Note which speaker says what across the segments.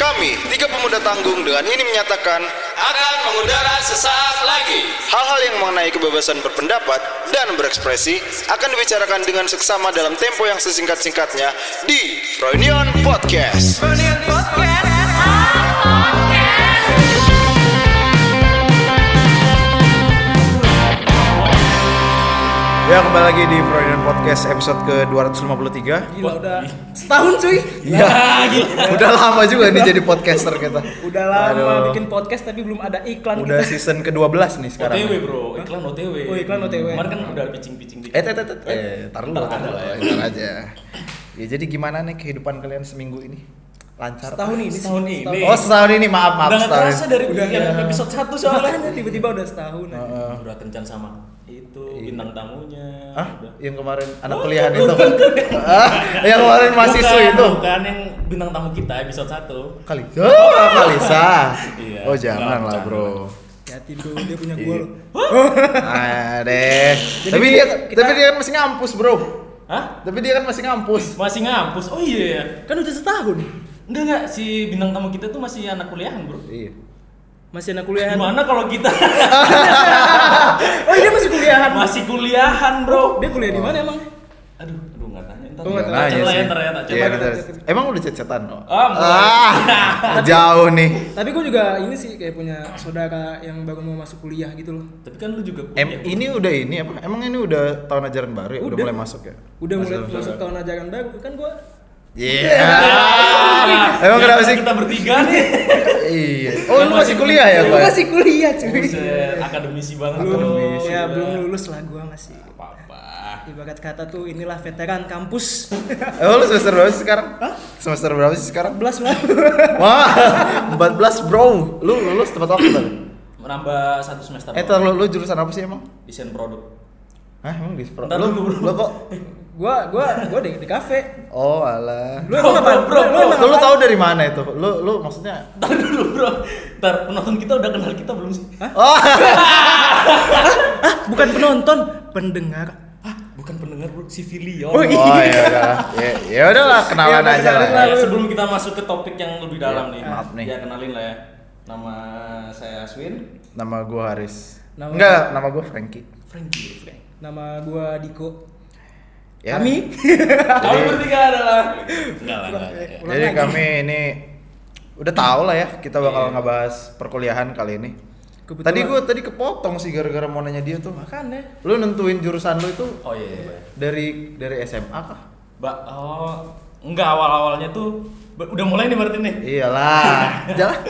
Speaker 1: kami, tiga pemuda tanggung dengan ini menyatakan
Speaker 2: akan mengudara sesaat lagi.
Speaker 1: hal-hal yang mengenai kebebasan berpendapat dan berekspresi akan dibicarakan dengan seksama dalam tempo yang sesingkat-singkatnya di Reunion Podcast.
Speaker 3: Ya kembali lagi di Freudian Podcast episode ke 253
Speaker 4: Gila udah setahun cuy.
Speaker 3: Iya Udah lama juga nih jadi podcaster kita
Speaker 4: Udah lama
Speaker 3: Aduh.
Speaker 4: bikin podcast tapi belum ada iklan.
Speaker 3: Udah season ke-12 nih sekarang
Speaker 5: OTW bro, iklan OTW.
Speaker 4: Oh, iklan OTW.
Speaker 5: Kemarin kan udah picing-picing dikit.
Speaker 3: Eh, tet, tet, tet. eh, tar dulu, tar dulu, eh, tar aja Ya jadi gimana nih kehidupan kalian seminggu ini? Lancar?
Speaker 4: setahun ini. sih,
Speaker 5: Setahun ini.
Speaker 3: Oh setahun ini, maaf, maaf
Speaker 5: Udah nggak
Speaker 3: setahun
Speaker 5: terasa dari
Speaker 4: Udah
Speaker 5: yang
Speaker 4: ya.
Speaker 5: episode 1 soalnya.
Speaker 4: Soalnya tiba-tiba udah setahun. aja.
Speaker 3: Heeh.
Speaker 5: Udah kencan sama itu bintang tamunya.
Speaker 3: Hah?
Speaker 5: Udah.
Speaker 3: Yang kemarin anak kuliahan itu kan? Hah? Yang kemarin mahasiswa
Speaker 5: Oh, Bukan,
Speaker 3: itu?
Speaker 5: Bukan yang bintang tamu kita episode 1.
Speaker 3: Kali Oh, Kalisa
Speaker 5: Iya.
Speaker 3: Oh jangan
Speaker 5: Nggak,
Speaker 3: lah
Speaker 5: bercanda.
Speaker 3: bro
Speaker 4: Hati-hati bro, dia punya gua.
Speaker 3: Iya. Ah, deh. Tapi dia tapi dia kan masih ngampus, Bro.
Speaker 5: Hah?
Speaker 3: Tapi dia kan masih ngampus.
Speaker 5: Masih ngampus. Oh iya. ya.
Speaker 4: Kan udah setahun.
Speaker 5: Enggak enggak si bintang tamu kita tuh masih anak kuliahan, Bro.
Speaker 3: Iya.
Speaker 4: Masih anak kuliahan.
Speaker 5: Gimana kalau kita
Speaker 4: Oh, dia masih kuliahan.
Speaker 5: masih kuliahan, Bro?
Speaker 4: Oh, Dia kuliah di mana emang?
Speaker 5: Aduh, aduh enggak tanya. Entar
Speaker 4: Oh, nggak
Speaker 5: kita
Speaker 4: tanya
Speaker 5: chat lah ya,
Speaker 3: sih.
Speaker 5: ntar ya, tak
Speaker 3: Iya,
Speaker 5: coba.
Speaker 3: ntar. Emang udah cecetan? Oh,
Speaker 5: Ah, mulai.
Speaker 3: jauh nih.
Speaker 4: Tapi gua juga ini sih kayak punya saudara yang baru mau masuk kuliah gitu loh.
Speaker 5: Tapi kan lu juga
Speaker 3: Em,
Speaker 5: kuliah. Bro.
Speaker 3: Iya, ini udah ini apa? Emang ini udah tahun ajaran baru ya? Udah,
Speaker 4: Udah.
Speaker 3: mulai masuk ya?
Speaker 4: Udah mulai
Speaker 3: Masuk-
Speaker 4: masuk tahun ajaran baru kan gua
Speaker 3: Iya.
Speaker 5: Ah,
Speaker 3: Emang kenapa
Speaker 5: ternyata
Speaker 3: sih?
Speaker 5: Kita bertiga nih.
Speaker 3: Iya. Oh, lu masih kuliah ya,
Speaker 4: Iya, Gua
Speaker 3: Pak?
Speaker 4: masih kuliah cuy.
Speaker 5: Buset, akademisi banget
Speaker 4: Iya, Belum,
Speaker 5: Akademisi.
Speaker 4: ya belum lulus lah gua masih.
Speaker 5: Apa-apa.
Speaker 4: Ibarat kata tuh inilah veteran kampus.
Speaker 3: Oh, lu semester berapa sih sekarang? Semester berapa sih sekarang?
Speaker 4: 14 lah.
Speaker 3: Wah, 14 bro. Lu lulus tepat waktu tadi.
Speaker 5: Menambah satu semester.
Speaker 3: Eh, tar, lu, lu jurusan apa sih emang?
Speaker 5: Desain produk.
Speaker 3: Hah, emang di pro?
Speaker 5: Ntar
Speaker 3: Lu,
Speaker 5: dulu,
Speaker 3: lu kok?
Speaker 4: gua gua gua di, di kafe.
Speaker 3: Oh, alah.
Speaker 4: Lu emang
Speaker 5: Bro,
Speaker 4: apa?
Speaker 5: bro, bro.
Speaker 4: emang
Speaker 3: Tuh, lu
Speaker 4: apaan?
Speaker 3: tahu dari mana itu? Lu, lu maksudnya?
Speaker 5: Ntar dulu bro. Ntar penonton kita udah kenal kita belum sih? Hah?
Speaker 3: Oh,
Speaker 4: Ah, bukan penonton, pendengar.
Speaker 5: Bukan pendengar bro, si Filion.
Speaker 4: Oh,
Speaker 3: oh ya udahlah. Ya, ya udahlah, kenalan
Speaker 4: Ya,
Speaker 3: aja lah.
Speaker 4: kenalan
Speaker 3: ya.
Speaker 5: Ya, sebelum kita masuk ke topik yang lebih dalam
Speaker 3: Ya,
Speaker 5: nih.
Speaker 3: maaf nih.
Speaker 5: Ya kenalin lah ya. Nama saya Aswin.
Speaker 3: Nama gua Haris.
Speaker 4: Nama-
Speaker 3: Enggak, nama gua Frankie.
Speaker 5: Frankie. Frank.
Speaker 4: Nama gua Diko.
Speaker 3: Ya.
Speaker 4: Kami
Speaker 5: Kami bertiga adalah. Enggak lah. ya. enggak, enggak.
Speaker 4: Ulang
Speaker 3: Jadi
Speaker 4: lagi. Iya,
Speaker 3: kami ini udah tahu lah ya kita bakal ngebahas perkuliahan kali ini.
Speaker 4: Kebetulan.
Speaker 3: Tadi gua tadi kepotong sih gara-gara mau nanya dia tuh.
Speaker 4: makan ya.
Speaker 3: Lu nentuin jurusan lu itu
Speaker 5: Oh iya. iya, iya.
Speaker 3: dari dari SMA kah?
Speaker 5: Mbak, oh enggak awal-awalnya tuh be- udah mulai nih berarti
Speaker 3: Iya.
Speaker 5: nih.
Speaker 3: Iyalah. Jalan.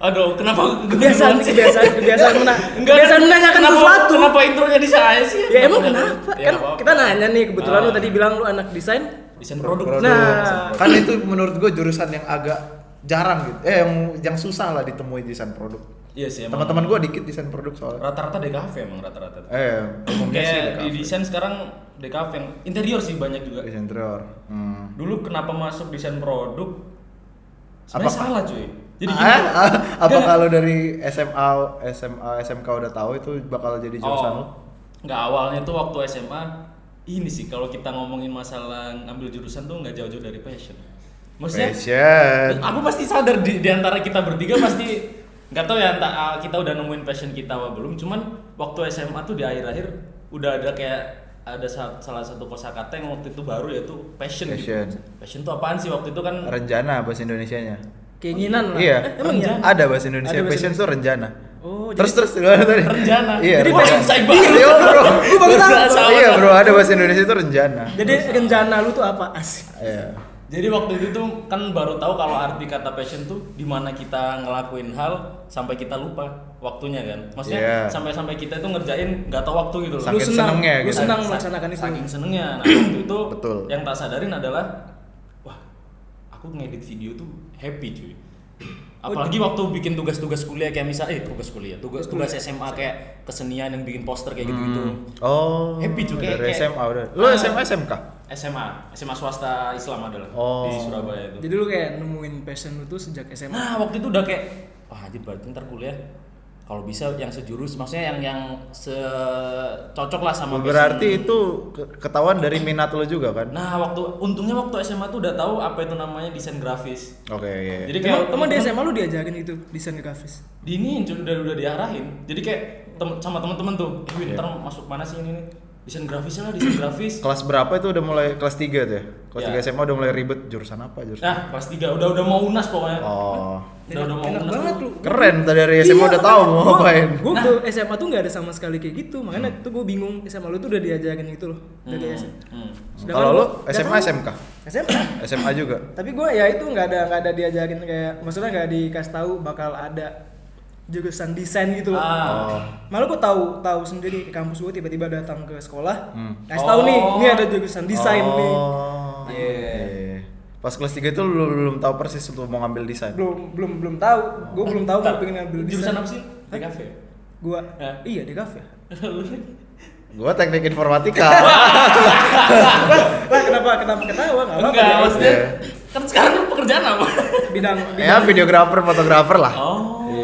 Speaker 5: Aduh, kenapa
Speaker 4: Kebiasaan
Speaker 5: kebingungan
Speaker 4: kebiasaan kebiasaan mena
Speaker 5: Enggak,
Speaker 4: kebiasaan menanyakan
Speaker 5: kenapa-
Speaker 4: sesuatu.
Speaker 5: Kenapa intronya di saya sih?
Speaker 4: Ya emang kenapa?
Speaker 5: Ya,
Speaker 4: Kan
Speaker 5: apa-apa.
Speaker 4: kita nanya nih kebetulan lu
Speaker 5: Ah.
Speaker 4: tadi bilang lu anak desain.
Speaker 5: desain produk.
Speaker 3: Produk.
Speaker 4: Nah.
Speaker 3: kan itu menurut gue jurusan yang agak jarang gitu eh yang yang susah lah ditemuin desain produk
Speaker 5: Iya sih, emang.
Speaker 3: teman-teman gue dikit desain produk soalnya
Speaker 5: rata-rata DKV emang rata-rata.
Speaker 3: eh umumnya sih
Speaker 5: Kayak di
Speaker 3: di
Speaker 5: desain sekarang DKV yang interior sih banyak juga.
Speaker 3: desain interior hmm.
Speaker 5: Dulu kenapa masuk desain produk? Sebenarnya
Speaker 3: Apakah-
Speaker 5: salah cuy. Jadi gini,
Speaker 3: ah, ah, apa
Speaker 5: Enggak.
Speaker 3: kalau dari SMA SMA SMK udah tahu itu bakal jadi jurusan
Speaker 5: Oh.
Speaker 3: lo?
Speaker 5: Nggak awalnya tuh waktu SMA ini sih kalau kita ngomongin masalah ngambil jurusan tuh nggak jauh-jauh dari passion. Maksudnya Ah.
Speaker 3: Passion.
Speaker 5: aku pasti sadar di, di antara kita bertiga pasti nggak tahu ya entah, uh, kita udah nemuin passion kita apa belum. Cuman waktu SMA tuh di akhir-akhir udah ada kayak ada sa- salah satu kosakata yang waktu itu baru yaitu passion.
Speaker 3: Passion.
Speaker 5: Gitu. Passion tuh apaan sih waktu itu kan
Speaker 3: Renjana bahasa Indonesianya.
Speaker 4: Keinginan lah.
Speaker 3: Iya.
Speaker 4: Eh, emang ya?
Speaker 3: Ada bahasa Indonesia
Speaker 4: Ada bahasa
Speaker 3: passion tuh renjana.
Speaker 4: Oh,
Speaker 3: terus terus gimana tadi?
Speaker 5: Renjana.
Speaker 3: Iya.
Speaker 5: Jadi
Speaker 3: renjana.
Speaker 5: passion saya baru.
Speaker 3: Iya, Bro.
Speaker 4: Gua baru tahu.
Speaker 5: Berbahasa awal.
Speaker 3: Iya, Bro, ada bahasa Indonesia itu renjana.
Speaker 4: Jadi rencana lu tuh apa? Asik.
Speaker 3: Iya.
Speaker 5: Jadi waktu itu tuh kan baru tahu kalau arti kata passion tuh dimana kita ngelakuin hal sampai kita lupa waktunya kan.
Speaker 3: Iya.
Speaker 5: Maksudnya sampai-sampai kita itu ngerjain nggak tahu waktu gitu loh.
Speaker 3: Saking
Speaker 4: lu senang,
Speaker 3: senengnya
Speaker 4: lu
Speaker 3: gitu.
Speaker 4: senang
Speaker 5: Sa-
Speaker 4: melaksanakan itu.
Speaker 5: Saking senengnya. Nah waktu itu
Speaker 3: Betul.
Speaker 5: yang tak sadarin adalah wah aku ngedit video tuh happy cuy.
Speaker 4: Oh,
Speaker 5: Apalagi waktu bikin tugas-tugas kuliah kayak misal eh tugas kuliah, tugas tugas SMA kayak kesenian yang bikin poster kayak gitu-gitu.
Speaker 3: Oh.
Speaker 5: Happy juga,
Speaker 3: Dari
Speaker 5: kayak-
Speaker 3: SMA udah. Lu
Speaker 5: Ah.
Speaker 3: SMA SMK?
Speaker 5: SMA, SMA swasta Islam adalah
Speaker 3: Oh.
Speaker 5: di Surabaya itu.
Speaker 4: Jadi lu kayak nemuin passion lu tuh sejak SMA.
Speaker 5: Nah waktu itu udah kayak wah anjir berarti ntar kuliah kalau bisa yang sejurus maksudnya yang yang secocok lah sama passion.
Speaker 3: Berarti itu ke- ketahuan dari minat lo juga kan?
Speaker 5: nah waktu untungnya waktu SMA tuh udah tahu apa itu namanya desain grafis
Speaker 3: Oke, iya.
Speaker 5: jadi
Speaker 4: Emang,
Speaker 5: kayak
Speaker 4: emang di
Speaker 5: temen-temen-
Speaker 4: SMA lu diajarin itu desain grafis?
Speaker 5: Dini cuy, udah udah diarahin. Jadi kayak tem- sama teman-teman tuh, eh Win, ntar masuk mana sih ini nih? Desain grafisnya lah, desain grafis.
Speaker 3: Kelas berapa itu udah mulai kelas 3 tuh ya? Kelas
Speaker 5: Ya.
Speaker 3: 3 SMA udah mulai ribet jurusan apa jurusan?
Speaker 5: Nah, kelas 3 udah udah mau UNAS pokoknya.
Speaker 3: Oh.
Speaker 5: Udah udah mau
Speaker 4: Enak
Speaker 5: UNAS.
Speaker 4: banget
Speaker 5: tuh.
Speaker 4: lu.
Speaker 3: Keren tadi dari
Speaker 5: Iya,
Speaker 3: SMA udah tahu mau ngapain. Nah. Hmm.
Speaker 4: Gue Iya. ke SMA tuh nggak ada sama sekali kayak gitu, makanya tuh gue bingung SMA lu tuh udah diajarin gitu loh dari
Speaker 5: Hmm,
Speaker 4: SMA.
Speaker 5: hmm.
Speaker 4: Sedangkan
Speaker 3: Kalau
Speaker 4: gua
Speaker 3: lo
Speaker 4: nggak
Speaker 3: SMA
Speaker 4: tahu.
Speaker 3: SMK?
Speaker 4: SMA.
Speaker 3: SMA juga.
Speaker 4: Tapi gue ya itu nggak ada nggak ada diajarin kayak maksudnya nggak dikasih tahu bakal ada jurusan desain gitu loh.
Speaker 5: Ah.
Speaker 3: Oh.
Speaker 4: Malah gue tahu tahu sendiri ke kampus gue tiba-tiba datang ke sekolah,
Speaker 3: Hmm.
Speaker 4: kasih tahu nih,
Speaker 5: Oh.
Speaker 4: ini ada jurusan desain
Speaker 3: oh.
Speaker 4: nih.
Speaker 5: Iya.
Speaker 3: Iya. Pas kelas 3 itu lu belum, belum tahu persis untuk mau ngambil desain.
Speaker 4: Belum belum belum tahu, gue belum tahu gue
Speaker 5: Bentar,
Speaker 4: pengen ngambil
Speaker 5: Jurusan
Speaker 4: desain.
Speaker 5: apa sih? Di kafe.
Speaker 4: Gue
Speaker 3: Eh.
Speaker 5: Ya.
Speaker 4: iya di kafe.
Speaker 3: Gua teknik informatika.
Speaker 4: Lah kenapa kenapa ketawa nggak apa-apa?
Speaker 5: Enggak, maksudnya
Speaker 3: Iya.
Speaker 5: kan sekarang lu pekerjaan apa?
Speaker 4: Bidang
Speaker 3: ya
Speaker 4: bidang
Speaker 3: videografer, fotografer lah.
Speaker 5: Oh,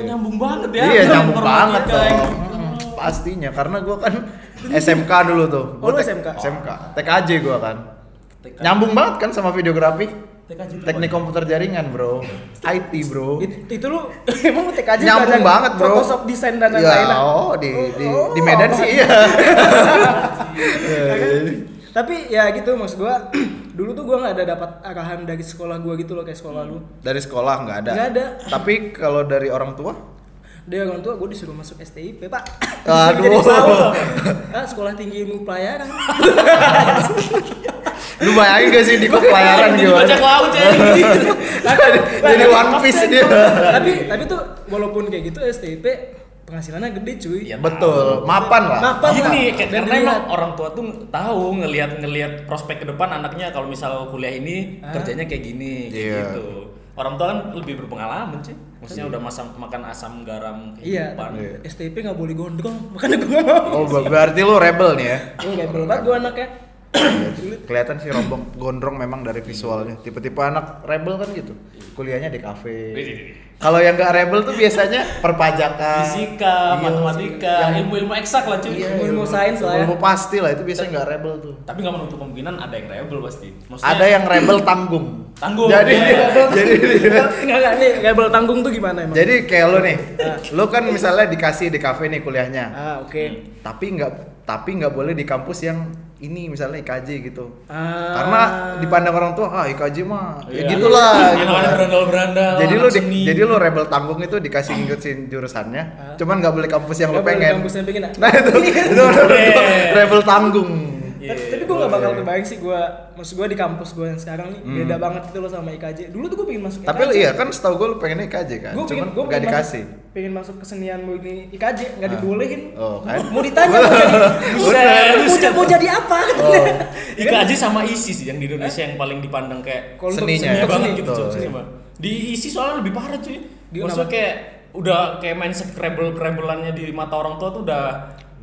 Speaker 5: nyambung banget ya.
Speaker 3: Iya, nyambung banget
Speaker 5: Informatika
Speaker 3: dong.
Speaker 5: yang-
Speaker 3: Mm, Pastinya karena gua kan SMK dulu tuh.
Speaker 4: Oh, lu
Speaker 3: Gua tek-
Speaker 4: SMK?
Speaker 3: SMK. TKJ gua kan.
Speaker 5: TK.
Speaker 3: Nyambung banget kan sama videografi.
Speaker 5: TKJ itu
Speaker 3: Teknik komputer jaringan, Bro. IT, Bro.
Speaker 4: It- itu lu emang lu TKJ
Speaker 3: Nyambung
Speaker 4: belajar
Speaker 3: banget, Bro.
Speaker 4: Photoshop desain dan lain-lain.
Speaker 3: Ya, oh, di di,
Speaker 4: Oh,
Speaker 3: di Medan
Speaker 4: apa?
Speaker 3: sih iya.
Speaker 4: Ya kan? Tapi ya gitu maksud gua dulu tuh gua nggak ada dapat arahan dari sekolah gua gitu loh kayak sekolah lu.
Speaker 3: Dari sekolah nggak ada.
Speaker 4: Nggak ada.
Speaker 3: Tapi kalau dari orang tua?
Speaker 4: Dia orang tua gua disuruh masuk STIP, Pak.
Speaker 3: Aduh.
Speaker 4: Jadi pesawat. Ah, sekolah Tinggi Ilmu Pelayaran.
Speaker 3: Lu bayangin gak sih di pelayaran
Speaker 5: Jadi
Speaker 3: gimana?
Speaker 5: bajak laut ya.
Speaker 3: Jadi one piece dia.
Speaker 4: tapi tapi tuh walaupun kayak gitu STIP penghasilannya gede cuy.
Speaker 3: Iya, Betul, mapan lah.
Speaker 4: Mapan.
Speaker 5: gini kayak-
Speaker 4: Dan
Speaker 5: karena
Speaker 4: dilihat.
Speaker 5: emang orang tua tuh tahu ngelihat ngelihat prospek ke depan anaknya kalau misal kuliah ini kerjanya kayak gini kayak
Speaker 3: Iya.
Speaker 5: gitu orang tua kan lebih berpengalaman sih maksudnya udah masam, makan asam garam
Speaker 4: Iya,
Speaker 5: kehidupan
Speaker 4: tapi STIP nggak boleh gondrong, makanya gua nggak mau.
Speaker 3: Oh, ber- berarti lu rebel nih ya.
Speaker 4: Gue rebel banget gua anaknya.
Speaker 3: Iya, Kelihatan sih rombong gondrong memang dari visualnya. Tipe-tipe anak rebel kan gitu. Kuliahnya di kafe. Kalau yang gak rebel tuh biasanya perpajakan,
Speaker 5: fisika
Speaker 3: Iya,
Speaker 5: matematika
Speaker 3: yang-
Speaker 5: ilmu ilmu eksak lah cuy
Speaker 3: Iya,
Speaker 4: ilmu sains lah ya.
Speaker 3: Ilmu pasti lah itu biasanya nggak rebel tuh.
Speaker 5: tapi nggak menutup kemungkinan ada yang rebel pasti maksudnya
Speaker 3: Ada yang rebel tanggung.
Speaker 5: Tanggung,
Speaker 3: Jadi
Speaker 5: iya.
Speaker 3: dia- jadi dia-
Speaker 4: Enggak enggak nih, rebel tanggung tuh gimana emang?
Speaker 3: jadi kayak lu nih. Lu kan misalnya dikasih di kafe nih kuliahnya.
Speaker 4: Ah, oke.
Speaker 3: tapi nggak tapi nggak boleh di kampus yang ini misalnya IKJ gitu
Speaker 4: Ah.
Speaker 3: karena dipandang orang tua ah IKJ mah ya
Speaker 5: Iya.
Speaker 3: gitulah
Speaker 5: yang
Speaker 3: gitu
Speaker 5: ada
Speaker 3: kan.
Speaker 5: berandal berandal
Speaker 3: jadi lu di- jadi lu rebel tanggung itu dikasih ngikutin jurusannya cuman nggak boleh kampus yang lu
Speaker 4: Nggak boleh
Speaker 3: pengen
Speaker 4: kampus Iya, yang pengen, ah.
Speaker 3: nah itu itu
Speaker 5: Boleh.
Speaker 3: rebel tanggung iya,
Speaker 4: Tapi, tapi gue gak bakal kebayang sih gue Maksud gue di kampus gue yang sekarang nih Beda banget itu loh sama IKJ Dulu tuh gue pengen masuk
Speaker 3: Hmm. tapi lu iya kan setahu gue lu pengennya IKJ kan
Speaker 4: Gue pengen,
Speaker 3: cuman
Speaker 4: gua
Speaker 3: nggak
Speaker 4: pengen
Speaker 3: dikasih
Speaker 4: Masuk, pengen masuk kesenian murni IKJ Gak
Speaker 3: Ah.
Speaker 4: dibolehin
Speaker 3: Oh, kan.
Speaker 4: Mau ditanya mau jadi-
Speaker 5: Buset.
Speaker 4: mau, jadi- mau jadi apa
Speaker 3: oh
Speaker 5: IKJ sama ISI sih yang di Indonesia yang paling dipandang kayak
Speaker 4: Kalau untuk
Speaker 3: Seninya ya.
Speaker 5: Iya
Speaker 4: kesenian-
Speaker 5: banget
Speaker 3: Seni.
Speaker 5: gitu
Speaker 3: Betul,
Speaker 5: Cok,
Speaker 3: iya.
Speaker 5: Mbak. Di isi soalnya lebih parah cuy.
Speaker 4: Di
Speaker 5: Maksudnya
Speaker 4: kenapa?
Speaker 5: kayak udah kayak mindset krebel-krebelannya di mata orang tua tuh udah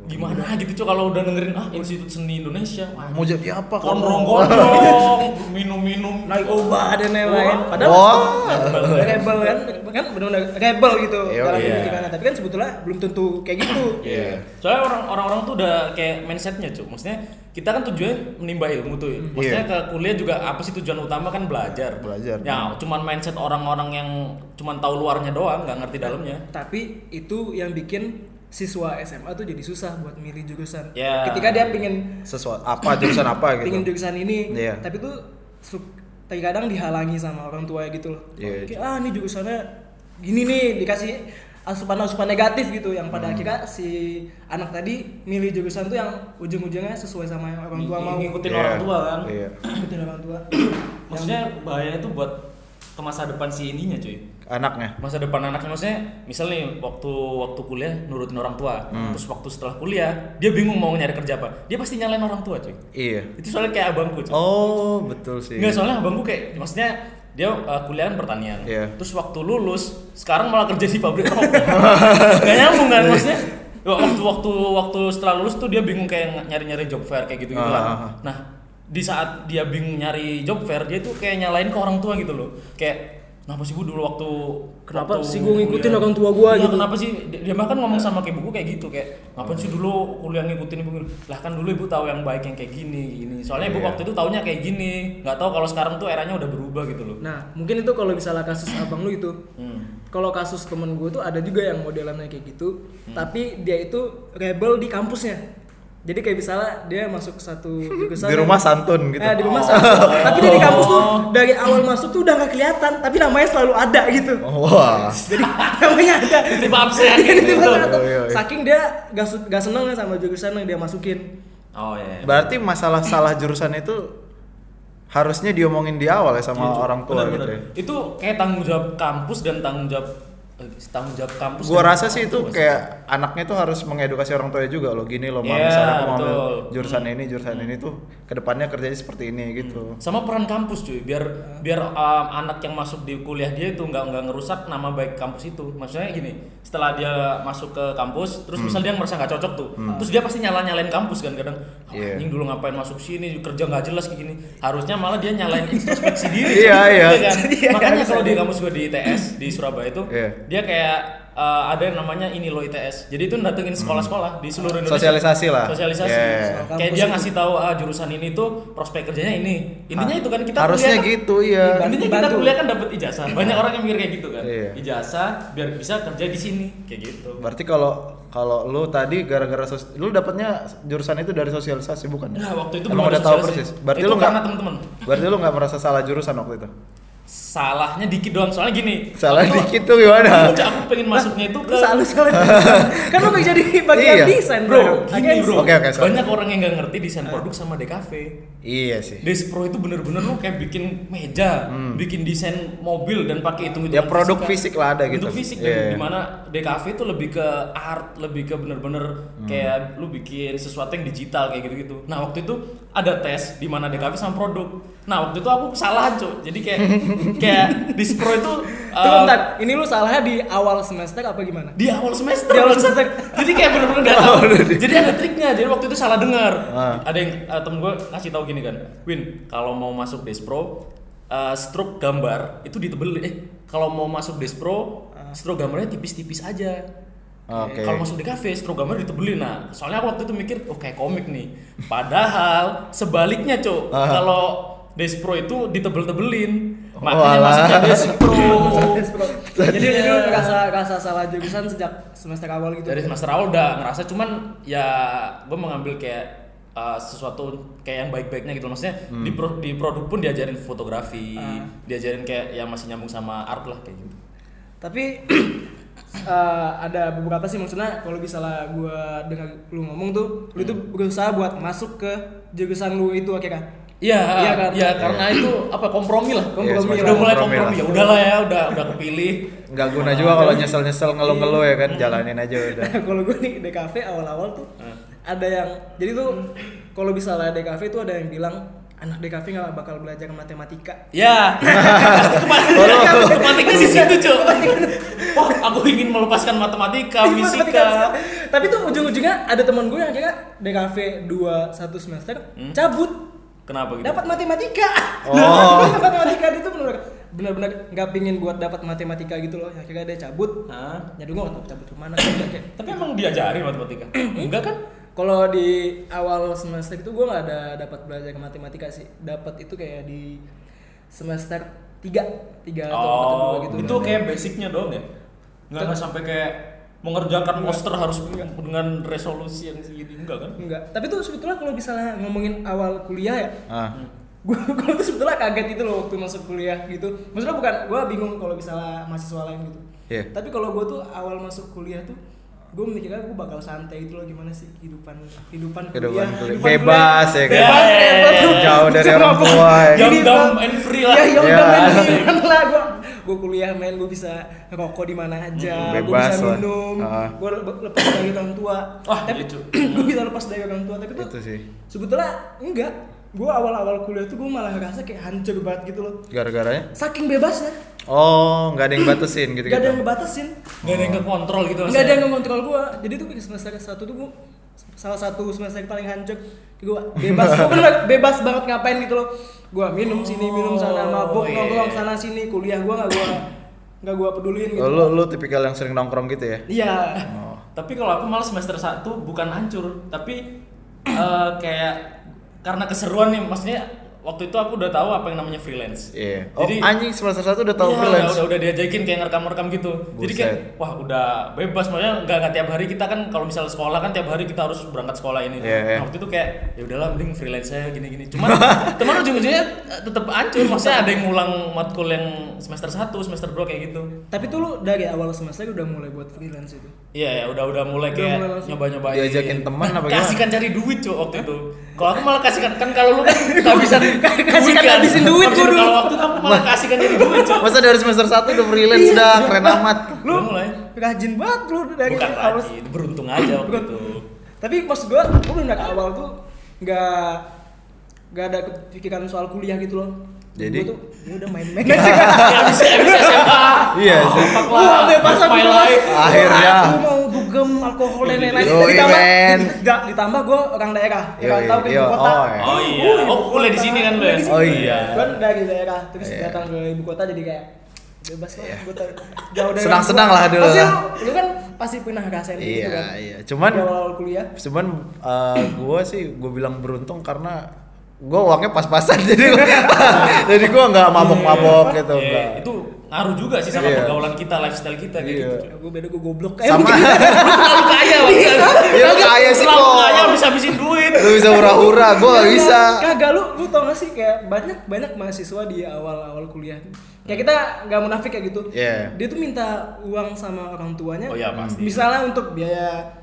Speaker 5: gimana gitu cuy kalau udah dengerin ah institut seni Indonesia wah,
Speaker 3: mau jadi apa kamu?
Speaker 5: gondrong-gondrong minum-minum
Speaker 4: Naik obat dan lain-lain Padahal
Speaker 3: Wah.
Speaker 4: rebel kan Kan bener-bener rebel gitu
Speaker 3: Iya,
Speaker 4: Dalam
Speaker 5: iya.
Speaker 4: pendidikan Tapi kan sebetulnya belum tentu kayak gitu
Speaker 3: Iya.
Speaker 5: Soalnya orang orang orang tuh udah kayak mindsetnya cuy. Maksudnya kita kan tujuan menimba ilmu tuh. ya.
Speaker 4: Hmm.
Speaker 5: Maksudnya
Speaker 3: Iya.
Speaker 5: ke kuliah juga apa sih tujuan utama kan belajar.
Speaker 3: Belajar.
Speaker 5: Ya cuman mindset orang-orang yang cuman tahu luarnya doang nggak
Speaker 4: Ya.
Speaker 5: ngerti dalamnya.
Speaker 4: tapi itu yang bikin siswa SMA tuh jadi susah buat milih jurusan
Speaker 5: Ya.
Speaker 4: ketika dia pingin
Speaker 3: sesuatu apa jurusan apa
Speaker 4: pingin
Speaker 3: gitu
Speaker 4: jurusan ini
Speaker 3: Iya.
Speaker 4: tapi tuh su- tapi kadang dihalangi sama orang tua gitu loh
Speaker 3: Iya.
Speaker 4: Kayak, ah ini jurusannya gini nih dikasih asupan asupan negatif gitu yang
Speaker 3: Hmm.
Speaker 4: pada akhirnya si anak tadi milih jurusan tuh yang ujung-ujungnya sesuai sama yang orang tua mau
Speaker 5: Ngikutin
Speaker 3: Iya.
Speaker 5: orang tua kan.
Speaker 3: Iya.
Speaker 4: ikutin orang tua
Speaker 5: maksudnya bahaya itu buat ke masa depan si ininya cuy
Speaker 3: anaknya
Speaker 5: masa depan anaknya maksudnya misal nih waktu waktu kuliah nurutin orang tua terus waktu setelah kuliah dia bingung mau nyari kerja apa dia pasti nyalain orang tua cuy
Speaker 3: iya
Speaker 5: itu soalnya kayak abangku cuy
Speaker 3: oh betul sih
Speaker 5: Enggak soalnya abangku kayak maksudnya dia uh, kuliah kan pertanian.
Speaker 3: Iya.
Speaker 5: Terus waktu lulus sekarang malah kerja di pabrik rokok. Gak nyambung kan maksudnya. Waktu waktu waktu setelah lulus tuh dia bingung kayak nyari-nyari job fair kayak gitu-gitu
Speaker 3: Ah, ah, ah.
Speaker 5: lah. Nah, di saat dia bingung nyari job fair, dia tuh kayak nyalain ke orang tua gitu loh. Kayak Kenapa sih gue dulu waktu
Speaker 4: Kenapa
Speaker 5: waktu
Speaker 4: sih gua ngikutin
Speaker 5: kuliah?
Speaker 4: orang tua gua
Speaker 5: Iya,
Speaker 4: gitu?
Speaker 5: Kenapa sih dia dia bahkan ngomong sama kayak buku kayak gitu kayak ngapain sih dulu kuliah ngikutin ibu? Lah kan dulu ibu tahu yang baik yang kayak gini gini. Soalnya ibu
Speaker 3: Iya.
Speaker 5: waktu itu taunya kayak gini. Nggak tahu kalau sekarang tuh eranya udah berubah gitu loh.
Speaker 4: Nah, mungkin itu kalau misalnya kasus abang lu itu.
Speaker 5: Hmm.
Speaker 4: Kalau kasus temen gue tuh ada juga yang modelannya kayak gitu,
Speaker 3: Hmm.
Speaker 4: tapi dia itu rebel di kampusnya. Jadi kayak misalnya dia masuk satu jurusan
Speaker 3: Di rumah santun gitu. Oh.
Speaker 4: Eh, di rumah santun. tapi dia di kampus tuh dari awal masuk tuh udah nggak kelihatan, tapi namanya selalu ada gitu.
Speaker 3: Oh, Wah.
Speaker 4: Jadi namanya ada.
Speaker 5: Tipe absen
Speaker 4: Jadi
Speaker 5: gitu.
Speaker 4: tiba-tiba ada.
Speaker 3: Oh, iya, iya.
Speaker 4: Saking dia gak, su- gak seneng sama jurusan yang dia masukin.
Speaker 5: Oh iya.
Speaker 3: Berarti masalah salah jurusan itu harusnya diomongin di awal ya sama orang tua
Speaker 5: Benar-benar.
Speaker 3: gitu. ya.
Speaker 5: Itu kayak tanggung jawab kampus dan tanggung jawab eh, tanggung jawab kampus.
Speaker 3: Gua
Speaker 5: dan-
Speaker 3: rasa sih itu kayak anaknya tuh harus mengedukasi orang tuanya juga loh. Gini loh, Mam,
Speaker 5: Iya,
Speaker 3: misalnya aku mau ambil
Speaker 5: betul. Hmm.
Speaker 3: jurusan ini, jurusan ini tuh kedepannya kerjanya seperti ini gitu.
Speaker 5: sama peran kampus cuy biar biar um, anak yang masuk di kuliah dia itu nggak nggak ngerusak nama baik kampus itu maksudnya gini setelah dia masuk ke kampus
Speaker 3: Hmm.
Speaker 5: terus misal dia merasa nggak cocok tuh terus dia pasti nyala nyalain kampus kan kadang "Ah,
Speaker 3: Iya.
Speaker 5: anjing dulu ngapain masuk sini kerja nggak jelas kayak gini harusnya malah dia nyalain introspeksi diri cuy.
Speaker 3: Iya, iya.
Speaker 5: kan?
Speaker 4: Jadi ya,
Speaker 5: makanya
Speaker 4: harus
Speaker 5: kalau di
Speaker 4: ada.
Speaker 5: kampus gue di ITS di Surabaya itu
Speaker 3: Iya.
Speaker 5: dia kayak uh, ada yang namanya ini loh ITS jadi itu datengin sekolah-sekolah di seluruh Indonesia
Speaker 3: Sosialisasi lah.
Speaker 5: sosialisasi
Speaker 3: Iya.
Speaker 4: Soal
Speaker 5: kayak
Speaker 4: kampus
Speaker 5: dia
Speaker 4: itu.
Speaker 5: ngasih tahu ah, jurusan ini tuh prospek kerjanya ini intinya itu kan kita
Speaker 3: Ah, harusnya
Speaker 5: kuliah kan-
Speaker 3: gitu iya.
Speaker 5: intinya kita
Speaker 4: Dibantu.
Speaker 5: kuliah kan dapat ijazah banyak orang yang mikir kayak gitu kan
Speaker 3: Iya.
Speaker 5: ijazah biar bisa kerja di sini kayak gitu
Speaker 3: Berarti kalau kalau lu tadi gara-gara sos- lu dapatnya jurusan itu dari sosialisasi bukan?
Speaker 5: nah
Speaker 3: ya?
Speaker 5: waktu itu
Speaker 3: Emang
Speaker 5: belum ada
Speaker 3: udah tahu
Speaker 5: sosialisasi.
Speaker 3: persis. Berarti
Speaker 5: itu
Speaker 3: lu nggak
Speaker 5: karena temen-temen
Speaker 3: Berarti lu nggak merasa salah jurusan waktu itu?
Speaker 5: salahnya dikit doang soalnya gini
Speaker 3: Salah
Speaker 5: waktu-
Speaker 3: dikit tuh gimana?
Speaker 5: aku aku pengen masuknya itu ke
Speaker 4: Terus salah salah. kan lu pengen jadi bagian
Speaker 3: Iya.
Speaker 4: desain
Speaker 5: bro gini
Speaker 4: Against-
Speaker 5: bro
Speaker 3: Oke, oke, sorry. Eh.
Speaker 5: banyak orang yang nggak ngerti desain produk sama DKV
Speaker 3: Iya sih.
Speaker 5: Despro itu bener-bener lu kayak bikin meja, bikin desain mobil dan pakai itu
Speaker 3: Hmm. Ya, produk fisik lah ada gitu.
Speaker 5: Produk fisik
Speaker 3: Iya.
Speaker 5: di mana DKV itu lebih ke art, lebih ke bener-bener
Speaker 3: Hmm.
Speaker 5: kayak lu bikin sesuatu yang digital kayak gitu-gitu. Nah, waktu itu ada tes di mana DKV sama produk. Nah, waktu itu aku kesalahan, Cuk. Jadi kayak kayak Despro itu
Speaker 4: Tuh,
Speaker 5: uh,
Speaker 4: bentar. ini lu salahnya di awal semester apa gimana?
Speaker 5: di awal semester
Speaker 4: Di awal semester.
Speaker 5: jadi kayak bener-bener gak tahu jadi ada triknya jadi waktu itu salah dengar
Speaker 3: Oh, Ah.
Speaker 5: ada yang eh, temen gue ngasih tahu gini kan Win kalau mau masuk Despro eh stroke gambar itu ditebelin eh kalau mau masuk Despro stroke gambarnya tipis-tipis aja
Speaker 3: Ah. Oke.
Speaker 5: Kalau masuk di kafe, stroke gambar ditebelin. Nah, soalnya aku waktu itu mikir, oh kayak komik nih. Padahal sebaliknya, Cok.
Speaker 3: Ah.
Speaker 5: Kalau Despro itu ditebel-tebelin.
Speaker 3: Oh,
Speaker 5: Makanya
Speaker 3: alah.
Speaker 5: masuknya Despro.
Speaker 4: Jadi lu rasa rasa salah jurusan sejak semester awal gitu.
Speaker 5: dari semester awal udah ngerasa cuman ya gue mengambil kayak uh, sesuatu kayak yang baik-baiknya gitu maksudnya
Speaker 3: Hmm.
Speaker 5: di, pro- di produk pun diajarin fotografi
Speaker 4: Ah.
Speaker 5: diajarin kayak yang masih nyambung sama art lah kayak gitu
Speaker 4: Tapi eh, ada beberapa sih maksudnya kalau misalnya gua dengar lu ngomong tuh, lu tuh berusaha buat masuk ke jurusan lu itu akhirnya.
Speaker 5: Iya,
Speaker 4: Iya
Speaker 5: iya
Speaker 4: kan?
Speaker 5: karena itu apa kompromi lah,
Speaker 4: Kompromi
Speaker 5: kompromi.
Speaker 4: lah.
Speaker 5: udah mulai
Speaker 3: Iya, Kompromi lah.
Speaker 5: kompromi, ya, udahlah ya, udah udah kepilih.
Speaker 3: Nggak guna juga kalau nyesel-nyesel ngeluh-ngeluh ya kan, jalanin aja udah.
Speaker 4: kalau gue nih DKV awal-awal tuh
Speaker 5: Hmm.
Speaker 4: ada yang jadi tuh kalau misalnya DKV tuh ada yang bilang anak DKV nggak bakal belajar matematika.
Speaker 5: Ya, pasti kemarin matematiknya di situ cuy. Wah, aku ingin melepaskan matematika,
Speaker 4: Matematika.
Speaker 5: fisika.
Speaker 4: Tapi tuh ujung-ujungnya ada teman gue yang akhirnya DKV 2 satu semester cabut
Speaker 5: Kenapa Hmm? gitu?
Speaker 4: dapat matematika.
Speaker 3: Oh.
Speaker 4: Nah, dapat matematika dia tuh benar benar-benar nggak pingin buat dapat matematika gitu loh. Akhirnya dia cabut.
Speaker 5: Hah?
Speaker 4: Ya dulu nggak tahu cabut kemana. Dia kayak-
Speaker 5: Tapi emang diajarin matematika? Enggak kan?
Speaker 4: Kalau di awal semester itu gue nggak ada dapat belajar ke matematika sih. Dapat itu kayak di semester 3 tiga atau empat atau
Speaker 5: Oh,
Speaker 4: dua gitu.
Speaker 5: itu kayak basicnya doang ya? Nggak, nggak sampai kayak mengerjakan poster harus dengan resolusi yang segini enggak kan?
Speaker 4: Enggak. Tapi tuh sebetulnya kalau misalnya ngomongin awal kuliah ya,
Speaker 3: Ah.
Speaker 5: Hmm.
Speaker 4: gue gue tuh sebetulnya kaget gitu loh waktu masuk kuliah gitu maksudnya bukan gue bingung kalau misalnya mahasiswa lain gitu
Speaker 3: Iya.
Speaker 4: tapi kalau gue tuh awal masuk kuliah tuh gue mikirnya gue bakal santai gitu loh gimana sih kehidupan kehidupan
Speaker 3: Kehidupan
Speaker 4: kuliah,
Speaker 3: kuliah. Bebas ya kan?
Speaker 4: bebas bebas.
Speaker 3: Jauh dari
Speaker 4: Sama
Speaker 3: orang
Speaker 4: apa?
Speaker 3: tua ya.
Speaker 4: Gini,
Speaker 5: Young, dumb,
Speaker 4: Bang.
Speaker 5: and free lah.
Speaker 4: Iya, young,
Speaker 3: Iya,
Speaker 4: dumb, and
Speaker 3: asik.
Speaker 4: free kan lah gue gue kuliah main gue bisa ngerokok di mana aja
Speaker 3: Hmm,
Speaker 4: gue
Speaker 3: bebas
Speaker 4: bisa
Speaker 3: lah.
Speaker 4: minum
Speaker 3: Ah.
Speaker 4: gue lepas dari orang tua
Speaker 5: Wah, gitu.
Speaker 4: tapi
Speaker 5: itu.
Speaker 4: gue bisa lepas dari orang tua tapi tuh
Speaker 3: Itu sih.
Speaker 4: sebetulnya enggak gue awal-awal kuliah tuh gue malah ngerasa kayak hancur banget gitu loh
Speaker 3: Gara-garanya?
Speaker 4: saking bebasnya
Speaker 3: ya? Oh, nggak ada yang batasin gitu.
Speaker 4: gak ada yang ngebatasin
Speaker 5: Nggak ada yang kekontrol gitu
Speaker 4: nggak
Speaker 5: maksudnya.
Speaker 4: ada yang ngontrol gue jadi tuh kayak semester satu tuh gue salah satu semester paling hancur gue bebas gue bener bebas banget ngapain gitu loh gue minum sini minum sana mabuk
Speaker 5: Oh, iya.
Speaker 4: nongkrong sana sini kuliah gue nggak gue nggak gue pedulin
Speaker 3: Oh,
Speaker 4: gitu
Speaker 3: lu lu tipikal yang sering nongkrong gitu ya?
Speaker 4: iya
Speaker 3: Oh.
Speaker 5: Tapi kalau aku malah semester 1 bukan hancur, tapi eh, kayak karena keseruan nih, maksudnya waktu itu aku udah tahu apa yang namanya freelance.
Speaker 3: Iya. Oh,
Speaker 5: Jadi-
Speaker 3: anjing semester 1 udah tahu
Speaker 5: Iya,
Speaker 3: freelance.
Speaker 5: Udah, udah diajakin kayak ngerekam-rekam gitu.
Speaker 3: Buset.
Speaker 5: Jadi kayak wah udah bebas maksudnya nggak nggak tiap hari kita kan kalau misalnya sekolah kan tiap hari kita harus berangkat sekolah ini.
Speaker 3: Iya, iya.
Speaker 5: Nah, waktu itu kayak ya udahlah mending freelance aja gini-gini. Cuman teman ujung-ujungnya eh, tetap hancur. Maksudnya ada yang ngulang matkul yang semester 1, semester 2 kayak gitu.
Speaker 4: tapi tuh lu dari awal semester udah mulai buat freelance itu
Speaker 5: Iya, ya udah udah mulai
Speaker 4: Udah
Speaker 5: kayak
Speaker 4: mulai langsung.
Speaker 5: nyoba-nyobain.
Speaker 3: Diajakin teman apa gimana?
Speaker 5: Kasihkan cari duit cuy waktu itu. Kalau aku malah kasihkan kan kalau lu kan kehabisan
Speaker 4: Kasihkan
Speaker 5: kan.
Speaker 4: habisin duit gua dulu.
Speaker 5: Kalau waktu kamu malah kasihkan cari duit cuy.
Speaker 3: Masa dari semester 1 udah freelance
Speaker 5: Iya.
Speaker 3: dah, keren amat.
Speaker 5: Lu mulai
Speaker 4: rajin banget lu dari
Speaker 5: bukan
Speaker 4: awal
Speaker 5: lagi beruntung aja waktu itu
Speaker 4: tapi maksud gua gua bener dari awal tuh nggak nggak ada kepikiran soal kuliah gitu loh
Speaker 3: Jadi?
Speaker 4: gua tuh gua udah main-main aja
Speaker 5: ya abis abis SMA
Speaker 3: Iya sih.
Speaker 5: fuck
Speaker 4: Wah,
Speaker 5: lah
Speaker 4: bebas
Speaker 5: that's
Speaker 4: aku
Speaker 5: my
Speaker 4: bebas.
Speaker 5: life
Speaker 3: Akhirnya.
Speaker 4: Aku mau dugem alkohol dan lain-lain.
Speaker 3: Yoi, men.
Speaker 4: da- ditambah gue orang daerah, orang
Speaker 3: Yoi,
Speaker 4: tahu ke ibu
Speaker 3: yoi,
Speaker 4: kota.
Speaker 3: oh, iya.
Speaker 5: oh iya oh kuliah di sini kan lu
Speaker 4: Kuliah
Speaker 5: ya?
Speaker 4: di
Speaker 3: sini. Oh iya.
Speaker 4: Gue dari daerah, terus
Speaker 3: Iya.
Speaker 4: datang ke ibu kota jadi kayak bebas lah. Gue ter- jauh dari
Speaker 3: Senang-senang
Speaker 4: orang
Speaker 3: lah
Speaker 4: tua.
Speaker 3: dulu
Speaker 4: Pasti
Speaker 3: lah.
Speaker 4: lu, lu kan pasti pernah ngerasain gitu
Speaker 3: Iya,
Speaker 4: kan.
Speaker 3: iya. Cuman
Speaker 4: Di awal kuliah.
Speaker 3: cuman eh, gua sih gua bilang beruntung karena gua uangnya pas-pasan jadi jadi gua nggak mabok-mabok gitu
Speaker 5: Iya,
Speaker 3: enggak.
Speaker 5: itu ngaruh juga sih sama
Speaker 3: Iya.
Speaker 5: pergaulan kita lifestyle kita kayak
Speaker 3: Iya.
Speaker 5: gitu cuy.
Speaker 4: Gue beda gue goblok. Eh,
Speaker 3: Sama
Speaker 5: terlalu kaya waktu itu.
Speaker 3: Iya, kaya sih,
Speaker 5: terlalu
Speaker 3: kok.
Speaker 5: kaya habis habisin duit
Speaker 3: lu bisa hura-hura, gua nggak
Speaker 5: Iya,
Speaker 4: Kagak,
Speaker 3: bisa.
Speaker 5: kan
Speaker 4: Kagak lu lu tau gak sih kayak banyak banyak mahasiswa di awal-awal kuliah. Kayak kita nggak munafik kayak gitu.
Speaker 3: Iya.
Speaker 4: Dia tuh minta uang sama orang tuanya.
Speaker 5: Oh iya, pasti.
Speaker 4: Misalnya untuk biaya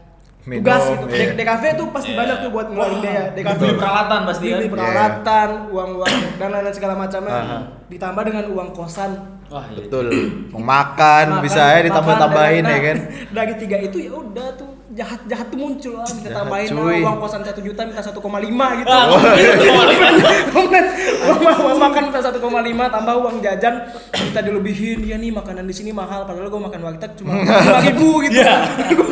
Speaker 3: Minum,
Speaker 4: tugas gitu.
Speaker 3: iya.
Speaker 4: Dek- DKV tuh pasti
Speaker 5: Iya.
Speaker 4: banyak tuh buat ngeluarin
Speaker 5: Wah,
Speaker 4: biaya. DKV
Speaker 5: beli peralatan pasti kan
Speaker 4: beli peralatan, uang-uang dan lain-lain segala macamnya.
Speaker 3: Iya. Aha.
Speaker 4: Ditambah dengan uang kosan.
Speaker 5: wah iya
Speaker 3: Betul. Mau makan,
Speaker 4: Makan,
Speaker 3: bisa ya ditambah-tambahin ya
Speaker 4: makan, dan-
Speaker 3: kan.
Speaker 4: nah, dari tiga itu ya udah tuh jahat jahat tuh muncul ah minta
Speaker 3: Jahat,
Speaker 4: tambahin ah,
Speaker 3: cuy. iya,
Speaker 4: uang kosan satu juta minta 1,5 gitu
Speaker 5: Ah,
Speaker 4: Uang-
Speaker 5: gitu,
Speaker 4: uang, uang, uang makan minta 1,5 tambah uang jajan minta dilebihin ya nih makanan di sini mahal padahal gua makan warteg cuma 5 ribu gitu
Speaker 5: Iya.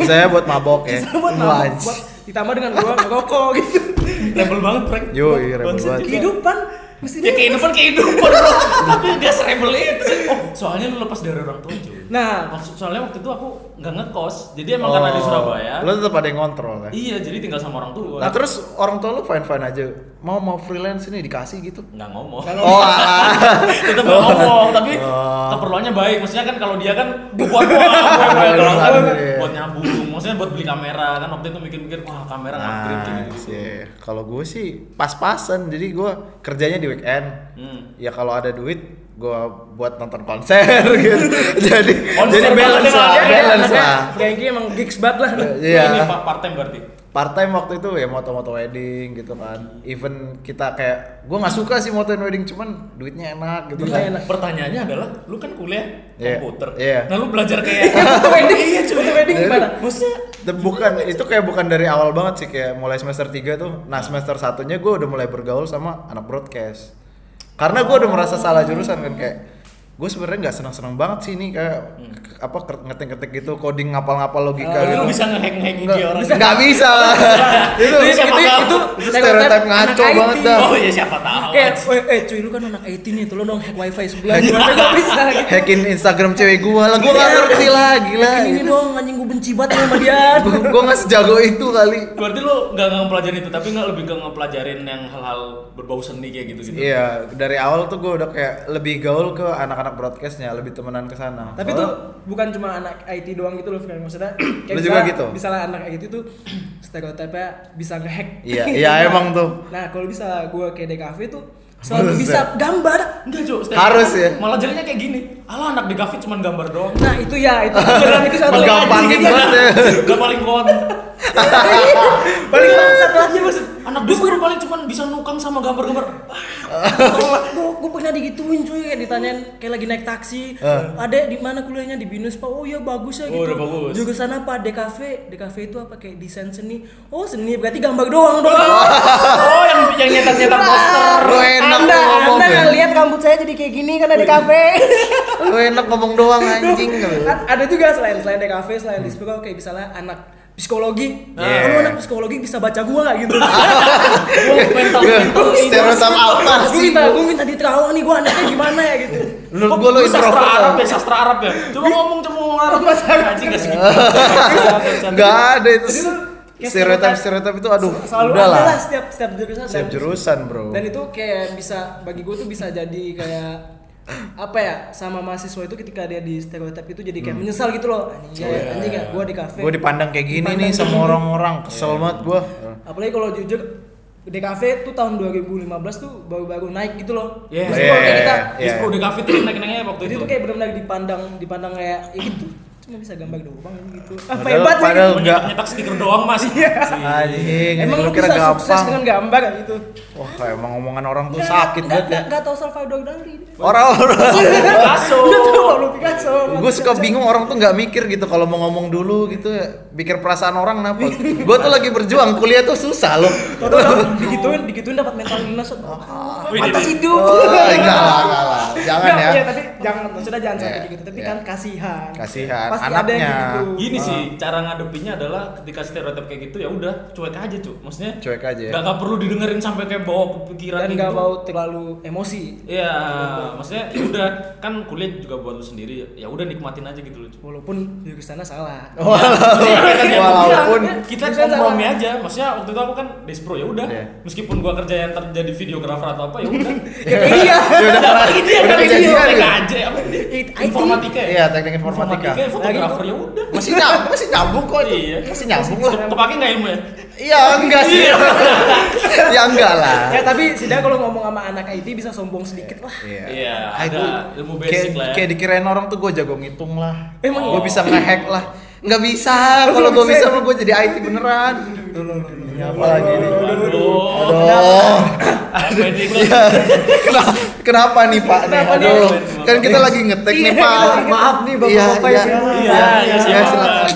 Speaker 3: Saya buat mabok ya.
Speaker 4: Bisa buat
Speaker 3: Wah,
Speaker 4: nabung, buat ditambah dengan gua ngerokok gitu
Speaker 5: rebel banget prank
Speaker 3: Yoi, rebel banget.
Speaker 4: kehidupan
Speaker 5: ya
Speaker 4: mestinya
Speaker 5: kehidupan kehidupan bro tapi gak serebel itu oh soalnya lu lepas dari orang tua cuy
Speaker 4: nah
Speaker 5: Maksud, soalnya waktu itu aku nggak ngekos jadi emang karena di
Speaker 3: Oh,
Speaker 5: Surabaya
Speaker 3: Lu tetap ada yang ngontrol ya.
Speaker 5: iya jadi tinggal sama orang tua
Speaker 3: Nah terus orang tua lu fine fine aja, mau mau freelance ini dikasih gitu.
Speaker 5: nggak ngomong
Speaker 3: Oh,
Speaker 5: iya.
Speaker 3: ah.
Speaker 5: tetap nggak ngomong tapi
Speaker 3: Oh.
Speaker 5: keperluannya baik maksudnya kan kalau dia kan buat buat kalau aku
Speaker 3: Iya, iya.
Speaker 5: buat nyambung maksudnya buat beli kamera kan waktu itu mikir-mikir wah kamera upgrade kayak
Speaker 3: Nah,
Speaker 5: gitu
Speaker 3: sih. Kalau gue sih pas-pasan, jadi gue kerjanya di weekend.
Speaker 5: hmm.
Speaker 3: Ya kalau ada duit, gue buat nonton konser gitu. jadi
Speaker 5: Konser
Speaker 3: jadi balance
Speaker 5: banget
Speaker 3: lah,
Speaker 5: ya,
Speaker 3: balance
Speaker 5: ada-
Speaker 3: lah.
Speaker 4: Gengki emang gigs banget lah
Speaker 3: Iya.
Speaker 5: ini part part time berarti
Speaker 3: Part time waktu itu ya moto-moto wedding gitu kan. Even kita kayak gue nggak suka sih motoin wedding, cuman duitnya enak gitu
Speaker 4: Duitnya
Speaker 3: kan.
Speaker 4: enak.
Speaker 5: pertanyaannya adalah lu kan kuliah
Speaker 3: Iya.
Speaker 5: komputer
Speaker 3: Iya.
Speaker 5: nah lu belajar kayak
Speaker 4: Foto wedding iya cuy Foto wedding gimana?
Speaker 5: maksudnya
Speaker 3: Dan bukan itu kayak bukan dari awal banget sih kayak mulai semester 3 tuh nah semester satunya gue udah mulai bergaul sama anak broadcast karena gue udah merasa salah jurusan kan kayak gue sebenarnya nggak senang senang banget sih ini kayak k- apa ngetik ngetik gitu coding ngapal ngapal logika gitu
Speaker 5: tapi Hmm. Ah, lu bisa ngehack hack
Speaker 3: nggak
Speaker 5: ide orang
Speaker 3: bisa, nggak bisa lah itu
Speaker 5: Itu siapa tahu.
Speaker 3: itu stereotip ngaco
Speaker 4: anak IT.
Speaker 3: banget dah
Speaker 5: oh ya siapa tahu
Speaker 4: Kayak, eh, eh cuy lu kan anak IT nih, tuh lu dong hack wifi sebelah Gimana gak bisa gitu
Speaker 3: hackin Instagram cewek gue lah gue nggak ngerti lah gila Gitu.
Speaker 4: Ini ini dong, anjing gue benci banget sama dia
Speaker 3: gue nggak sejago itu kali
Speaker 5: Berarti lu nggak nggak ngepelajarin itu, tapi nggak lebih ke ngepelajarin yang hal-hal berbau seni kayak gitu gitu.
Speaker 3: Iya, dari awal tuh gue udah kayak lebih gaul ke anak-anak broadcastnya, lebih temenan ke sana.
Speaker 4: Tapi tuh bukan cuma anak IT doang gitu loh, Fren. maksudnya kayak
Speaker 3: Lu juga
Speaker 4: misalnya-
Speaker 3: gitu?
Speaker 4: Misalnya anak IT tuh stereotipnya bisa ngehack
Speaker 3: Iya, iya,
Speaker 4: Nah,
Speaker 3: emang tuh.
Speaker 4: Nah kalau bisa gue ke DKV tuh selalu
Speaker 3: Buset.
Speaker 4: bisa gambar
Speaker 5: Enggak, Jo. Stefan.
Speaker 3: Harus ya.
Speaker 5: Malah jadinya kayak gini. Alah anak di kafe cuman gambar doang.
Speaker 4: Nah itu ya, itu itu satu Iya.
Speaker 3: Menggampangin banget ya.
Speaker 5: Gak paling kuat.
Speaker 4: Paling bangsat lagi maksud
Speaker 5: Anak di sekolah paling cuman bisa nukang sama gambar-gambar.
Speaker 4: gue gue pernah digituin cuy kayak ditanyain kayak lagi naik taksi
Speaker 3: Ah.
Speaker 4: adek di mana kuliahnya di binus pak oh iya bagus ya
Speaker 5: Oh,
Speaker 4: gitu
Speaker 5: udah bagus.
Speaker 4: jurusan apa DKV DKV itu apa kayak desain seni oh seni berarti gambar doang dong
Speaker 5: Oh, yang yang nyetak-nyetak poster.
Speaker 3: Lu enak
Speaker 4: anda
Speaker 3: lu ngomong
Speaker 4: anda
Speaker 3: ya.
Speaker 4: ngeliat rambut saya jadi kayak gini karena DKV
Speaker 3: Lu enak ngomong doang anjing.
Speaker 4: ada juga selain selain DKV selain dispro kayak misalnya anak psikologi. "Ah,
Speaker 3: Nah.
Speaker 4: Kamu anak psikologi bisa baca gua gitu.
Speaker 5: Gua mental
Speaker 3: Iya.
Speaker 5: mental
Speaker 3: Stereotip apa
Speaker 4: gue
Speaker 3: sih?
Speaker 4: minta gue minta diterawang nih gue anaknya gimana ya gitu.
Speaker 3: Menurut gua lu
Speaker 5: sastra
Speaker 3: introvert. Iya.
Speaker 5: Arab ya, sastra Arab ya. Coba ngomong cuma ngomong Arab
Speaker 4: Mas Arab.
Speaker 5: Anjing nggak segitu.
Speaker 3: Enggak ada itu.
Speaker 4: ya? Jadi lu kayak
Speaker 3: Stereotip
Speaker 4: stereotip-
Speaker 3: stereotip itu aduh,
Speaker 4: Selalu
Speaker 3: udah
Speaker 4: ada
Speaker 3: lah.
Speaker 4: lah setiap setiap jurusan.
Speaker 3: Setiap
Speaker 4: Dan-
Speaker 3: jurusan, Bro.
Speaker 4: Dan itu kayak bisa bagi gue tuh bisa jadi kayak apa ya sama mahasiswa itu ketika dia di stereotip itu jadi
Speaker 3: Hmm.
Speaker 4: kayak menyesal gitu loh anjing
Speaker 3: Oh,
Speaker 4: ya,
Speaker 3: iya,
Speaker 4: anjing ya gue di kafe
Speaker 3: Gue dipandang kayak gini
Speaker 4: Dipandang
Speaker 3: nih
Speaker 4: kayak
Speaker 3: sama
Speaker 4: gini. Iya.
Speaker 3: orang-orang, kesel banget gua.
Speaker 4: apalagi kalau jujur DKV tuh tahun 2015 tuh baru-baru naik gitu loh.
Speaker 5: Iya.
Speaker 4: Terus tuh kayak kita
Speaker 3: Iya.
Speaker 5: Di Pro di kafe tuh naik-naiknya waktu
Speaker 4: jadi
Speaker 5: itu.
Speaker 4: tuh kayak benar-benar dipandang dipandang kayak "Ih, gitu cuma bisa gambar doang gitu. Apa
Speaker 3: Padahal-
Speaker 4: hebat sih?
Speaker 3: padahal-
Speaker 4: gitu.
Speaker 5: Cuma
Speaker 3: enggak.
Speaker 5: nyetak stiker doang Mas.
Speaker 3: Iya. Anjing,
Speaker 4: Emang lu
Speaker 3: kira
Speaker 4: bisa sukses
Speaker 3: gampang.
Speaker 4: dengan gambar gitu.
Speaker 3: Wah, emang omongan orang tuh
Speaker 4: Nggak-
Speaker 3: sakit
Speaker 4: nggak-
Speaker 3: banget ya.
Speaker 4: nggak- Nggak tahu Salvador Dali.
Speaker 3: Orang-orang
Speaker 5: Picasso.
Speaker 4: Nggak tahu Pablo Picasso.
Speaker 3: gue suka bingung orang tuh nggak mikir gitu kalau mau ngomong dulu gitu ya pikir perasaan orang kenapa gue tuh lagi berjuang kuliah tuh susah loh
Speaker 4: Tahu dong, digituin, digituin dapat mental illness.
Speaker 5: Wih,
Speaker 4: Atas
Speaker 5: jadi-
Speaker 4: hidup.
Speaker 3: oh, Ah. enggak lah enggak lah jangan ya
Speaker 4: Nggak, iya, tapi jangan maksudnya jangan sampai
Speaker 3: Iya,
Speaker 4: gitu. Tapi
Speaker 3: iya.
Speaker 4: kan kasihan.
Speaker 3: Kasihan,
Speaker 4: Pasti ada yang
Speaker 3: anaknya.
Speaker 4: gitu.
Speaker 5: Gini sih,
Speaker 3: Ah.
Speaker 5: cara ngadepinnya adalah ketika stereotip kayak gitu ya udah cuek aja, Cuk. Maksudnya
Speaker 3: Cuek aja ya.
Speaker 5: Gak, perlu didengerin sampai kayak bawa kepikiran
Speaker 4: Dan
Speaker 5: gitu.
Speaker 4: nggak mau terlalu emosi.
Speaker 5: Iya, maksudnya ya udah kan kuliah juga buat lu sendiri. Ya udah nikmatin aja gitu loh. Cuk.
Speaker 4: Walaupun di sana salah.
Speaker 3: walaupun
Speaker 5: kita
Speaker 4: Maksudnya
Speaker 5: kompromi
Speaker 4: salah.
Speaker 5: aja. Maksnya waktu itu aku kan despro ya udah.
Speaker 3: Iya.
Speaker 5: Meskipun gua kerja yang terjadi videografer atau apa ya udah. Iya
Speaker 4: Ya kayak dia.
Speaker 3: Ya udah,
Speaker 4: dia
Speaker 3: udah
Speaker 4: kan
Speaker 3: kejadian
Speaker 4: dia.
Speaker 3: ya?
Speaker 5: TK aja apa?
Speaker 4: It- IT.
Speaker 5: Informatika. ya?
Speaker 3: iya teknik informatika
Speaker 5: Informatika, fotografer ya udah.
Speaker 3: masih nyambung masih nyambung kok itu
Speaker 5: Iya.
Speaker 3: masih nyambung lah
Speaker 5: Kepake nggak ilmu ya?
Speaker 3: iya enggak sih ya enggak lah
Speaker 4: Ya tapi setidaknya kalau ngomong sama anak IT bisa sombong sedikit lah.
Speaker 3: Iya,
Speaker 5: Iya,
Speaker 3: Ah,
Speaker 5: ada
Speaker 3: gua
Speaker 5: ilmu
Speaker 3: kayak-
Speaker 5: basic lah ya.
Speaker 3: Kayak dikirain orang tuh gue jago ngitung lah.
Speaker 4: Emang
Speaker 3: gue
Speaker 5: iya?
Speaker 3: bisa ngehack lah. Nggak bisa.
Speaker 4: Lu
Speaker 3: Kalau gue
Speaker 4: nggak
Speaker 3: bisa,
Speaker 4: bisa.
Speaker 3: gue jadi IT beneran. Ini apa lagi nih?
Speaker 5: Aduh.
Speaker 3: Aduh. Iya.
Speaker 5: Apa ini?
Speaker 3: Kenapa, kenapa nih Pak nih?
Speaker 4: Kenapa nih?
Speaker 3: Aduh, kan kita lagi ngetek nih
Speaker 4: Iya,
Speaker 3: Pak.
Speaker 4: kita lagi- maaf nih, Bapak-Bapak
Speaker 3: Iya,
Speaker 4: yang
Speaker 3: iya,
Speaker 4: semua.
Speaker 5: Iya, iya,
Speaker 3: iya,
Speaker 5: silakan.
Speaker 3: silakan.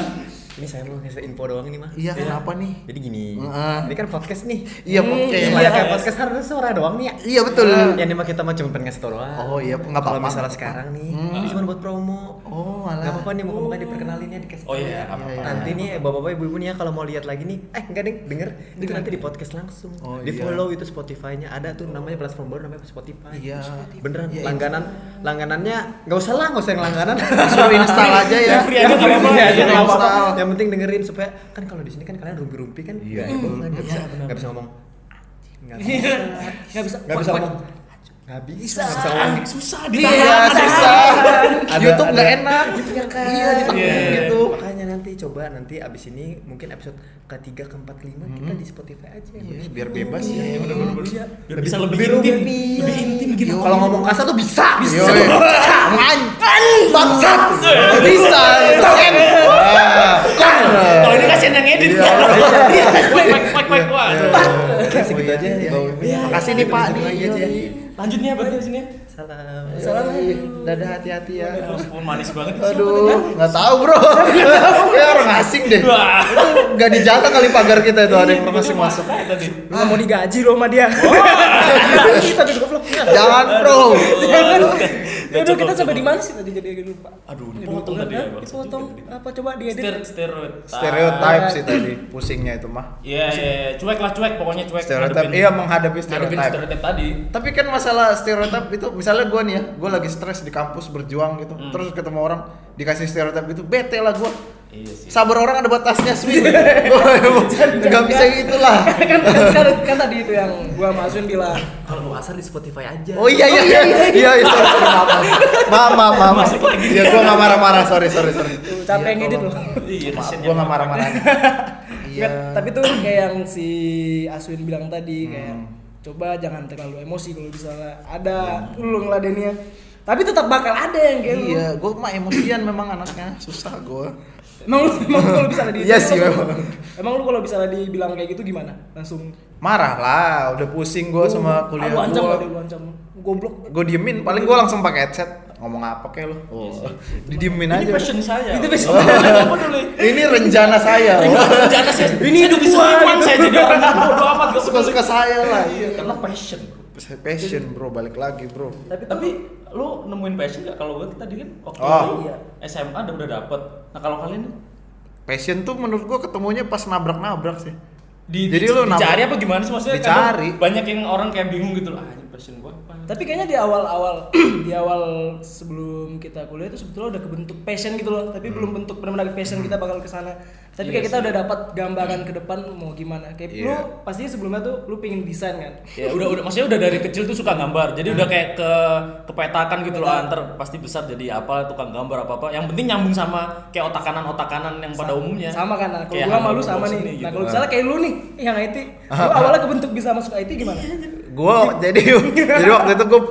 Speaker 6: Ini saya mau ngasih info doang ini mah.
Speaker 3: Iya, kenapa nih?
Speaker 6: Jadi gini.
Speaker 3: Heeh.
Speaker 6: Ini kan podcast nih.
Speaker 3: Iya,
Speaker 4: Hmm.
Speaker 3: oke.
Speaker 6: Iya,
Speaker 3: Iya,
Speaker 6: kayak podcast harus suara doang nih ya.
Speaker 3: Iya, betul.
Speaker 6: Yang ini mah kita mah cuma pengen ngasih tau doang.
Speaker 3: Oh, iya, nggak
Speaker 6: Kalau
Speaker 3: apa-apa. Hmm.
Speaker 6: misalnya sekarang nih, ini cuma buat promo.
Speaker 3: Oh, alah.
Speaker 6: Nggak apa-apa nih, mau apa diperkenalinnya dikasih.
Speaker 5: Oh iya, apa
Speaker 3: iya.
Speaker 6: Nanti nih bapak-bapak ibu-ibu nih ya kalau mau lihat lagi nih, eh enggak deh, denger itu nanti di podcast langsung.
Speaker 3: Oh,
Speaker 6: di
Speaker 3: iya.
Speaker 6: follow itu Spotify-nya ada tuh namanya platform baru namanya Spotify.
Speaker 3: Iya.
Speaker 6: Beneran
Speaker 3: Iya, iya.
Speaker 6: langganan langganannya nggak usah lah, nggak usah yang langganan.
Speaker 3: Suruh install aja ya.
Speaker 5: Yang free aja nggak apa-apa.
Speaker 6: Iya, iya,
Speaker 3: Yang
Speaker 6: nggak apa-apa.
Speaker 3: install.
Speaker 6: Yang penting dengerin supaya kan kalau di sini kan kalian rumpi-rumpi kan.
Speaker 3: Iya,
Speaker 6: nggak
Speaker 4: Hmm.
Speaker 3: betul.
Speaker 6: nggak bisa nggak bisa ngomong. Nggak
Speaker 4: Enggak Iya. bisa.
Speaker 6: nggak bisa ngomong. Nggak bisa. Nggak bisa ngomong.
Speaker 5: Anjing, susah di
Speaker 3: Iya, susah.
Speaker 6: Ada-
Speaker 3: YouTube nggak
Speaker 6: ada-
Speaker 3: enak.
Speaker 6: Iya kan.
Speaker 3: Iya,
Speaker 5: Iya.
Speaker 3: ditakutin gitu.
Speaker 6: Makanya nanti coba nanti abis ini mungkin episode ketiga keempat kelima kita di Spotify aja.
Speaker 3: Iya, biar bebas ya.
Speaker 5: Iya, biar bisa lebih intim. Lebih intim gitu.
Speaker 6: Kalau ngomong kasar tuh bisa, bisa.
Speaker 3: Bisa.
Speaker 6: Iya.
Speaker 3: Bangsat. Bisa. Keren. Ah,
Speaker 5: Kalau ini kasihan yang
Speaker 3: Iya.
Speaker 5: edit. ya. Iya, Wek, wek, wek, wek, wah.
Speaker 6: Oke,
Speaker 3: Oh,
Speaker 6: segitu
Speaker 3: iya,
Speaker 6: aja ya. Makasih nih Pak. Lagi aja.
Speaker 5: Lanjut nih abang dari sini. ya.
Speaker 6: Salam.
Speaker 3: Salam. Dadah hati-hati ya.
Speaker 6: Iya.
Speaker 5: Meskipun Eh, oh, manis banget. siapa tuh?
Speaker 3: Aduh, nggak tahu bro. Kayak orang asing deh.
Speaker 5: Wah.
Speaker 3: Itu nggak dijaga kali pagar kita itu ada yang masih masuk.
Speaker 5: Nah, tadi.
Speaker 4: Lu nggak mau digaji lo sama dia.
Speaker 5: Oh.
Speaker 4: Kita tuh goblok.
Speaker 3: Jangan bro.
Speaker 4: Jangan.
Speaker 5: Ya,
Speaker 4: Ya udah kita
Speaker 5: cukup,
Speaker 4: sampai
Speaker 5: cukup.
Speaker 4: di mana sih tadi jadi agak lupa.
Speaker 5: Aduh,
Speaker 4: Jadi
Speaker 5: dipotong tadi ya,
Speaker 4: kan?
Speaker 5: Bang.
Speaker 4: Dipotong. Apa coba dia
Speaker 5: Ster- Stereotip.
Speaker 3: Stereotype sih tadi pusingnya itu mah.
Speaker 5: Iya, iya, iya. cuek lah cuek, pokoknya cuek.
Speaker 3: Stereotype.
Speaker 5: Ngadepin-
Speaker 3: Iya menghadapi
Speaker 5: ngadepin
Speaker 3: stereotype.
Speaker 5: stereotip tadi.
Speaker 3: Tapi kan masalah stereotip itu misalnya gue nih ya, gue lagi stres di kampus berjuang gitu, terus ketemu orang dikasih stereotip itu, bete lah gue.
Speaker 5: Iya sih.
Speaker 3: Sabar orang ada batasnya sih. Gak bisa gitu lah.
Speaker 4: kan, kan, kan, kan tadi itu yang gua masukin bilang
Speaker 6: Kalau mau kasar di Spotify aja.
Speaker 3: Oh iya iya iya iya iya sorry, sorry, maaf maaf maaf maaf. maaf.
Speaker 5: Masuk lagi.
Speaker 3: Ya gue gak marah-marah sorry sorry sorry.
Speaker 4: Tuh, capek
Speaker 3: Iya,
Speaker 4: ngedit
Speaker 3: tolong.
Speaker 4: loh.
Speaker 5: Iya,
Speaker 3: Maaf
Speaker 5: kasihan
Speaker 3: gue
Speaker 5: ya.
Speaker 3: gak marah-marah. Iya.
Speaker 4: Nggak, tapi tuh kayak yang si Aswin bilang
Speaker 5: Hmm.
Speaker 4: tadi kayak coba jangan terlalu emosi kalau misalnya ada
Speaker 5: Iya.
Speaker 4: lu ngeladennya tapi tetap bakal ada yang kayak lu.
Speaker 3: Iya, gue mah emosian memang anaknya susah gue.
Speaker 4: emang lu emang lu kalau bisa di
Speaker 3: Iya sih, memang.
Speaker 4: emang lu kalau bisa dibilang kayak gitu gimana langsung
Speaker 3: Marah lah, udah pusing gue sama
Speaker 5: Oh,
Speaker 3: kuliah
Speaker 4: lu ancam
Speaker 3: gue.
Speaker 4: gak ada lu ancam goblok
Speaker 3: gue diemin paling gue langsung pakai headset ngomong apa kayak lo oh. didiemin
Speaker 5: Iya Ini
Speaker 3: aja
Speaker 5: passion saya.
Speaker 4: Itu passion.
Speaker 5: Apa dulu?
Speaker 3: ini rencana saya loh
Speaker 5: Rencana saya. Ini hidup Islam saya jadi orang bodoh amat gak
Speaker 3: suka suka oh. saya lah iya
Speaker 5: Karena passion. bro.
Speaker 3: passion bro balik lagi bro
Speaker 4: tapi tapi
Speaker 5: Tapi lu nemuin passion gak? Kalau gue tadi kan waktu
Speaker 3: Oh.
Speaker 5: itu SMA udah dapet. Nah kalau kalian
Speaker 3: passion tuh menurut gua ketemunya pas nabrak-nabrak sih
Speaker 5: Di,
Speaker 3: Jadi
Speaker 5: Jadi
Speaker 3: lu nabrak-
Speaker 5: dicari apa gimana sih maksudnya? kadang
Speaker 3: Dicari.
Speaker 5: Banyak yang orang kayak bingung gitu loh. Ah, ini passion gua apa?
Speaker 4: Tapi kayaknya di awal-awal di awal sebelum kita kuliah itu sebetulnya udah kebentuk passion gitu loh, tapi belum bentuk benar-benar passion kita bakal ke sana. Tapi kayak kita udah dapat gambaran ke depan mau gimana. Kayak lu
Speaker 3: Iya.
Speaker 4: pastinya sebelumnya tuh lu pengen desain kan.
Speaker 5: Ya udah udah maksudnya udah dari kecil tuh suka gambar. Jadi
Speaker 3: Hmm.
Speaker 5: udah kayak ke kepetakan gitu loh
Speaker 4: Kepetakan.
Speaker 5: antar pasti besar jadi apa tukang gambar apa apa. Yang penting nyambung sama kayak otak kanan otak kanan yang pada umumnya.
Speaker 4: Sama kan. Nah, kalau
Speaker 5: Kayak
Speaker 4: gua sama
Speaker 5: hal-hal
Speaker 4: lu sama
Speaker 5: box
Speaker 4: nih.
Speaker 5: ini
Speaker 4: Nah,
Speaker 5: gitu.
Speaker 4: kalau misalnya kayak lu nih yang IT, lu awalnya kebentuk bisa masuk IT gimana?
Speaker 3: gua jadi jadi waktu itu gua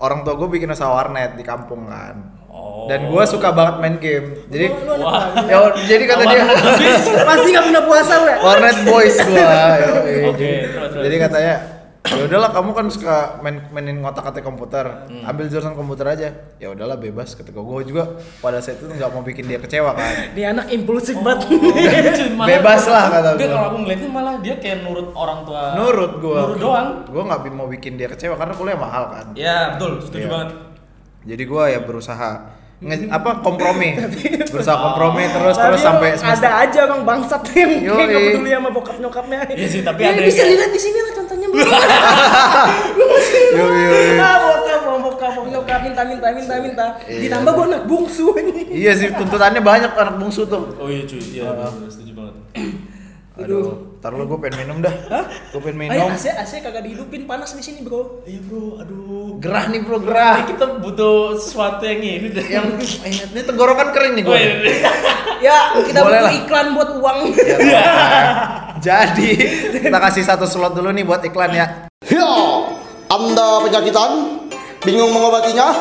Speaker 3: orang tua gua bikin usaha warnet di kampung kan
Speaker 5: Oh.
Speaker 3: dan gua suka banget main game jadi
Speaker 4: Lu- lu anak
Speaker 5: Wah.
Speaker 3: ya,
Speaker 4: mana?
Speaker 3: jadi kata dia
Speaker 4: Pasti gak pernah puasa lu
Speaker 6: Oh,
Speaker 4: ya?
Speaker 3: warnet boys gua yoi.
Speaker 5: Oke, terus, terus.
Speaker 3: jadi katanya ya udahlah kamu kan suka main mainin ngotak atik komputer ambil jurusan komputer aja ya udahlah bebas ketika gua juga pada saat itu nggak mau bikin dia kecewa kan
Speaker 4: Dia anak impulsif banget. Iya,
Speaker 5: Cuy, Iya, malah-
Speaker 3: iya. Bebas lah kata
Speaker 5: Enggak,
Speaker 3: gua.
Speaker 5: kalau aku ngeliatnya malah dia kayak nurut orang tua.
Speaker 3: nurut gua
Speaker 5: Nurut doang.
Speaker 3: gua nggak bi- mau bikin dia kecewa karena kuliah mahal kan
Speaker 5: Ya betul, setuju
Speaker 3: Iya.
Speaker 5: banget.
Speaker 3: jadi gua ya berusaha nge- apa kompromi berusaha kompromi terus
Speaker 4: Hmm. Tapi
Speaker 3: terus sampai
Speaker 4: emang
Speaker 3: semester
Speaker 4: ada aja orang bangsat yang
Speaker 3: Yoi.
Speaker 4: kayak gak peduli sama bokap nyokapnya.
Speaker 5: Iya sih, tapi
Speaker 4: Ini
Speaker 5: ada yang
Speaker 4: bisa
Speaker 5: kayak-
Speaker 4: dilihat di sini lah contohnya. Bu.
Speaker 3: Yo, yo, yo.
Speaker 4: Ah, bokap, sama bokap, sama nyokap minta minta minta minta.
Speaker 3: Iya.
Speaker 4: Ditambah gue anak bungsu ini.
Speaker 3: iya sih tuntutannya banyak anak bungsu tuh
Speaker 5: Oh iya cuy, iya betul, setuju banget.
Speaker 4: Aduh.
Speaker 3: aduh ntar lu gue pengen minum dah gue pengen
Speaker 4: Ayo
Speaker 3: minum
Speaker 4: AC AC kagak dihidupin panas di sini bro.
Speaker 5: Iya bro, aduh.
Speaker 3: gerah nih bro
Speaker 5: Nah,
Speaker 3: gerah
Speaker 5: kita butuh sesuatu yang ini deh.
Speaker 3: yang ini tenggorokan kering nih
Speaker 5: Oh,
Speaker 3: gue
Speaker 5: iya, iya.
Speaker 4: Ya kita
Speaker 3: Boleh
Speaker 4: butuh
Speaker 3: lah.
Speaker 4: iklan buat uang.
Speaker 3: Ya, Pak. Jadi kita kasih satu slot dulu nih buat iklan ya.
Speaker 7: Yo, Anda penyakitan? Bingung mengobatinya?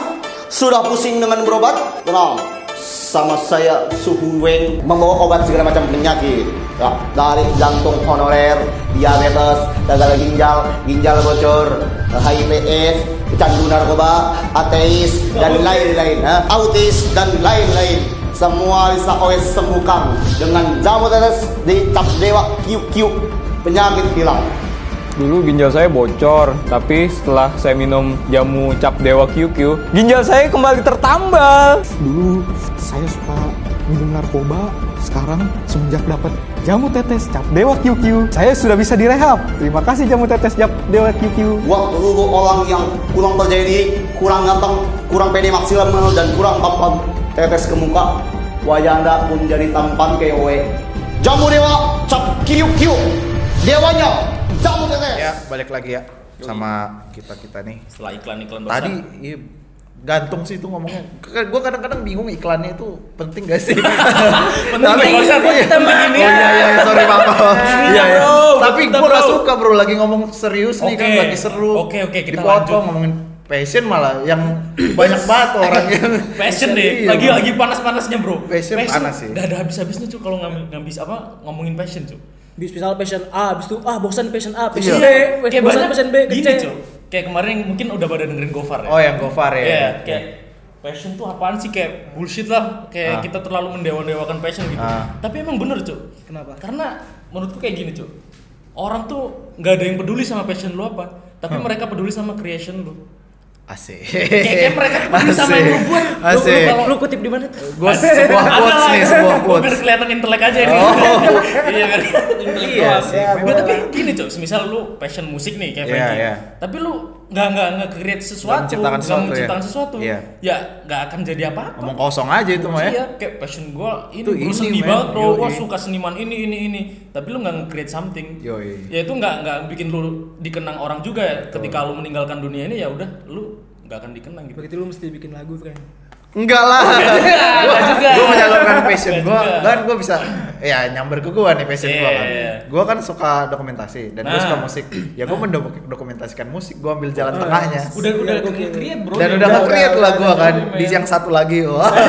Speaker 7: Sudah pusing dengan berobat? Tenang, sama saya Suhu Weng membawa obat segala macam penyakit. Ya, dari jantung honorer, diabetes, gagal ginjal, ginjal bocor, HIV AIDS, pecandu narkoba, ateis, dan lain-lain. ha? Autis, dan lain-lain. Semua bisa OS sembuhkan dengan jamu tetes di cap dewa QQ penyakit hilang.
Speaker 8: Dulu ginjal saya bocor, tapi setelah saya minum jamu cap dewa QQ, ginjal saya kembali tertambal.
Speaker 9: dulu saya suka minum narkoba sekarang semenjak dapat jamu tetes cap dewa QQ saya sudah bisa direhab terima kasih jamu tetes cap dewa QQ
Speaker 7: Waktu dulu orang yang kurang terjadi, kurang ganteng, kurang pede maksimal dan kurang tampan tetes ke muka, wajah anda pun jadi tampan kayak oe. Jamu dewa, cap kiu kiu, dewanya jamu tetes.
Speaker 3: Ya, balik lagi ya sama kita-kita nih.
Speaker 5: Setelah iklan-iklan besar.
Speaker 3: Tadi iya, gantung sih itu ngomongnya. Gue kadang-kadang bingung iklannya itu penting gak sih?
Speaker 5: penting
Speaker 3: Tapi-
Speaker 5: nggak usah,
Speaker 3: iya.
Speaker 5: kita main ini.
Speaker 3: Oh iya iya iya, sorry maaf. maaf. Iya iya.
Speaker 5: Bro,
Speaker 3: Tapi
Speaker 5: kita,
Speaker 3: gue gak
Speaker 5: bro.
Speaker 3: suka bro lagi ngomong serius nih kan
Speaker 5: Oke.
Speaker 3: lagi seru.
Speaker 5: Oke, oke, kita
Speaker 3: Dipotong,
Speaker 5: lanjut.
Speaker 3: ngomongin passion malah yang banyak banget orang yang
Speaker 5: Passion deh,
Speaker 3: Iya,
Speaker 5: lagi
Speaker 3: bro.
Speaker 5: lagi panas-panasnya bro.
Speaker 3: Passion panas sih.
Speaker 5: Gak ada habis-habisnya cuy kalau ngambil ngabis apa ngomongin passion cuy.
Speaker 4: Bis misal passion A, abis itu ah bosan passion A, passion
Speaker 3: Iya.
Speaker 4: B,
Speaker 5: Kayak
Speaker 4: bosan
Speaker 5: banyak
Speaker 4: passion B, ke
Speaker 5: gini
Speaker 4: C.
Speaker 5: cuy. Kayak kemarin yang mungkin udah pada dengerin Gofar ya.
Speaker 3: Oh yang Gofar ya.
Speaker 5: Iya, kayak passion tuh apaan sih kayak bullshit lah
Speaker 3: Ah.
Speaker 5: kayak kita terlalu mendewa-dewakan passion gitu
Speaker 3: Ah.
Speaker 5: tapi emang bener cuy
Speaker 4: Kenapa?
Speaker 5: karena menurutku kayak gini cuy orang tuh nggak ada yang peduli sama passion lu apa
Speaker 3: Hmm.
Speaker 5: tapi mereka peduli sama creation lu
Speaker 3: Asik.
Speaker 5: Kayak- kayak mereka peduli sama yang lu buat. Lu- lu
Speaker 3: Asik.
Speaker 5: kalau-
Speaker 4: Lu kutip di mana tuh?
Speaker 3: Gue sebuah
Speaker 5: Ada
Speaker 3: quotes
Speaker 5: lah,
Speaker 3: nih,
Speaker 5: ya.
Speaker 3: sebuah
Speaker 5: Biar
Speaker 3: quotes.
Speaker 5: kelihatan intelek aja ini.
Speaker 3: Oh.
Speaker 5: iya biar kelihatan intelek
Speaker 3: Iya
Speaker 5: doang.
Speaker 3: sih,
Speaker 5: Nggak, tapi gini cok, misal lu passion musik nih kayak
Speaker 3: Iya,
Speaker 5: Frankie.
Speaker 3: iya.
Speaker 5: Tapi lu nggak nggak nggak create sesuatu,
Speaker 3: menciptakan sesuatu, ya.
Speaker 5: menciptakan sesuatu.
Speaker 3: Iya.
Speaker 5: Ya nggak akan jadi apa-apa.
Speaker 3: Ngomong kosong aja itu mah
Speaker 5: Iya,
Speaker 3: ya.
Speaker 5: kayak passion gua ini
Speaker 3: Itu
Speaker 5: gua
Speaker 3: ini,
Speaker 5: sedih
Speaker 3: men.
Speaker 5: banget bro, gua
Speaker 3: Yoi.
Speaker 5: suka seniman ini ini ini. Tapi lu nggak nge-create something.
Speaker 3: Yoi.
Speaker 5: Ya itu nggak nggak bikin lu dikenang orang juga ya. Ketika lu meninggalkan dunia ini ya udah lu nggak akan dikenang gitu.
Speaker 4: Berarti lu mesti bikin lagu kan.
Speaker 3: Enggak lah.
Speaker 5: Nggak juga.
Speaker 3: Gue menyalurkan passion
Speaker 5: Nggak
Speaker 3: gue,
Speaker 5: juga.
Speaker 3: kan gue bisa, ya nyamber ke gue nih passion gue kan.
Speaker 5: Iya, iya.
Speaker 3: Gue kan suka dokumentasi dan gue
Speaker 5: Nah.
Speaker 3: suka musik. Ya gue mendokumentasikan musik, gue ambil jalan tengahnya.
Speaker 5: Ah. Udah
Speaker 4: Iya,
Speaker 5: udah
Speaker 4: gua
Speaker 5: create bro.
Speaker 3: Dan
Speaker 5: Ya,
Speaker 3: udah
Speaker 5: udah.
Speaker 3: nge-create lah gue kan
Speaker 5: udah,
Speaker 3: di
Speaker 5: men.
Speaker 3: yang satu lagi. Wah,
Speaker 5: Ada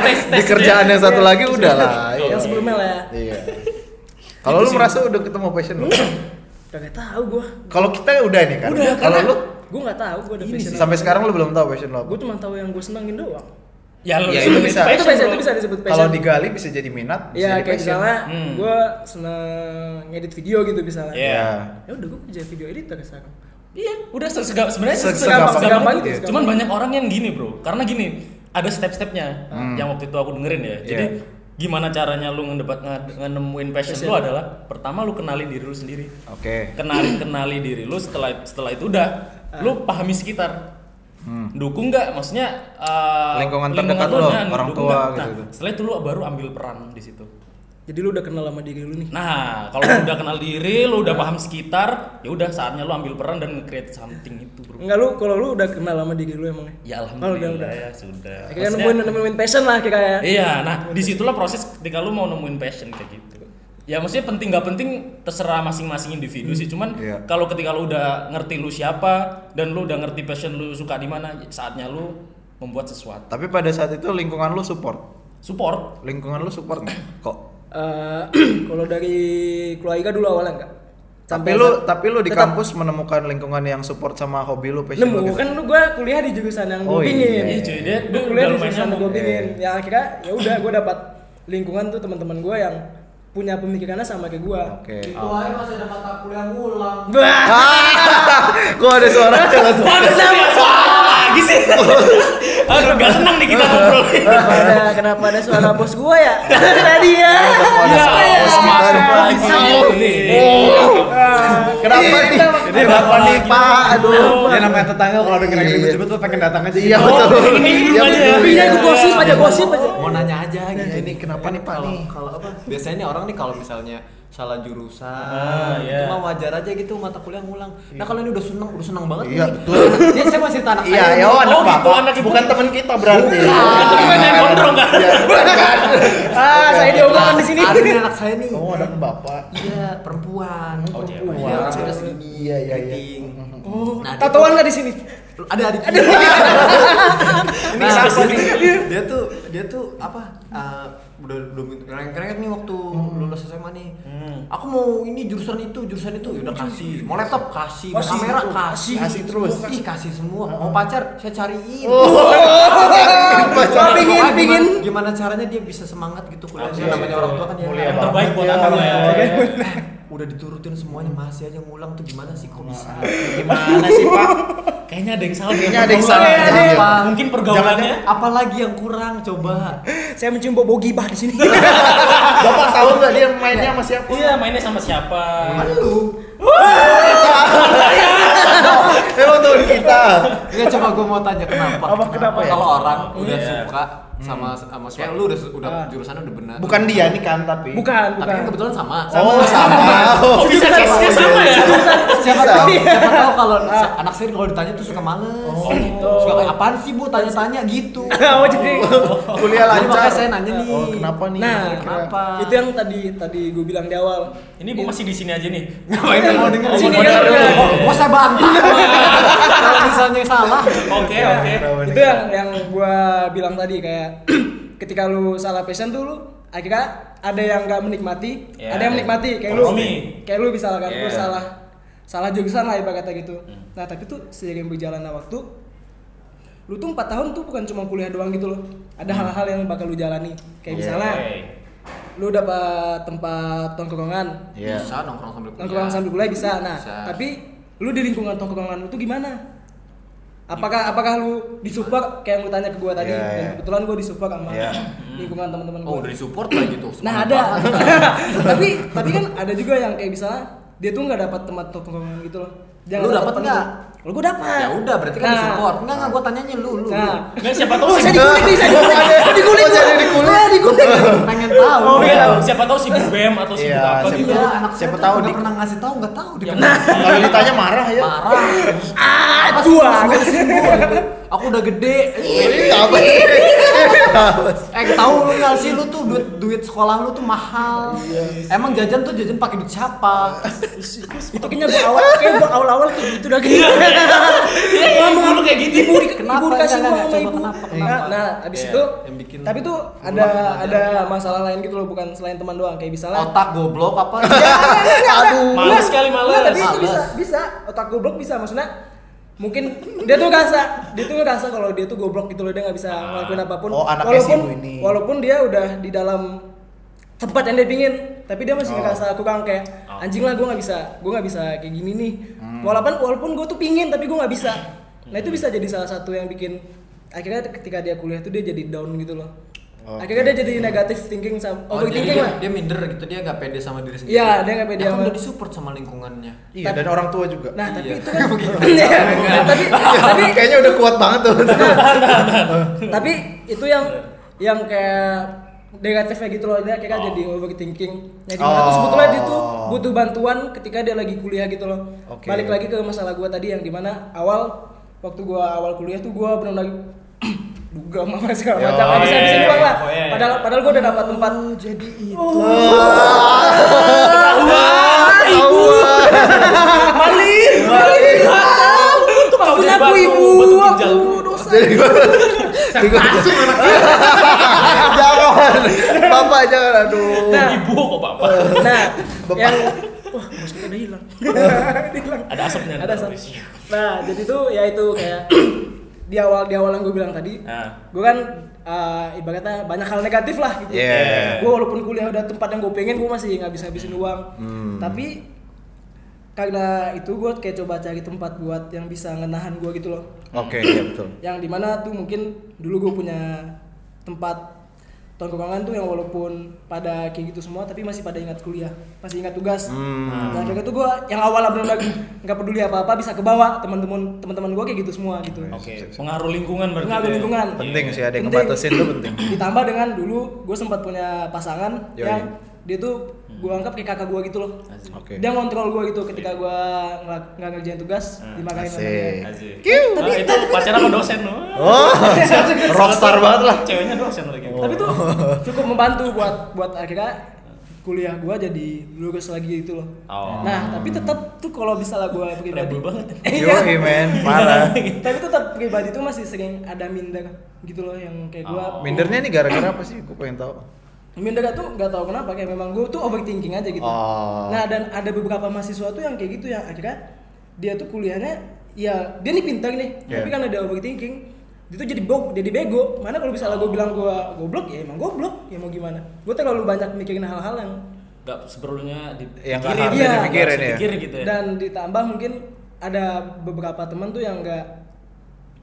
Speaker 5: tes-tesnya.
Speaker 3: di kerjaan yang satu lagi udah lah.
Speaker 5: Betul.
Speaker 3: Iya.
Speaker 4: Yang sebelumnya lah ya.
Speaker 3: Iya. Kalau lu merasa udah ketemu passion lu,
Speaker 4: Kagak tahu gua.
Speaker 3: kalau kita udah nih kan.
Speaker 5: Udah,
Speaker 3: Kalau
Speaker 5: karena-
Speaker 3: lu
Speaker 4: Gua nggak tahu gua ada passion.
Speaker 3: sampai sekarang lu belum tahu passion lu apa.
Speaker 4: Gua cuma tahu yang gua senengin doang.
Speaker 5: Ya lu
Speaker 3: Ya,
Speaker 5: itu
Speaker 3: itu bisa.
Speaker 5: passion,
Speaker 4: Itu passion,
Speaker 5: bro.
Speaker 4: itu bisa disebut passion.
Speaker 3: Kalau digali bisa jadi minat, bisa
Speaker 4: Iya
Speaker 3: jadi
Speaker 4: kayak
Speaker 3: passion.
Speaker 4: misalnya
Speaker 5: Hmm.
Speaker 4: gue seneng ngedit video gitu misalnya.
Speaker 5: Iya.
Speaker 3: Ya.
Speaker 4: Ya udah gue kerja video editor sekarang.
Speaker 5: Iya, udah sesegap sebenarnya
Speaker 3: Se-
Speaker 5: sesegap
Speaker 3: segampang-
Speaker 5: segampang
Speaker 4: segampang
Speaker 5: itu.
Speaker 4: itu.
Speaker 3: Hmm.
Speaker 5: Cuman banyak orang yang gini, Bro. Karena gini, ada step-stepnya yang waktu itu aku dengerin ya. Jadi
Speaker 3: Iya.
Speaker 5: gimana caranya lu ngedebat nge- nemuin passion lu adalah pertama lu kenali diri lu sendiri
Speaker 3: Oke.
Speaker 5: kenali kenali diri lu setelah setelah itu udah
Speaker 3: Ah.
Speaker 5: lu pahami sekitar dukung nggak maksudnya uh,
Speaker 3: Hmm. Lingkungan terdekat
Speaker 5: lu,
Speaker 3: lo,
Speaker 5: nah,
Speaker 3: orang
Speaker 5: dukung
Speaker 3: tua
Speaker 5: nggak? nah,
Speaker 3: gitu-gitu.
Speaker 5: setelah itu lu baru ambil peran di situ
Speaker 4: Jadi lu udah kenal sama diri lu nih.
Speaker 5: nah kalau lu udah kenal diri lu udah
Speaker 3: Iya.
Speaker 5: paham sekitar ya udah saatnya lu ambil peran dan nge-create something itu bro
Speaker 4: Enggak lu kalau lu udah kenal sama diri lu emangnya.
Speaker 5: ya
Speaker 4: udah,
Speaker 5: alhamdulillah
Speaker 4: udah.
Speaker 5: ya sudah
Speaker 4: Kayak
Speaker 5: Maksudnya-
Speaker 4: nemuin nemuin passion lah kayak kayak.
Speaker 5: Iya, nah disitulah proses ketika lu mau nemuin passion kayak gitu. Ya maksudnya penting nggak penting terserah masing-masing individu sih. Cuman
Speaker 3: Iya.
Speaker 5: kalau ketika lu udah ngerti lu siapa dan lu udah ngerti passion lu suka di mana, saatnya lu membuat sesuatu.
Speaker 3: Tapi pada saat itu lingkungan lu support.
Speaker 5: Support.
Speaker 3: Lingkungan lu support nggak? Kok?
Speaker 4: Eh, kalau dari keluarga dulu awalnya enggak.
Speaker 3: Tapi lu
Speaker 4: saat-
Speaker 3: tapi lu di
Speaker 4: tetap
Speaker 3: kampus menemukan lingkungan yang support sama hobi lu, passion
Speaker 4: nemu
Speaker 3: lu gitu.
Speaker 4: kan lu gua kuliah di jurusan yang
Speaker 3: Oh,
Speaker 4: gue pingin.
Speaker 5: Iya, cuy, dia
Speaker 4: Gue
Speaker 5: dia
Speaker 4: kuliah
Speaker 5: udah
Speaker 4: di
Speaker 5: lumayan
Speaker 4: jurusan yang
Speaker 5: nyambung.
Speaker 4: gue pingin. Ya akhirnya ya udah gue dapat lingkungan tuh teman-teman gue yang punya pemikirannya sama kayak gue.
Speaker 3: Oke.
Speaker 4: Ah.
Speaker 10: Wah, masih ada mata kuliah ngulang.
Speaker 3: Kok ada suara jalan tuh?
Speaker 5: Waduh, serius? Wah, lagi sih. Aduh, gak senang nih kita ngobrol.
Speaker 4: Kenapa ada, kenapa ada suara bos gue ya? Tadi ya.
Speaker 5: Iya,
Speaker 3: kita nih, Pak.
Speaker 5: masuk ini.
Speaker 6: iya.
Speaker 3: Kenapa nih?
Speaker 5: Ini bapak nih,
Speaker 3: Pak, aduh.
Speaker 6: Ya namanya tetangga kalau dengerin ribut ribut tuh pengen datang aja.
Speaker 3: Iya
Speaker 6: gitu.
Speaker 3: betul.
Speaker 5: Ini
Speaker 3: Iya,
Speaker 5: aja ya.
Speaker 3: betul.
Speaker 4: Tapi ya gue gosip aja gosip aja.
Speaker 10: Mau nanya aja gitu.
Speaker 3: Nah, ini kenapa nih, Pak,
Speaker 10: Kalau-
Speaker 3: nih?
Speaker 10: Kalau apa? Biasanya nih orang nih kalau misalnya salah jurusan,
Speaker 5: Ah,
Speaker 10: itu
Speaker 5: iya.
Speaker 10: mah wajar aja gitu mata kuliah ngulang. Nah kalau ini udah seneng, udah seneng banget.
Speaker 3: Iya,
Speaker 10: nih.
Speaker 3: betul.
Speaker 10: Ini saya masih tanah
Speaker 3: Iya, ya
Speaker 10: saya. nih.
Speaker 3: anak
Speaker 5: Oh, gitu,
Speaker 3: bapak.
Speaker 5: anak ibu.
Speaker 3: Bukan teman kita berarti.
Speaker 5: Itu gimana yang gondrong kan?
Speaker 4: Ah, saya diomongkan di sini.
Speaker 10: Nah, ada nih anak saya nih.
Speaker 3: Oh, anak bapak.
Speaker 10: Iya, perempuan.
Speaker 5: Oh, dia
Speaker 10: perempuan.
Speaker 5: banyak.
Speaker 10: Ada segini.
Speaker 3: Iya, iya, iya.
Speaker 10: Keriting. Nah, dia
Speaker 4: Tatoan nggak di sini?
Speaker 10: tuh- Ada adik. Ada. Ini siapa nih? Dia tuh dia tuh apa? eh, udah udah keren-keren nih waktu lulus SMA nih. Aku mau ini jurusan itu, jurusan itu. Ya udah kasih. Mau laptop kasih, mau
Speaker 4: Kasih.
Speaker 10: kamera kasih.
Speaker 3: Kasih terus.
Speaker 10: Ih, kasih semua. Mau pacar saya cariin.
Speaker 4: Oh. Wah, pingin
Speaker 10: Ah, gimana-
Speaker 4: pingin.
Speaker 10: Gimana caranya dia bisa semangat gitu kuliahnya
Speaker 5: Oke.
Speaker 10: namanya orang tua kan dia.
Speaker 5: Yang terbaik buat anak ya.
Speaker 10: Udah diturutin semuanya masih aja ngulang tuh gimana sih kok bisa?
Speaker 5: Gimana sih Pak? Kayaknya ada yang salah.
Speaker 3: Kayaknya ada yang salah.
Speaker 5: Iya, ada yang-
Speaker 10: Apa?
Speaker 5: Mungkin pergaulannya.
Speaker 10: Apalagi yang kurang coba?
Speaker 4: Saya mencium bau bau gibah di sini.
Speaker 3: Bapak tahu nggak dia mainnya sama siapa?
Speaker 5: Iya mainnya sama siapa?
Speaker 3: Iya.
Speaker 10: Lu.
Speaker 3: Emang teman kita.
Speaker 10: Enggak coba gue mau tanya kenapa?
Speaker 3: Apa, kenapa ya?
Speaker 10: Kalau orang udah
Speaker 5: Iya.
Speaker 10: suka sama sama suka lu udah udah jurusannya udah benar.
Speaker 3: Bukan dia nih kan tapi.
Speaker 4: Bukan,
Speaker 10: Tapi
Speaker 4: bukan.
Speaker 10: kan kebetulan sama.
Speaker 3: Oh, sama. Oh,
Speaker 5: Oh bisa case-nya sama ya?
Speaker 10: Siapa tahu, siapa tahu kalau sa- anak saya kalau ditanya tuh suka males.
Speaker 5: gitu.
Speaker 10: Suka kayak apaan sih Bu tanya-tanya gitu.
Speaker 4: Oh, jadi
Speaker 3: Kuliah
Speaker 10: Jadi
Speaker 3: lancar.
Speaker 10: makanya saya nanya nih.
Speaker 3: Oh, kenapa nih?
Speaker 4: Nah,
Speaker 10: Kenapa?
Speaker 4: itu yang tadi tadi gue bilang di awal.
Speaker 5: Ini bu masih di sini aja nih. Iya,
Speaker 10: Ngapain yang mau dengerin?
Speaker 4: Sini,
Speaker 10: Mau
Speaker 4: kan,
Speaker 10: dengerin?
Speaker 4: kan.
Speaker 10: Oh, Mau saya bantah. Kalau misalnya salah.
Speaker 5: Oke
Speaker 3: Iya,
Speaker 5: oke.
Speaker 4: itu yang yang gua bilang tadi kayak ketika lu salah passion tuh lu akhirnya ada yang nggak menikmati
Speaker 5: Ya.
Speaker 4: ada yang menikmati kayak lu
Speaker 5: Kompromi.
Speaker 4: kayak lu bisa kan
Speaker 5: Ya.
Speaker 4: lu salah salah jurusan lah ibaratnya gitu nah tapi tuh seiring berjalannya waktu lu tuh empat tahun tuh bukan cuma kuliah doang gitu loh ada hal-hal yang bakal lu jalani kayak misalnya lu dapat tempat tongkrongan
Speaker 2: Ya.
Speaker 3: Iya.
Speaker 10: Bisa nongkrong sambil kuliah.
Speaker 4: nongkrong sambil kuliah bisa nah
Speaker 10: Iya. Bisa.
Speaker 4: tapi lu di lingkungan tongkrongan lu tuh gimana apakah apakah lu disupport kayak yang lu tanya ke gua tadi
Speaker 3: Iya,
Speaker 4: dan
Speaker 3: iya.
Speaker 4: kebetulan gua disupport sama
Speaker 3: Iya.
Speaker 4: lingkungan teman-teman gua
Speaker 10: Oh, udah disupport lah gitu.
Speaker 4: nah ada tapi tapi kan ada juga yang kayak misalnya dia tuh nggak dapat tempat tongkrongan gitu loh Dia
Speaker 10: Lu
Speaker 4: nggak
Speaker 10: dapat
Speaker 4: tempat
Speaker 10: nggak?
Speaker 4: itu. lu gua dapat
Speaker 10: Ya udah berarti kan
Speaker 4: Nah,
Speaker 10: disupport. Enggak enggak gua tanyanya lu
Speaker 4: nah
Speaker 10: lu. lu.
Speaker 5: Nggak siapa tahu
Speaker 4: Oh,
Speaker 5: sih.
Speaker 4: saya dikulik nih, saya dikulik. Saya dikulik.
Speaker 3: Oh, jadi dikulik.
Speaker 4: Saya dikulik.
Speaker 10: Iya, Pengen tahu.
Speaker 5: Oh, iya. Siapa tahu si Bu Bem atau si Bu
Speaker 3: Iya,
Speaker 5: apa
Speaker 3: siapa
Speaker 5: gitu.
Speaker 10: Iya, anak saya
Speaker 3: Siapa
Speaker 10: tuh
Speaker 3: tahu,
Speaker 10: nggak
Speaker 3: Dik.
Speaker 10: pernah ngasih tahu, enggak tahu
Speaker 4: Iya.
Speaker 10: dia
Speaker 3: Kalau ditanya marah ya.
Speaker 10: marah. Ah,
Speaker 4: dua.
Speaker 10: Aku udah gede.
Speaker 3: Iya, apa sih?
Speaker 10: Eh, tahu lu nggak sih lu tuh duit duit sekolah lu tuh mahal.
Speaker 4: Iya.
Speaker 10: Emang jajan tuh jajan pakai duit siapa?
Speaker 4: itu kayaknya gua awal kayak gua awal-awal kayak gitu dah gitu
Speaker 5: Iya, ngomong lu kayak gitu.
Speaker 4: ibu di,
Speaker 10: Kenapa?
Speaker 4: ibu dikasih
Speaker 10: Enggak,
Speaker 4: uang
Speaker 10: enggak,
Speaker 4: sama
Speaker 10: coba
Speaker 4: ibu
Speaker 10: kenapa,
Speaker 4: nah,
Speaker 10: kenapa?
Speaker 4: nah abis
Speaker 5: Iya,
Speaker 4: itu
Speaker 10: yang bikin
Speaker 4: tapi tuh
Speaker 10: berubah
Speaker 4: ada
Speaker 10: kemana?
Speaker 4: ada masalah lain gitu loh bukan selain teman doang kayak misalnya
Speaker 10: Otak goblok apa?
Speaker 4: Iya.
Speaker 10: Iya.
Speaker 4: aduh
Speaker 5: Males sekali, males.
Speaker 4: tapi itu bisa bisa otak goblok bisa maksudnya mungkin dia tuh ngerasa dia tuh ngerasa kalau dia tuh goblok gitu loh dia nggak bisa
Speaker 5: Ah.
Speaker 4: ngelakuin apapun
Speaker 3: Oh, anaknya
Speaker 4: walaupun
Speaker 3: si ibu ini.
Speaker 4: walaupun dia udah di dalam tempat yang dia pingin tapi
Speaker 3: Oh.
Speaker 4: dia masih ngerasa kurang kayak
Speaker 5: Oh.
Speaker 4: anjing lah gue nggak bisa gue nggak bisa kayak gini nih
Speaker 3: Hmm.
Speaker 4: walaupun walaupun gue tuh pingin tapi gue nggak bisa
Speaker 5: Hmm.
Speaker 4: nah itu bisa jadi salah satu yang bikin akhirnya ketika dia kuliah tuh dia jadi down gitu loh Akhirnya dia jadi negatif thinking sama
Speaker 3: iya.
Speaker 10: Oh, jadi
Speaker 4: overthinking
Speaker 10: dia,
Speaker 4: lah.
Speaker 10: dia minder gitu, dia nggak pede sama diri sendiri.
Speaker 4: Iya, dia nggak pede
Speaker 10: Ya, kan
Speaker 4: sama-
Speaker 10: udah disupport sama lingkungannya.
Speaker 3: Iya, dan orang tua juga.
Speaker 4: Nah, tapi
Speaker 10: Iya.
Speaker 4: itu kan Iya. tapi tapi
Speaker 3: Kayaknya udah kuat banget tuh.
Speaker 4: tapi itu yang yang kayak negatifnya gitu loh dia kayak jadi overthinking. Nah, dimana tuh
Speaker 3: Oh.
Speaker 4: sebetulnya dia tuh butuh bantuan ketika dia lagi kuliah gitu loh.
Speaker 3: Oke.
Speaker 4: Balik lagi ke masalah gua tadi yang dimana awal waktu gua awal kuliah tuh gua benar lagi duga apa segala
Speaker 3: Yo,
Speaker 4: macam habis-habisin
Speaker 5: yeah.
Speaker 4: doang lah.
Speaker 5: Oh, yeah.
Speaker 4: Padahal padahal gua udah dapat tempat jadi itu. Malin, malin, Maaf,
Speaker 5: Tahu
Speaker 4: maafin
Speaker 5: dari
Speaker 4: aku
Speaker 5: batu,
Speaker 4: ibu,
Speaker 5: batu ginjal.
Speaker 4: aku dosa.
Speaker 3: jangan. Bapak jangan aduh.
Speaker 4: Nah,
Speaker 5: Ibu kok bapak?
Speaker 4: nah,
Speaker 3: Bapak.
Speaker 4: yang wah, mas kita udah hilang. Hilang.
Speaker 5: Ada asapnya. Iya.
Speaker 4: Ada asap. Nah, jadi tuh ya itu kayak di awal di awal yang gue bilang tadi,
Speaker 5: Nah.
Speaker 4: gue kan eh, ibaratnya banyak hal negatif lah gitu.
Speaker 3: Yeah.
Speaker 4: Gue walaupun kuliah udah tempat yang gue pengen, gue masih nggak bisa habisin uang. Tapi karena itu gue kayak coba cari tempat buat yang bisa ngenahan gue gitu loh.
Speaker 3: Oke, iya betul.
Speaker 4: yang dimana tuh mungkin dulu gue punya tempat tongkrongan tuh yang walaupun pada kayak gitu semua tapi masih pada ingat kuliah masih ingat tugas nah kayak gitu gue yang awalnya benar-benar nggak peduli apa-apa bisa kebawa teman-teman teman-teman gue kayak gitu semua gitu
Speaker 5: Oke, pengaruh lingkungan berarti.
Speaker 4: Pengaruh
Speaker 5: ya.
Speaker 4: lingkungan.
Speaker 3: Penting sih ada yang
Speaker 4: Penting.
Speaker 3: ngebatasin tuh penting.
Speaker 4: ditambah dengan dulu gue sempat punya pasangan
Speaker 3: Yoi.
Speaker 4: yang dia tuh gue anggap kayak kakak gue gitu loh
Speaker 3: Oke.
Speaker 4: dia ngontrol gue gitu ketika gue ngelak- nggak ngerjain tugas dimarahin sama dia.
Speaker 3: Ah, Asik.
Speaker 5: Asik. Nah, itu pacaran sama dosen loh.
Speaker 3: Oh, rockstar banget lah.
Speaker 5: Ceweknya dosen lagi.
Speaker 4: tapi tuh
Speaker 3: Oh.
Speaker 4: cukup membantu buat buat akhirnya kuliah gua jadi lulus lagi gitu loh
Speaker 5: Oh.
Speaker 4: nah tapi tetap tuh kalau misalnya gua pribadi
Speaker 5: Rebel banget.
Speaker 3: Yoi
Speaker 4: iya
Speaker 3: men, parah.
Speaker 4: tapi tetap pribadi tuh masih sering ada minder gitu loh yang kayak
Speaker 5: Oh.
Speaker 4: gua
Speaker 3: Mindernya nih gara-gara apa sih? Gue pengen tahu.
Speaker 4: minder tuh nggak tahu kenapa kayak memang gua tuh overthinking aja gitu
Speaker 3: Oh.
Speaker 4: nah dan ada beberapa mahasiswa tuh yang kayak gitu yang akhirnya dia tuh kuliahnya ya dia nih pintar nih tapi
Speaker 3: Yeah.
Speaker 4: karena dia overthinking dia tuh jadi bog jadi bego mana kalau misalnya gua bilang gua goblok ya emang goblok ya mau gimana gua terlalu banyak mikirin hal-hal yang
Speaker 5: Enggak seperlunya di
Speaker 3: Yang nggak
Speaker 4: harus
Speaker 5: dipikirin. Iya,
Speaker 3: dipikirin
Speaker 5: nggak harus
Speaker 3: ya.
Speaker 5: dipikirin gitu ya.
Speaker 4: Dan ditambah mungkin ada beberapa teman tuh yang nggak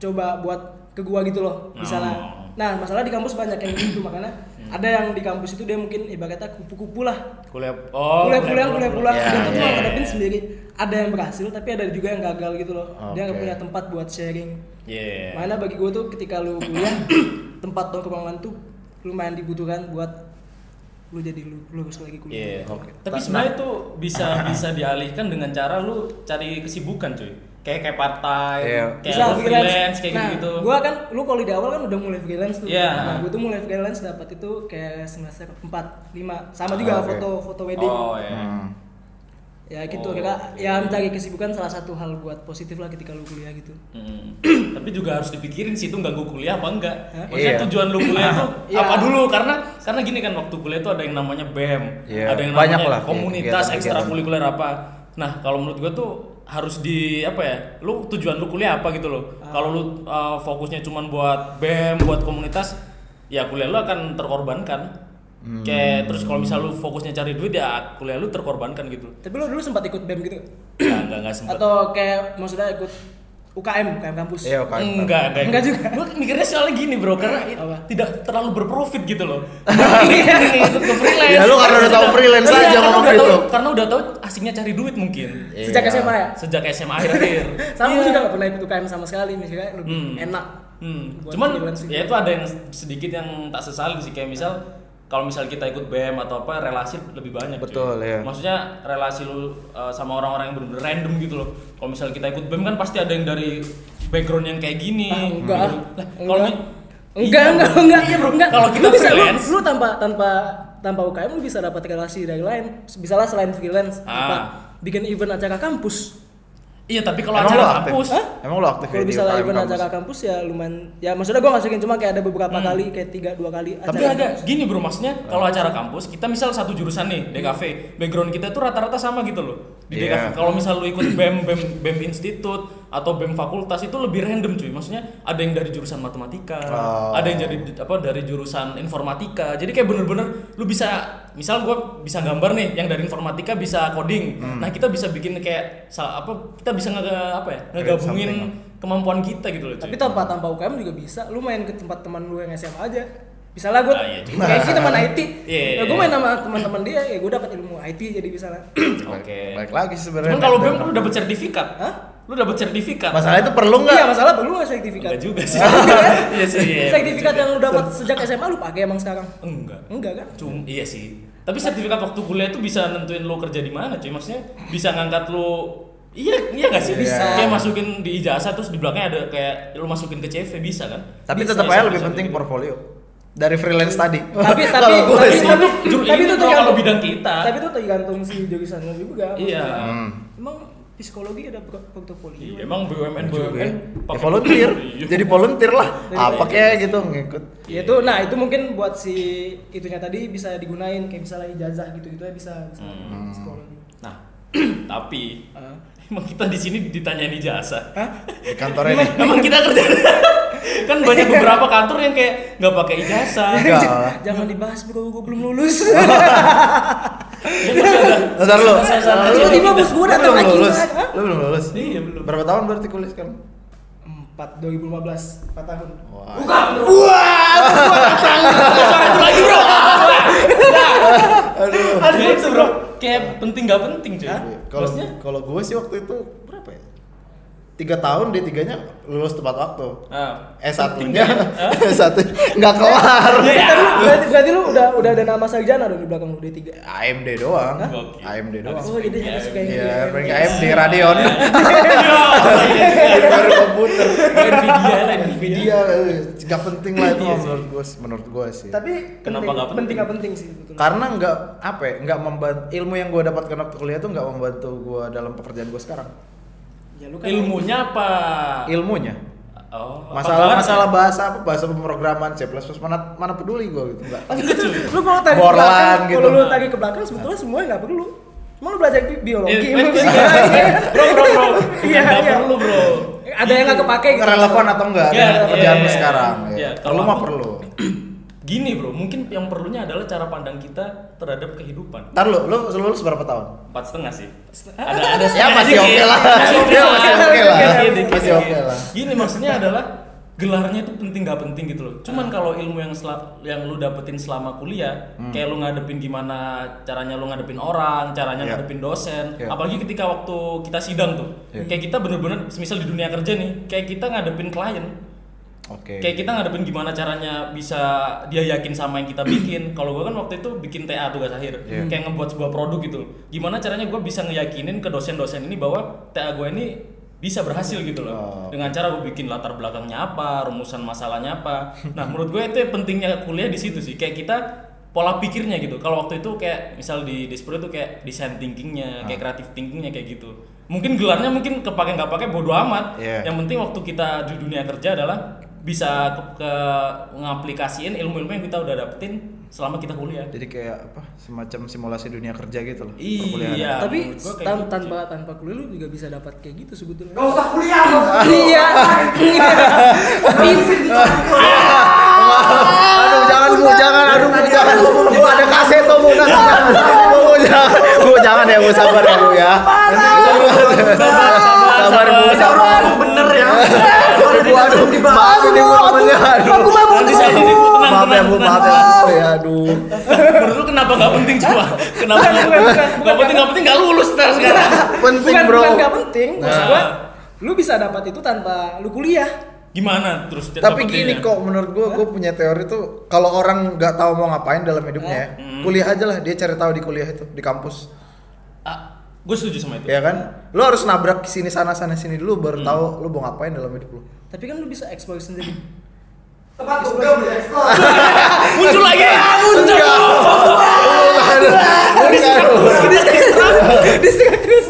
Speaker 4: coba buat ke gua gitu loh,
Speaker 5: Oh.
Speaker 4: misalnya. Nah, masalah di kampus banyak yang gitu makanya
Speaker 5: Hmm.
Speaker 4: ada yang di kampus itu dia mungkin ibaratnya kupu-kupu lah.
Speaker 5: kuliah oh
Speaker 4: kuliah pulang, kuliah
Speaker 3: kuliah.
Speaker 4: pulang, dia
Speaker 3: Ya,
Speaker 4: tuh
Speaker 5: Iya,
Speaker 4: cuma
Speaker 3: ya,
Speaker 4: ngadepin sendiri. Ada yang berhasil tapi ada juga yang gagal gitu loh. Dia nggak
Speaker 3: Oke.
Speaker 4: punya tempat buat sharing.
Speaker 5: Yeah.
Speaker 4: Mana bagi gua tuh ketika lu kuliah tempat tongkrongan tuh lumayan dibutuhkan buat lu jadi lu lulus lagi kuliah.
Speaker 5: Iya. Tapi sebenarnya itu bisa bisa dialihkan dengan cara lu cari kesibukan cuy. Kayak kayak partai,
Speaker 3: Iya.
Speaker 5: kayak lu freelance kayak
Speaker 4: nah,
Speaker 5: gitu.
Speaker 4: Gua kan lu kalau di awal kan udah mulai freelance tuh.
Speaker 5: Iya.
Speaker 4: Nah, gua tuh mulai freelance dapat itu kayak semester 4, 5. Sama juga
Speaker 3: Ah, oke.
Speaker 4: foto foto wedding.
Speaker 5: Oh ya.
Speaker 4: Ya gitu
Speaker 5: Oh,
Speaker 4: kira ya mencari kesibukan salah satu hal buat positif lah ketika lu kuliah gitu.
Speaker 5: Mm. Tapi juga harus dipikirin sih itu ganggu kuliah apa enggak.
Speaker 4: Hah?
Speaker 5: Maksudnya
Speaker 3: Hmm. Iya.
Speaker 5: tujuan lu kuliah tuh
Speaker 4: Iya.
Speaker 5: apa dulu? Karena karena gini kan waktu kuliah tuh ada yang namanya BEM,
Speaker 3: Iya,
Speaker 5: ada yang
Speaker 3: banyak
Speaker 5: namanya
Speaker 3: lah,
Speaker 5: komunitas
Speaker 3: kegiatan-kegiatan.
Speaker 5: ekstrakurikuler apa. Nah, kalau menurut gua tuh harus di apa ya? Lu tujuan lu kuliah apa gitu loh.
Speaker 3: Ah.
Speaker 5: Kalau lu uh, fokusnya cuman buat BEM, buat komunitas, ya kuliah lu akan terkorbankan.
Speaker 3: Hmm.
Speaker 5: Kayak terus kalau misal lu fokusnya cari duit ya kuliah lu terkorbankan gitu.
Speaker 4: Tapi lu dulu sempat ikut BEM gitu?
Speaker 5: Ya enggak enggak sempat.
Speaker 4: Atau kayak maksudnya ikut UKM, UKM kampus?
Speaker 3: Iya, kan.
Speaker 5: Enggak, enggak,
Speaker 4: Enggak juga.
Speaker 5: Gue mikirnya soalnya gini bro, karena i-
Speaker 4: Apa?
Speaker 5: tidak terlalu berprofit gitu loh.
Speaker 4: Iya,
Speaker 5: Ini ikut ke freelance.
Speaker 3: Ya, lu karena udah tahu freelance
Speaker 5: Iya,
Speaker 3: aja
Speaker 5: karena
Speaker 3: ngomong
Speaker 5: udah
Speaker 3: gitu.
Speaker 5: tahu- Karena udah tahu asiknya cari duit mungkin.
Speaker 4: Sejak
Speaker 3: Iya.
Speaker 4: SMA ya?
Speaker 5: Sejak SMA akhir-akhir.
Speaker 4: Sama
Speaker 5: Iya.
Speaker 4: gua juga gak pernah ikut UKM sama sekali, misalnya lebih
Speaker 5: Hmm.
Speaker 4: enak.
Speaker 5: Hmm.
Speaker 4: Buat
Speaker 5: Cuman
Speaker 4: freelance gitu.
Speaker 5: ya itu ada yang sedikit yang tak sesali sih kayak misal kalau misal kita ikut BM atau apa relasi lebih banyak. cuy.
Speaker 3: Betul, iya.
Speaker 5: Maksudnya relasi lu uh, sama orang-orang yang benar-benar random gitu loh. Kalau misal kita ikut BEM kan pasti ada yang dari background yang kayak gini.
Speaker 4: Ah, enggak.
Speaker 5: gitu. Lah, kalau
Speaker 4: Enggak.
Speaker 5: mi-
Speaker 4: Enggak,
Speaker 5: Iya,
Speaker 4: enggak,
Speaker 5: bro.
Speaker 4: enggak.
Speaker 5: Iya, bro.
Speaker 4: Enggak.
Speaker 5: Kalau kita
Speaker 4: lu bisa lu,
Speaker 5: freelance.
Speaker 4: lu tanpa tanpa tanpa UKM lu bisa dapat relasi dari lain. Misalnya selain freelance,
Speaker 5: Ah.
Speaker 4: apa bikin event acara kampus.
Speaker 5: Iya, tapi kalau
Speaker 3: Emang
Speaker 5: acara
Speaker 3: lu aktif?
Speaker 5: kampus,
Speaker 4: Hah?
Speaker 3: Emang lo aktif ya
Speaker 4: Kalau
Speaker 3: di
Speaker 4: misalnya
Speaker 3: UKM
Speaker 4: event
Speaker 3: kampus?
Speaker 4: acara kampus ya lumayan ya maksudnya gua masukin cuma kayak ada
Speaker 5: Hmm.
Speaker 4: beberapa kali kayak tiga dua kali
Speaker 5: tapi
Speaker 4: acara
Speaker 5: ada gini bro maksudnya kalau acara kampus kita misal satu jurusan nih DKV background kita tuh rata-rata sama gitu loh di
Speaker 3: Iya.
Speaker 5: DKV kalau misal lu ikut BEM BEM BEM institut atau BEM fakultas itu lebih random cuy maksudnya ada yang dari jurusan matematika
Speaker 3: Oh.
Speaker 5: ada yang jadi apa dari jurusan informatika jadi kayak bener-bener lu bisa misal gua bisa gambar nih yang dari informatika bisa coding
Speaker 3: Hmm.
Speaker 5: nah kita bisa bikin kayak sa- apa kita bisa nge apa ya ngegabungin kemampuan kita gitu loh cuy
Speaker 4: Tapi tanpa tanpa UKM juga bisa. Lu main ke tempat teman lu yang SMA aja. misalnya gue
Speaker 5: Ah, iya juga.
Speaker 4: kayak kita teman IT
Speaker 5: Iya, iya,
Speaker 4: ya gue
Speaker 5: iya.
Speaker 4: main sama teman-teman dia ya gue dapat ilmu IT jadi misalnya
Speaker 5: Oke.
Speaker 3: Baik lagi sih sebenarnya.
Speaker 5: Cuman kalau
Speaker 3: Dan-
Speaker 5: BEM lu dapat sertifikat.
Speaker 4: Hah?
Speaker 5: Lu dapat sertifikat.
Speaker 3: Masalah itu perlu nggak?
Speaker 4: iya masalah perlu nggak sertifikat
Speaker 5: Enggak juga sih. Iya
Speaker 4: Iya
Speaker 5: sih. iya,
Speaker 4: sertifikat
Speaker 5: bener
Speaker 4: yang lu
Speaker 5: juga.
Speaker 4: dapat sejak SMA lu pakai emang sekarang
Speaker 5: enggak.
Speaker 4: enggak kan
Speaker 5: Cuma iya sih. Tapi sertifikat waktu kuliah itu bisa nentuin lu kerja di mana, cuy. Maksudnya bisa ngangkat lu Iya, iya gak sih?
Speaker 4: Bisa.
Speaker 5: Kayak masukin di ijazah terus di belakangnya ada kayak lu masukin ke CV bisa kan?
Speaker 3: Tapi
Speaker 5: Bisa,
Speaker 3: tetap
Speaker 5: bisa,
Speaker 3: aja lebih
Speaker 5: bisa,
Speaker 3: penting
Speaker 5: bisa.
Speaker 3: portfolio dari freelance tadi.
Speaker 4: tapi tapi
Speaker 3: Kalau gua
Speaker 4: tapi
Speaker 3: sih.
Speaker 4: tapi
Speaker 5: Jur-
Speaker 4: tapi
Speaker 5: ini
Speaker 4: itu
Speaker 5: kalau
Speaker 4: tergantung
Speaker 5: bidang kita.
Speaker 4: tapi Hmm. itu tergantung si jurusan lu juga
Speaker 5: Iya.
Speaker 3: Hmm,
Speaker 4: emang psikologi ada pro- portofolio
Speaker 5: Iya, Emang BUMN
Speaker 3: Ya,
Speaker 5: BUMN
Speaker 3: ya volunteer.
Speaker 5: Iya.
Speaker 3: Jadi volunteer lah. Apa kayak gitu ngikut.
Speaker 4: Ya itu, nah itu mungkin buat si itunya tadi bisa digunain kayak misalnya ijazah gitu gitu ya bisa misalnya psikologi.
Speaker 5: Nah, tapi
Speaker 4: Ah.
Speaker 5: emang kita di sini ditanyain ijazah.
Speaker 3: Di kantornya nih.
Speaker 5: Emang kita kerja kan banyak beberapa kantor yang kayak nggak pakai ijazah.
Speaker 3: Enggak.
Speaker 4: Jangan dibahas bro, gue belum lulus.
Speaker 5: Ya, pasti ada
Speaker 3: Ntar lu.
Speaker 5: salah-salah
Speaker 3: Lu-
Speaker 5: kecil
Speaker 4: Tiba-tiba
Speaker 5: kita.
Speaker 4: bos gue
Speaker 3: lu
Speaker 4: datang
Speaker 3: belum
Speaker 4: lagi.
Speaker 3: lulus.
Speaker 4: Hah?
Speaker 3: Lu belum lulus.
Speaker 5: Iya, belum.
Speaker 3: Berapa tahun berarti kuliah sekarang?
Speaker 4: Empat 2015 empat tahun.
Speaker 5: Ada suara itu lagi bro. Nah. Aduh. Aduh itu bro. Kayak penting nggak penting cuy.
Speaker 3: Iya, Kalau
Speaker 5: Maksudnya
Speaker 3: kalau gue sih waktu itu berapa ya? Tiga tahun D tiganya lulus tepat waktu.
Speaker 5: ah,
Speaker 3: Eh
Speaker 5: penting
Speaker 3: satunya,
Speaker 5: nggak ya? Hah?
Speaker 3: eh satu nggak kelar.
Speaker 5: Iya.
Speaker 4: Berarti, lu, berarti, berarti lu udah udah ada nama sarjana dong di belakang lu D3.
Speaker 3: AMD doang.
Speaker 5: Gokil.
Speaker 3: AMD doang.
Speaker 4: Oh, jadi harus kayak
Speaker 3: Iya, mereka
Speaker 4: gitu.
Speaker 3: AMD Radeon.
Speaker 5: Ya,
Speaker 3: Baru komputer.
Speaker 5: Nvidia lah Nvidia.
Speaker 3: Dia eh, nggak penting lah itu
Speaker 5: Iya sih.
Speaker 3: menurut gue, menurut gue sih.
Speaker 4: Tapi
Speaker 5: Kenapa
Speaker 4: penting-
Speaker 5: nggak penting?
Speaker 4: penting? nggak penting sih betul.
Speaker 3: karena nggak apa ya, nggak membantu ilmu yang gue dapatkan waktu kuliah tuh nggak membantu gue dalam pekerjaan gue sekarang
Speaker 4: Ya lu kan
Speaker 5: Ilmunya apa?
Speaker 3: ilmunya
Speaker 5: Oh, apa
Speaker 3: masalah
Speaker 5: gelarnya?
Speaker 3: masalah bahasa apa bahasa pemrograman C++ mana mana peduli gue gitu nggak
Speaker 4: lu kalau tarik ke
Speaker 3: Borlan
Speaker 4: belakang,
Speaker 3: gitu.
Speaker 4: kalau lu tarik ke belakang sebetulnya semuanya nggak perlu. Cuma lu belajar bi- biologi,
Speaker 5: Eh,
Speaker 4: ilmu
Speaker 5: penting.
Speaker 4: fisika.
Speaker 5: Bro, bro, bro.
Speaker 4: Iya,
Speaker 5: Nggak
Speaker 4: iya.
Speaker 5: perlu, bro.
Speaker 4: Ada yang nggak kepake gitu.
Speaker 3: relevan atau enggak
Speaker 5: Iya,
Speaker 3: dengan pekerjaan
Speaker 5: iya,
Speaker 3: lu
Speaker 5: iya.
Speaker 3: sekarang ya.
Speaker 5: Iya, kalau
Speaker 3: perlu mah
Speaker 5: aku-
Speaker 3: perlu
Speaker 5: Gini, bro. Mungkin yang perlunya adalah cara pandang kita terhadap kehidupan.
Speaker 3: ntar lu lu lulus berapa tahun
Speaker 5: empat setengah sih ada ada
Speaker 3: ya
Speaker 5: setengah
Speaker 3: masih
Speaker 5: dikit.
Speaker 3: oke lah
Speaker 5: masih oke
Speaker 3: Ya,
Speaker 5: lah
Speaker 3: masih oke lah
Speaker 5: Dikit, dikit,
Speaker 3: masih
Speaker 5: dikit.
Speaker 3: oke lah
Speaker 5: gini maksudnya adalah gelarnya itu penting nggak penting gitu loh cuman kalau ilmu yang sel- yang lu dapetin selama kuliah kayak lu ngadepin gimana caranya lu ngadepin orang caranya ngadepin dosen
Speaker 3: Iya.
Speaker 5: apalagi ketika waktu kita sidang tuh kayak kita bener-bener semisal di dunia kerja nih kayak kita ngadepin klien
Speaker 3: oke
Speaker 5: Kayak kita ngadepin gimana caranya bisa dia yakin sama yang kita bikin. Kalau gua kan waktu itu bikin TA tugas akhir,
Speaker 3: Iya.
Speaker 5: kayak ngebuat sebuah produk gitu. Gimana caranya gua bisa ngeyakinin ke dosen-dosen ini bahwa TA gua ini bisa berhasil gitu
Speaker 3: Oh.
Speaker 5: loh. Dengan cara gue bikin latar belakangnya apa, rumusan masalahnya apa. Nah, menurut gue itu yang pentingnya kuliah di situ sih. Kayak kita pola pikirnya gitu. Kalau waktu itu kayak misal di Despro itu kayak design
Speaker 3: Ah.
Speaker 5: thinkingnya, kayak kreatif thinkingnya kayak gitu. Mungkin gelarnya mungkin kepake nggak pakai bodo amat.
Speaker 3: Iya.
Speaker 5: Yang penting waktu kita di dunia kerja adalah bisa ke, ke- ngaplikasiin ilmu-ilmu yang kita udah dapetin selama kita kuliah.
Speaker 3: jadi kayak apa semacam simulasi dunia kerja gitu loh perkuliahan.
Speaker 5: Iya.
Speaker 4: tapi
Speaker 5: menurut gua kayak
Speaker 4: tan-
Speaker 5: gitu, Oh,
Speaker 4: tanpa
Speaker 5: cuy.
Speaker 4: tanpa kuliah lu juga bisa dapat kayak gitu sebetulnya.
Speaker 10: Gak usah kuliah lo.
Speaker 4: Iya. Iya.
Speaker 3: aduh jangan bu jangan aduh bu jangan bu ada kaset tuh bu nanti jangan bu jangan bu jangan ya bu sabar ya bu ya sabar sabar bu sabar
Speaker 10: Bener ya.
Speaker 3: aduh bu aduh maaf ini bu temennya aduh
Speaker 5: Nanti saya ini Bu, tenang,
Speaker 3: maaf ya
Speaker 5: tenang,
Speaker 3: bu
Speaker 5: tenang.
Speaker 3: maaf ya bu ya aduh
Speaker 5: Menurut lu kenapa nggak penting coba? Kenapa nggak
Speaker 4: bukan,
Speaker 5: penting?
Speaker 4: bukan,
Speaker 5: Nggak penting nggak penting nggak lulus ntar sekarang.
Speaker 3: penting
Speaker 4: bukan
Speaker 3: bro
Speaker 4: bukan nggak penting. Maksud
Speaker 5: Nah.
Speaker 4: gua, lu bisa dapat itu tanpa lu kuliah.
Speaker 5: Gimana terus? ya?
Speaker 3: tapi
Speaker 5: dapetinnya?
Speaker 3: gini kok menurut gua gua punya teori tuh kalau orang nggak tahu mau ngapain dalam hidupnya ya kuliah aja lah dia cari tahu di kuliah itu di kampus
Speaker 5: Ah, gue setuju sama itu.
Speaker 3: ya kan lo harus nabrak sini sana sana sini dulu baru tahu lo mau ngapain dalam hidup lo
Speaker 4: Tapi kan lu bisa eksplor sendiri.
Speaker 10: Tempat gue beli ekspor.
Speaker 5: Muncul lagi. Muncul.
Speaker 4: Disekat kan terus.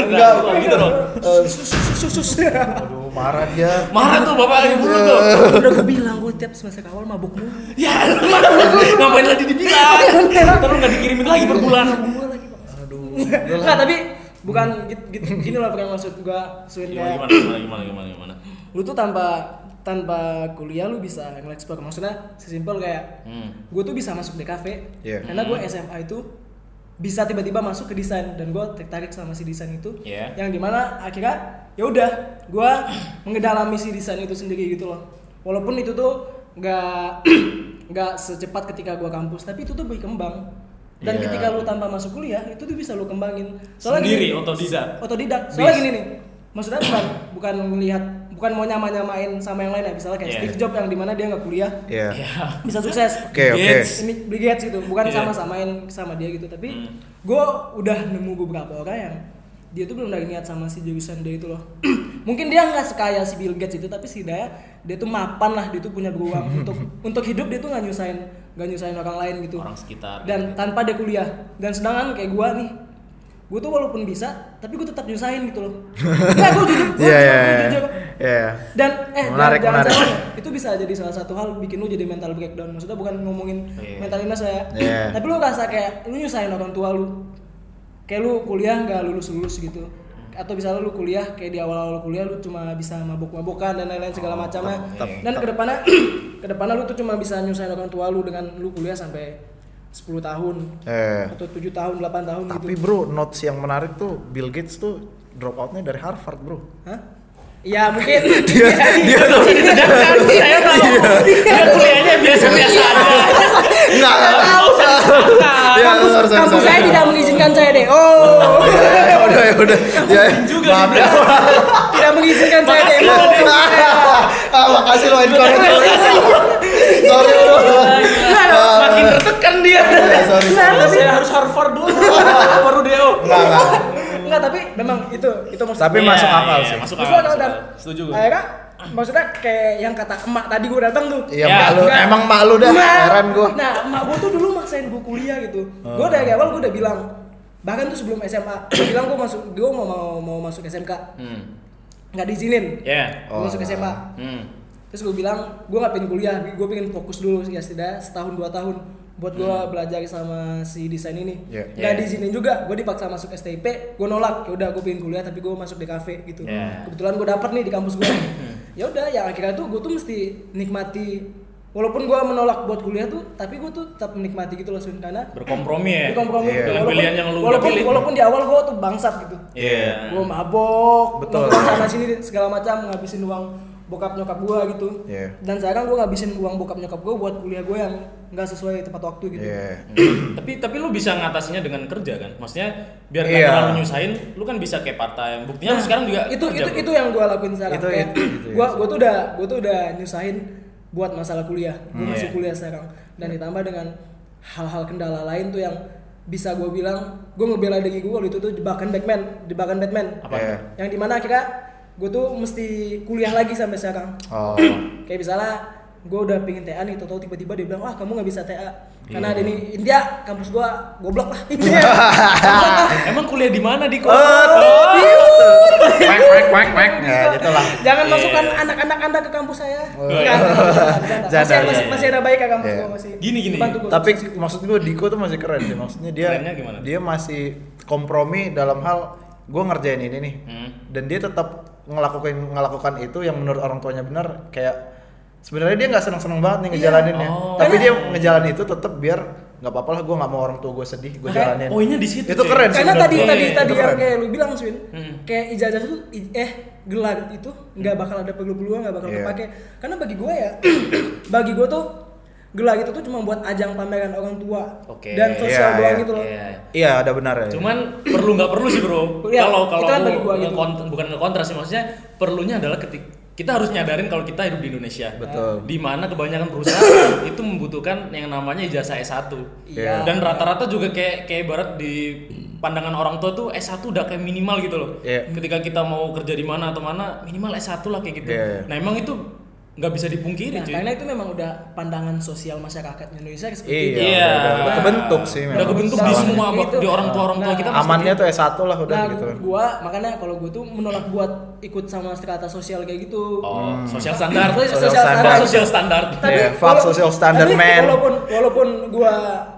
Speaker 5: Enggak, gitu dong.
Speaker 4: Sus, sus.
Speaker 3: Aduh, marah dia.
Speaker 5: Marah tuh bapak lagi buru tuh.
Speaker 4: Udah gue bilang gue tiap semester awal mabuk mulu.
Speaker 5: Ya, lu marah. ngapain lagi dibilang? Terus nggak dikirimin lagi per bulan.
Speaker 4: Enggak, tapi bukan gitu, gitu gini loh bukan maksud gua suin
Speaker 5: Gimana
Speaker 4: kayak
Speaker 5: gimana gimana gimana gimana gimana.
Speaker 4: lu tuh tanpa tanpa kuliah lu bisa nge-explore maksudnya sesimpel kayak
Speaker 5: Hmm.
Speaker 4: gue tuh bisa masuk di kafe
Speaker 3: Iya.
Speaker 4: karena gue SMA itu bisa tiba-tiba masuk ke desain dan gue tertarik sama si desain itu
Speaker 5: Iya.
Speaker 4: yang dimana akhirnya ya udah gue mengedalami si desain itu sendiri gitu loh walaupun itu tuh nggak nggak secepat ketika gua kampus tapi itu tuh berkembang dan
Speaker 5: Iya.
Speaker 4: ketika lu tanpa masuk kuliah itu tuh bisa lu kembangin soalnya
Speaker 5: Sendiri,
Speaker 4: gini-
Speaker 5: otodidak.
Speaker 4: otodidak soalnya
Speaker 5: Bis.
Speaker 4: gini nih maksudnya bukan bukan melihat bukan mau nyama nyamain sama yang lain ya misalnya kayak
Speaker 5: Iya.
Speaker 4: Steve Jobs yang dimana dia nggak kuliah
Speaker 3: Iya.
Speaker 4: bisa sukses
Speaker 3: Oke, oke. Gates.
Speaker 4: ini Bill Gates gitu bukan
Speaker 5: Iya. Hmm.
Speaker 4: sama samain sama dia gitu tapi gue udah nemu beberapa orang yang dia tuh belum dari niat sama si jurusan dia itu loh mungkin dia nggak sekaya si Bill Gates itu tapi setidaknya dia tuh mapan lah dia tuh punya beruang untuk untuk hidup dia tuh nggak nyusahin nggak nyusahin orang lain gitu
Speaker 5: orang sekitar
Speaker 4: dan tanpa dia kuliah dan sedangkan kayak gue nih gue tuh walaupun bisa tapi gue tetap nyusahin gitu loh nggak gue jujur gue
Speaker 3: Iya, iya,
Speaker 4: jujur
Speaker 3: iya.
Speaker 4: dan eh
Speaker 3: Menarik,
Speaker 4: jangan,
Speaker 3: menarik.
Speaker 4: jangan salah, itu bisa jadi salah satu hal bikin lu jadi mental breakdown maksudnya bukan ngomongin mental illness ya
Speaker 3: Iya.
Speaker 4: tapi lu ngerasa kayak lu nyusahin orang tua lu kayak lu kuliah nggak lulus lulus gitu atau misalnya lu kuliah kayak di awal-awal kuliah lu cuma bisa mabok-mabokan dan lain-lain segala
Speaker 3: Oh,
Speaker 4: macamnya dan kedepannya kedepannya lu tuh cuma bisa nyusahin orang tua lu dengan lu kuliah sampai 10 tahun
Speaker 3: Eh.
Speaker 4: atau 7 tahun 8 tahun
Speaker 3: Tapi
Speaker 4: gitu
Speaker 3: bro, notes yang menarik tuh Bill Gates tuh drop outnya dari Harvard bro.
Speaker 4: Hah? ya mungkin
Speaker 5: saya tahu dia kuliahnya biasa-biasa aja
Speaker 3: Enggak. Ya,
Speaker 4: kampus,
Speaker 3: sorry, sorry,
Speaker 4: kampus
Speaker 3: sorry.
Speaker 4: saya tidak mengizinkan saya deh. Oh,
Speaker 3: Ya udah ya udah. Ya
Speaker 5: juga
Speaker 3: maaf
Speaker 5: sih,
Speaker 3: ya.
Speaker 4: tidak mengizinkan saya deh. Oh,
Speaker 3: Ah, makasih lo encourage. Sorry ya, bro.
Speaker 5: Gila, makin tertekan dia
Speaker 3: Ya, sorry.
Speaker 5: Karena saya harus Harvard dulu baru dia
Speaker 3: Enggak enggak.
Speaker 4: Enggak, tapi memang itu itu maksud
Speaker 3: Tapi
Speaker 5: Iya,
Speaker 3: masuk akal
Speaker 5: iya,
Speaker 3: sih.
Speaker 5: masuk
Speaker 4: Terus
Speaker 5: akal,
Speaker 4: lo tau,
Speaker 5: masuk
Speaker 4: Dan?
Speaker 5: akal. setuju gue
Speaker 4: Akhirnya Ah, ya kan? maksudnya kayak yang kata emak tadi gue datang tuh.
Speaker 3: Iya,
Speaker 5: Ya,
Speaker 3: malu.
Speaker 4: enggak.
Speaker 3: Emang malu dah.
Speaker 4: Emak.
Speaker 3: Heran gua.
Speaker 4: Nah, emak gue tuh dulu maksain gue kuliah gitu.
Speaker 5: Oh.
Speaker 4: Gue dari awal gue udah bilang bahkan tuh sebelum SMA gue bilang gue masuk gue mau mau mau masuk SMK
Speaker 5: hmm
Speaker 4: nggak diizinin
Speaker 5: ya
Speaker 3: Oh.
Speaker 4: Gua masuk SMA
Speaker 5: hmm
Speaker 4: terus gue bilang gue nggak pengen kuliah gue pengen fokus dulu ya setidaknya setahun dua tahun buat gue belajar sama si desain ini
Speaker 3: Iya.
Speaker 4: nggak
Speaker 5: Iya.
Speaker 4: diizinin juga gue dipaksa masuk STIP gue nolak ya udah gue pengen kuliah tapi gue masuk di kafe gitu
Speaker 5: Iya.
Speaker 4: kebetulan gue dapet nih di kampus gue ya udah yang akhirnya tuh gue tuh mesti nikmati walaupun gue menolak buat kuliah tuh tapi gue tuh tetap menikmati gitu loh Sun karena
Speaker 5: berkompromi ya
Speaker 4: kompromi
Speaker 3: Iya.
Speaker 5: Dengan pilihan yang lu udah
Speaker 4: walaupun,
Speaker 5: pilih.
Speaker 4: walaupun di awal gue tuh bangsat gitu
Speaker 5: Iya.
Speaker 4: gue mabok
Speaker 3: Betul.
Speaker 4: nongkrong sana sini segala macam ngabisin uang bokap nyokap gue gitu
Speaker 3: Iya.
Speaker 4: dan sekarang gue ngabisin uang bokap nyokap gue buat kuliah gue yang nggak sesuai tepat waktu gitu
Speaker 3: Iya.
Speaker 5: Hmm. tapi tapi lu bisa ngatasinya dengan kerja kan maksudnya biar nggak
Speaker 3: Iya.
Speaker 5: terlalu nyusahin lu kan bisa kayak part time buktinya lu sekarang juga
Speaker 4: itu
Speaker 5: kerja,
Speaker 4: itu
Speaker 5: bro.
Speaker 4: itu yang gue lakuin sekarang
Speaker 3: Itu-
Speaker 4: Kayak
Speaker 3: itu- itu ya.
Speaker 4: gue gue tuh udah gue tuh udah nyusahin buat masalah kuliah gue
Speaker 5: Hmm.
Speaker 4: masih
Speaker 5: Iya.
Speaker 4: kuliah sekarang dan ditambah dengan hal-hal kendala lain tuh yang bisa gue bilang gue ngebela diri gue kalau itu tuh jebakan Batman jebakan Batman
Speaker 5: Apa?
Speaker 3: Iya.
Speaker 4: yang dimana akhirnya gue tuh mesti kuliah lagi sampai sekarang
Speaker 3: Oh.
Speaker 4: kayak misalnya gue udah pengen TA nih, tau tiba-tiba dia bilang, wah kamu nggak bisa TA
Speaker 3: Iya.
Speaker 4: karena ada ini India kampus gue goblok lah India.
Speaker 5: emang kuliah di mana di
Speaker 3: Oh,
Speaker 5: kota
Speaker 3: tuh. Wek wek wek wek. Ya gitulah. Iya,
Speaker 4: Jangan masukkan anak-anak anda ke kampus saya. Nggak, nggak, nggak, nggak.
Speaker 3: Janda,
Speaker 4: Masih, masih,
Speaker 3: iya.
Speaker 4: masih ada baik ke kampus
Speaker 3: Iya.
Speaker 4: gue masih.
Speaker 5: Gini, gini.
Speaker 4: Bantu gua.
Speaker 3: Tapi maksud gue Diko tuh masih keren sih. Maksudnya dia
Speaker 5: Kerennya gimana?
Speaker 3: dia masih kompromi dalam hal gue ngerjain ini nih.
Speaker 5: Hmm.
Speaker 3: Dan dia tetap ngelakuin ngelakukan itu yang menurut orang tuanya benar kayak sebenarnya dia nggak seneng-seneng banget nih ngejalaninnya.
Speaker 5: Oh.
Speaker 3: Tapi dia ngejalanin itu tetap biar nggak apa-apa lah gue nggak mau orang tua gue sedih
Speaker 5: Eh,
Speaker 3: gue
Speaker 4: Makanya
Speaker 3: jalanin.
Speaker 5: poinnya di situ,
Speaker 3: Itu
Speaker 5: cuy.
Speaker 3: keren. sih
Speaker 4: karena
Speaker 3: menurut
Speaker 4: tadi
Speaker 3: gua.
Speaker 4: tadi
Speaker 3: Itu
Speaker 4: tadi yang
Speaker 3: keren.
Speaker 4: kayak lu bilang Swin,
Speaker 5: Hmm.
Speaker 4: kayak ijazah itu i- eh gelar itu nggak bakal ada perlu-perluan nggak bakal
Speaker 3: Iya.
Speaker 4: kepake. Karena bagi gue ya, bagi gue tuh gelar itu tuh cuma buat ajang pameran orang tua
Speaker 5: Oke.
Speaker 4: dan sosial
Speaker 3: Iya,
Speaker 4: doang
Speaker 3: iya.
Speaker 4: gitu loh.
Speaker 5: Iya.
Speaker 3: Iya ada benar ya.
Speaker 5: Cuman perlu nggak perlu sih bro.
Speaker 4: Iya,
Speaker 5: Kalau kalau
Speaker 4: itu kan
Speaker 5: lu
Speaker 4: bagi gua gitu.
Speaker 5: ngekont- bukan ngekontra sih maksudnya perlunya adalah ketika kita harus nyadarin kalau kita hidup di Indonesia.
Speaker 3: Betul.
Speaker 5: Di mana kebanyakan perusahaan itu membutuhkan yang namanya ijazah S1.
Speaker 4: Iya.
Speaker 5: Dan rata-rata juga kayak kayak barat di pandangan orang tua tuh S1 udah kayak minimal gitu loh.
Speaker 3: Iya.
Speaker 5: Ketika kita mau kerja di mana atau mana minimal S1 lah kayak gitu.
Speaker 3: Iya, iya.
Speaker 5: Nah, emang itu nggak bisa
Speaker 4: Nah,
Speaker 5: dipungkiri Iya, cuy.
Speaker 4: karena itu memang udah pandangan sosial masyarakat Indonesia seperti
Speaker 3: Iya.
Speaker 4: itu.
Speaker 5: Iya.
Speaker 3: udah- udah kebentuk sih
Speaker 5: Udah
Speaker 3: memang.
Speaker 5: kebentuk di
Speaker 3: Salahnya.
Speaker 5: semua
Speaker 4: Itu.
Speaker 5: di orang tua orang tua
Speaker 4: Nah,
Speaker 5: kita pasti
Speaker 3: Amannya tuh S1 lah udah
Speaker 4: nah,
Speaker 3: gitu kan.
Speaker 4: gua makanya kalau gua tuh menolak buat ikut sama strata sosial kayak gitu. Nah,
Speaker 5: Oh,
Speaker 3: Hmm.
Speaker 5: sosial standar.
Speaker 4: Sosial
Speaker 3: Sosial standar.
Speaker 4: standar.
Speaker 5: Sosial standar.
Speaker 4: Tapi
Speaker 3: Yeah, fuck
Speaker 4: wala-
Speaker 3: Iya, social standard,
Speaker 4: tapi
Speaker 3: man.
Speaker 4: Walaupun walaupun gua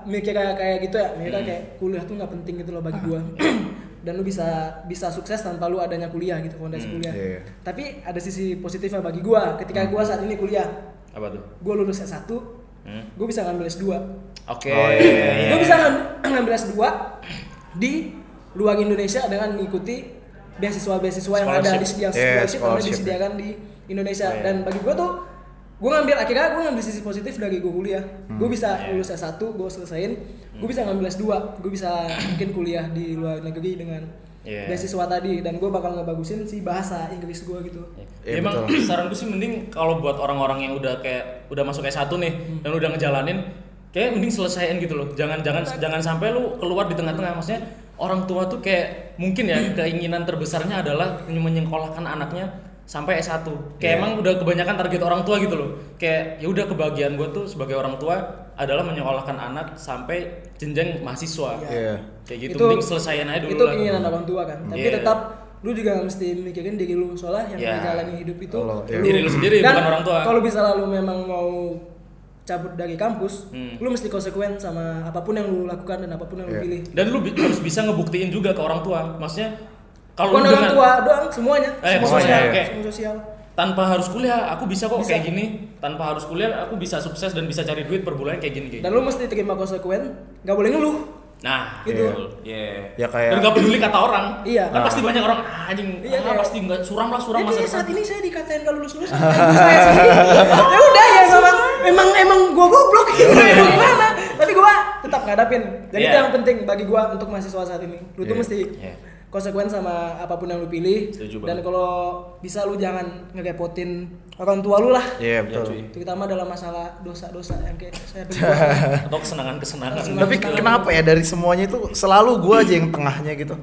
Speaker 4: mikir kayak kayak gitu ya, mikir
Speaker 3: Hmm.
Speaker 4: kayak kuliah tuh nggak penting gitu loh bagi gua.
Speaker 3: Ah.
Speaker 4: Dan lu bisa bisa sukses tanpa lu adanya kuliah gitu, fondasi kuliah.
Speaker 3: iya. Hmm.
Speaker 4: Tapi ada sisi positifnya bagi gua ketika gua saat ini kuliah,
Speaker 5: Apa tuh?
Speaker 4: gua lulus S1,
Speaker 3: Hmm.
Speaker 4: gua bisa ngambil S2.
Speaker 5: Oke.
Speaker 3: Oh, iya, iya,
Speaker 4: Gue bisa ngam- ngambil S2 di luar Indonesia dengan mengikuti beasiswa-beasiswa yang ada
Speaker 5: Scholarship.
Speaker 4: disediakan
Speaker 3: Yeah,
Speaker 4: scholarship yang ada
Speaker 3: scholarship,
Speaker 4: disediakan di Indonesia dan bagi gue tuh gue ngambil akhirnya gue ngambil sisi positif dari gue kuliah gue bisa lulus S1 gue selesain gue bisa ngambil S2 gue bisa mungkin kuliah di luar negeri dengan
Speaker 5: Iya.
Speaker 4: beasiswa tadi dan gue bakal ngebagusin si bahasa Inggris gue gitu
Speaker 3: Iya,
Speaker 5: Ya, Emang saran gue sih mending kalau buat orang-orang yang udah kayak udah masuk S1 nih
Speaker 3: Hmm.
Speaker 5: dan udah ngejalanin kayak mending selesaiin gitu loh. Jangan jangan jangan sampai lu keluar di tengah-tengah maksudnya orang tua tuh kayak mungkin ya
Speaker 3: Hmm.
Speaker 5: keinginan terbesarnya adalah menyekolahkan anaknya sampai S1.
Speaker 3: Iya.
Speaker 5: Kayak emang udah kebanyakan target orang tua gitu loh. Kayak ya udah kebahagiaan gue tuh sebagai orang tua adalah menyekolahkan anak sampai jenjang mahasiswa.
Speaker 3: Iya.
Speaker 5: Kayak gitu mending selesaiin aja dulu
Speaker 4: itu
Speaker 5: lah.
Speaker 4: keinginan orang tua kan tapi
Speaker 5: Iya.
Speaker 4: tetap lu juga mesti mikirin diri lu soalnya yang
Speaker 5: Iya.
Speaker 4: menjalani hidup itu
Speaker 3: Lo, iya.
Speaker 5: Diri lu sendiri,
Speaker 4: Dan
Speaker 5: bukan orang tua.
Speaker 4: kalau bisa lalu memang mau cabut dari kampus
Speaker 5: Hmm.
Speaker 4: lu mesti konsekuen sama apapun yang lu lakukan dan apapun yang lu
Speaker 3: Iya.
Speaker 4: pilih
Speaker 5: dan lu bi- harus bisa ngebuktiin juga ke orang tua maksudnya kalau
Speaker 4: bukan
Speaker 5: lu
Speaker 4: orang
Speaker 5: dengan-
Speaker 4: tua doang semuanya
Speaker 5: Eh,
Speaker 4: semua
Speaker 5: semuanya,
Speaker 4: sosial
Speaker 5: iya.
Speaker 4: semua sosial
Speaker 5: tanpa harus kuliah aku bisa kok
Speaker 4: Bisa.
Speaker 5: kayak gini tanpa harus kuliah aku bisa sukses dan bisa cari duit per bulan kayak gini kayak
Speaker 4: dan
Speaker 5: gini.
Speaker 4: lu mesti terima konsekuen nggak boleh ngeluh
Speaker 5: nah
Speaker 4: gitu.
Speaker 5: betul. Iya.
Speaker 3: Ya
Speaker 5: dan
Speaker 3: kayak
Speaker 5: gak peduli kata orang
Speaker 4: Iya.
Speaker 5: kan pasti banyak orang "Ah, anjing
Speaker 4: Iya,
Speaker 5: ah,
Speaker 4: kayak-
Speaker 5: pasti nggak suram lah suram
Speaker 4: Jadi
Speaker 5: masa
Speaker 4: saat
Speaker 5: depan."
Speaker 4: ini saya dikatain kalau lulus lulus ya udah ya memang emang emang gua goblok gitu ya gimana tapi gua tetap ngadapin jadi itu
Speaker 5: Iya.
Speaker 4: yang penting bagi gua untuk mahasiswa saat ini lu tuh
Speaker 3: Iya.
Speaker 4: mesti
Speaker 5: Iya.
Speaker 4: konsekuen sama apapun yang lu pilih
Speaker 5: Setuju
Speaker 4: dan
Speaker 5: banget.
Speaker 4: kalau bisa lu jangan ngerepotin orang tua lu lah
Speaker 3: Iya betul.
Speaker 4: terutama dalam masalah dosa-dosa yang kayak saya berdua
Speaker 5: atau kesenangan kesenangan
Speaker 3: Tapi kenapa ya dari semuanya itu selalu gua aja yang tengahnya gitu.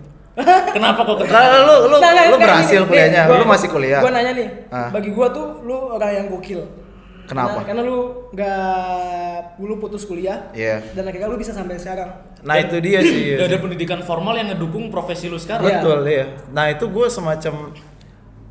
Speaker 5: kenapa kok
Speaker 3: Karena
Speaker 5: kenapa
Speaker 3: lu lu
Speaker 4: Nah, nah,
Speaker 3: lu
Speaker 4: nah,
Speaker 3: berhasil
Speaker 4: ini, nih,
Speaker 3: kuliahnya,
Speaker 4: gua-
Speaker 3: lu masih kuliah.
Speaker 4: Gua nanya nih,
Speaker 3: Ah.
Speaker 4: bagi gua tuh lu orang yang gokil.
Speaker 3: Kenapa?
Speaker 4: Karena, karena lu nggak lu putus kuliah.
Speaker 3: Iya.
Speaker 4: Dan akhirnya lu bisa sampai sekarang.
Speaker 3: Nah, itu dia sih.
Speaker 5: gak ada pendidikan formal yang ngedukung profesi lu sekarang
Speaker 4: Iya.
Speaker 3: Betul ya. Nah itu gue semacam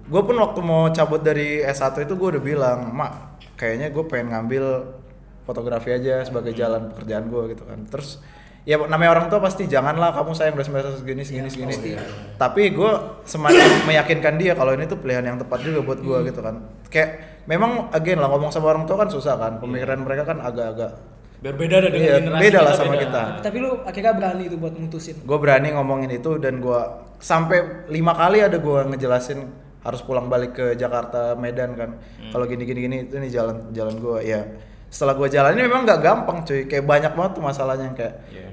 Speaker 3: gue pun waktu mau cabut dari S1 itu gue udah bilang mak kayaknya gue pengen ngambil fotografi aja sebagai
Speaker 4: Hmm.
Speaker 3: jalan pekerjaan gue gitu kan. Terus ya namanya orang tua pasti janganlah kamu sayang udah semester segini
Speaker 4: Iya,
Speaker 3: segini segini. Tapi gue semacam meyakinkan dia kalau ini tuh pilihan yang tepat juga buat
Speaker 4: Hmm.
Speaker 3: gue gitu kan. Kayak memang again lah ngomong sama orang tua kan susah
Speaker 4: Iya.
Speaker 3: kan. Pemikiran mereka kan agak-agak
Speaker 5: biar beda dah dengan
Speaker 3: iya,
Speaker 5: generasi
Speaker 3: beda lah sama kita
Speaker 4: Tapi lu akhirnya berani tuh buat mutusin.
Speaker 3: gue berani ngomongin itu dan gue sampai lima kali ada gue ngejelasin harus pulang balik ke Jakarta Medan kan
Speaker 5: Hmm.
Speaker 3: kalau gini gini gini itu nih jalan jalan gue ya setelah gue jalanin memang nggak gampang cuy kayak banyak banget tuh masalahnya yang kayak
Speaker 5: Iya.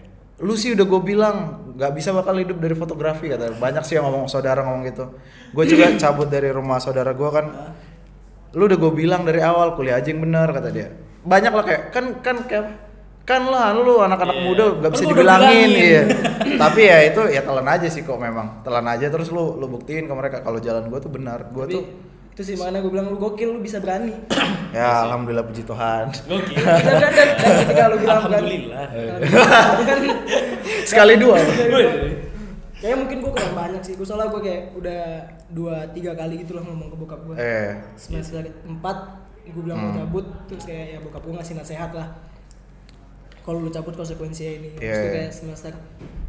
Speaker 3: lu sih udah gue bilang nggak bisa bakal hidup dari fotografi kata banyak sih yang ngomong saudara ngomong gitu gue juga cabut dari rumah saudara gue kan lu udah gue bilang dari awal kuliah aja yang bener kata dia banyak lah kayak kan kan kayak kan lah lu anak-anak
Speaker 5: Iya.
Speaker 3: muda
Speaker 5: Kan
Speaker 3: gak bisa
Speaker 5: lu udah
Speaker 3: dibilangin
Speaker 5: bilangin.
Speaker 3: iya tapi ya itu ya telan aja sih kok memang telan aja terus lu lu buktiin ke mereka kalau jalan gue tuh benar gue
Speaker 4: Tapi
Speaker 3: tuh
Speaker 4: itu sih makanya gue bilang lu gokil, lu bisa berani.
Speaker 3: ya alhamdulillah puji Tuhan
Speaker 5: Gokil.
Speaker 4: Bisa berani dan dan ketika lu bilang berani.
Speaker 5: alhamdulillah
Speaker 4: Alhamdulillah. Bukan.
Speaker 3: sekali dua
Speaker 4: Kayaknya mungkin gue kurang banyak sih. Gue soalnya gue kayak udah dua tiga kali gitu loh ngomong ke bokap gue.
Speaker 3: eh Hmm.
Speaker 4: semester empat gue bilang mau cabut terus kayak ya bokap gue ngasih nasihat lah kalau lu cabut konsekuensinya ini terus
Speaker 3: Iya,
Speaker 4: tuh
Speaker 3: iya.
Speaker 4: kayak semester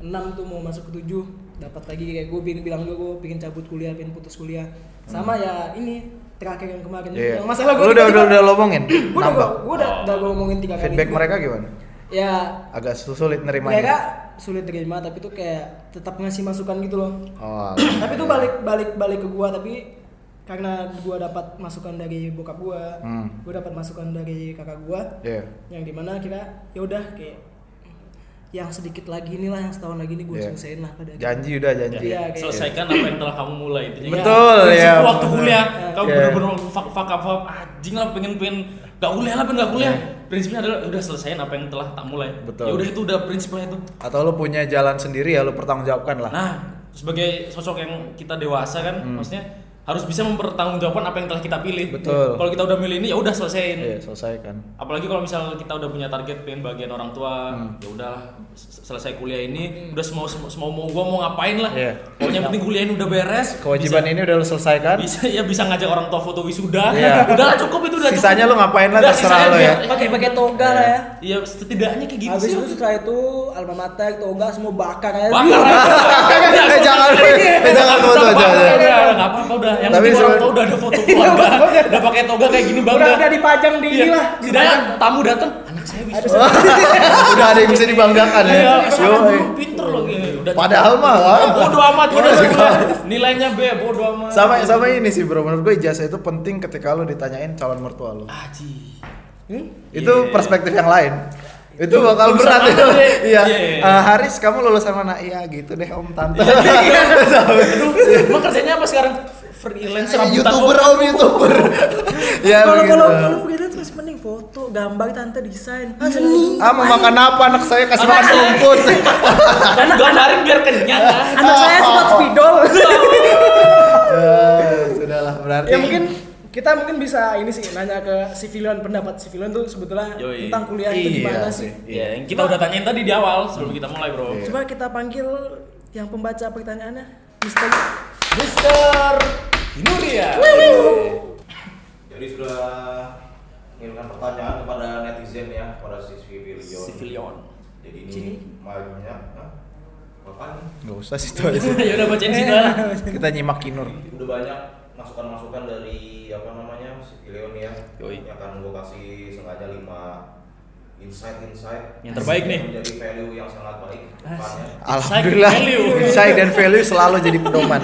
Speaker 4: 6 tuh mau masuk ke 7 dapat lagi kayak gue bilang juga gue pengen cabut kuliah pengen putus kuliah sama ya ini terakhir yang kemarin
Speaker 3: Hmm. iya.
Speaker 4: yang masalah gue
Speaker 3: lu udah udah udah ngomongin
Speaker 4: gue udah
Speaker 3: nambah
Speaker 4: gue udah, udah gue ngomongin tiga kali
Speaker 3: feedback
Speaker 4: juga.
Speaker 3: mereka ya. gimana
Speaker 4: ya
Speaker 3: agak sulit
Speaker 4: mereka
Speaker 3: nerimanya
Speaker 4: sulit terima tapi tuh kayak tetap ngasih masukan gitu loh
Speaker 3: oh
Speaker 4: tapi tuh balik balik balik ke gua tapi karena gua dapat masukan dari bokap gua
Speaker 3: Hmm.
Speaker 4: gua dapat masukan dari kakak gua
Speaker 3: iya
Speaker 4: yang dimana kira ya udah kayak yang sedikit lagi inilah yang setahun lagi ini gua
Speaker 3: Iya.
Speaker 4: selesaiin lah pada
Speaker 3: janji udah janji
Speaker 4: Iya, kayak-
Speaker 5: selesaikan apa yang telah kamu mulai intinya
Speaker 3: gitu. Betul,
Speaker 5: Prinsip
Speaker 3: ya,
Speaker 5: lu waktu
Speaker 3: betul.
Speaker 5: kuliah kamu
Speaker 3: Iya.
Speaker 5: bener-bener fuck fuck up fuck anjing lah pengen pengen gak kuliah lah pengen gak kuliah prinsipnya adalah udah selesaiin apa yang telah tak mulai
Speaker 3: Iya. Betul.
Speaker 5: ya udah itu udah prinsipnya itu
Speaker 3: atau lu punya jalan sendiri ya lu pertanggungjawabkan lah
Speaker 5: nah sebagai sosok yang kita dewasa kan
Speaker 3: Hmm.
Speaker 5: maksudnya harus bisa mempertanggungjawabkan apa yang telah kita pilih
Speaker 3: Betul.
Speaker 5: kalau kita udah milih ini ya udah selesaiin
Speaker 3: iya selesaikan
Speaker 5: apalagi kalau misal kita udah punya target pengen bagian orang tua
Speaker 3: Hmm.
Speaker 5: ya udahlah s- selesai kuliah ini udah semua semua semua mau gua mau ngapain lah
Speaker 3: Iya.
Speaker 5: pokoknya yang penting kuliah ini udah beres
Speaker 3: kewajiban ini udah lu selesaikan
Speaker 5: bisa ya bisa ngajak orang tua foto
Speaker 3: Kan?
Speaker 5: wisuda
Speaker 3: Iya.
Speaker 5: udah lah cukup itu udah
Speaker 3: sisanya lu
Speaker 5: cukup.
Speaker 3: ngapain lah
Speaker 5: Udah,
Speaker 3: terserah
Speaker 5: sisanya
Speaker 3: lu ya
Speaker 5: biar-
Speaker 4: pakai pakai toga lah ya
Speaker 5: iya setidaknya kayak gitu
Speaker 4: habis
Speaker 5: sih
Speaker 4: itu setelah itu alma mater toga semua bakar aja
Speaker 5: Bakar aja.
Speaker 3: Iya. Eh, jangan, eh, jangan,
Speaker 5: Udah,
Speaker 3: foto, jangan.
Speaker 5: bakar aja. Udah, nggak apa-apa udah yang
Speaker 3: Tapi Iya,
Speaker 5: penting orang
Speaker 3: sebe-
Speaker 5: tua udah ada foto keluarga udah pakai toga kayak gini
Speaker 4: udah udah
Speaker 5: bangga
Speaker 4: dipajang di
Speaker 5: Iya.
Speaker 4: inilah
Speaker 5: setidaknya tamu datang anak saya wisuda
Speaker 3: udah ada yang bisa dibanggakan ya
Speaker 5: Iya,
Speaker 3: Yoi.
Speaker 5: pinter loh gitu. udah
Speaker 3: Padahal mah, Iya. ah.
Speaker 5: Eh, bodo amat gua udah
Speaker 3: Gimana sih,
Speaker 5: sebulan.
Speaker 3: Kak?
Speaker 5: nilainya B bodo amat
Speaker 3: sama sama ini sih bro menurut gue ijazah itu penting ketika lo ditanyain calon mertua lo
Speaker 5: Ah, ci.
Speaker 3: itu
Speaker 5: Iya.
Speaker 3: perspektif yang lain itu
Speaker 5: Lu-
Speaker 3: bakal
Speaker 5: lulusan
Speaker 3: berat
Speaker 5: mana
Speaker 3: itu
Speaker 5: deh?
Speaker 3: iya
Speaker 5: Iya, iya.
Speaker 3: Eh, Haris kamu lulusan mana iya gitu deh om tante
Speaker 5: Aduh, emang kerjanya apa sekarang? Freelance rambutan
Speaker 3: youtuber
Speaker 5: orang.
Speaker 3: om youtuber ya
Speaker 4: kalau
Speaker 3: begitu
Speaker 4: kalau kalau freelance masih mending foto, gambar, tante desain. Ah, seni.
Speaker 3: ah mau makan apa anak saya kasih
Speaker 5: Anak
Speaker 3: makan
Speaker 5: saya.
Speaker 3: rumput
Speaker 5: Kan gambarin biar kenyang
Speaker 3: Iya.
Speaker 5: lah.
Speaker 4: Anak saya sempat spidol.
Speaker 3: Eh, sudahlah berarti
Speaker 4: ya mungkin kita mungkin bisa ini sih nanya ke civilian pendapat civilian tuh sebetulnya
Speaker 5: Yoi.
Speaker 4: tentang kuliah itu gimana
Speaker 3: Iya
Speaker 4: sih.
Speaker 3: sih.
Speaker 5: Ya, yang kita udah tanyain tadi di awal sebelum kita mulai, Bro.
Speaker 3: Iya.
Speaker 4: Coba kita panggil yang pembaca pertanyaannya, Mister.
Speaker 5: Mister Nuria.
Speaker 2: Jadi sudah mengirimkan pertanyaan kepada netizen ya, kepada si Civilion.
Speaker 5: Civilion.
Speaker 2: Jadi ini banyak, Hah? Bapak nih,
Speaker 3: nggak usah sih itu aja sih.
Speaker 5: Ya udah bacain sini lah.
Speaker 3: kita nyimak kinur
Speaker 2: udah banyak masukan-masukan dari apa namanya Civilion ya.
Speaker 5: Yoi.
Speaker 2: Yang akan gue kasih sengaja lima insight-insight
Speaker 5: Yang terbaik nih.
Speaker 2: menjadi value yang sangat ya. baik ke depannya.
Speaker 3: alhamdulillah
Speaker 5: Insight and value.
Speaker 3: insight dan value selalu jadi pedoman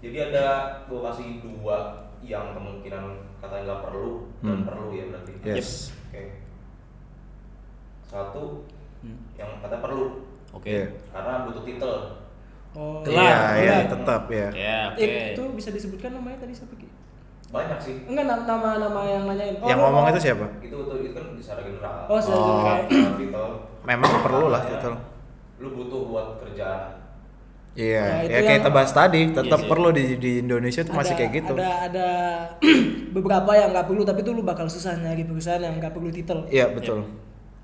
Speaker 2: Jadi ada gue kasih dua yang kemungkinan katanya nggak perlu dan
Speaker 3: Hmm.
Speaker 2: perlu ya berarti.
Speaker 3: yes
Speaker 2: Oke. Satu yang kata perlu
Speaker 3: Iya.
Speaker 5: Oke.
Speaker 2: karena butuh titel.
Speaker 4: Oh. Eh,
Speaker 5: Kelar,
Speaker 3: iya iya
Speaker 5: kelar.
Speaker 3: tetap ya
Speaker 5: Ya, oke.
Speaker 4: Itu bisa disebutkan namanya tadi siapa Ki?
Speaker 2: Banyak sih.
Speaker 4: Enggak na- nama nama yang nanyain.
Speaker 3: yang ngomong itu siapa
Speaker 2: Itu itu, itu kan secara general.
Speaker 4: Oh, secara
Speaker 3: Oh.
Speaker 4: general.
Speaker 2: Nah, titel.
Speaker 3: memang perlu lah
Speaker 2: Ya.
Speaker 3: titel
Speaker 2: Lu butuh buat kerjaan.
Speaker 3: Iya,
Speaker 4: Nah,
Speaker 3: ya kayak
Speaker 4: itu yang- Iya
Speaker 3: kita bahas tadi, tetap
Speaker 5: sih.
Speaker 3: perlu di di Indonesia tuh masih
Speaker 4: Ada-
Speaker 3: kayak gitu.
Speaker 4: Ada ada beberapa yang nggak perlu tapi tuh lu bakal susah nyari perusahaan yang nggak perlu titel.
Speaker 3: Iya, betul.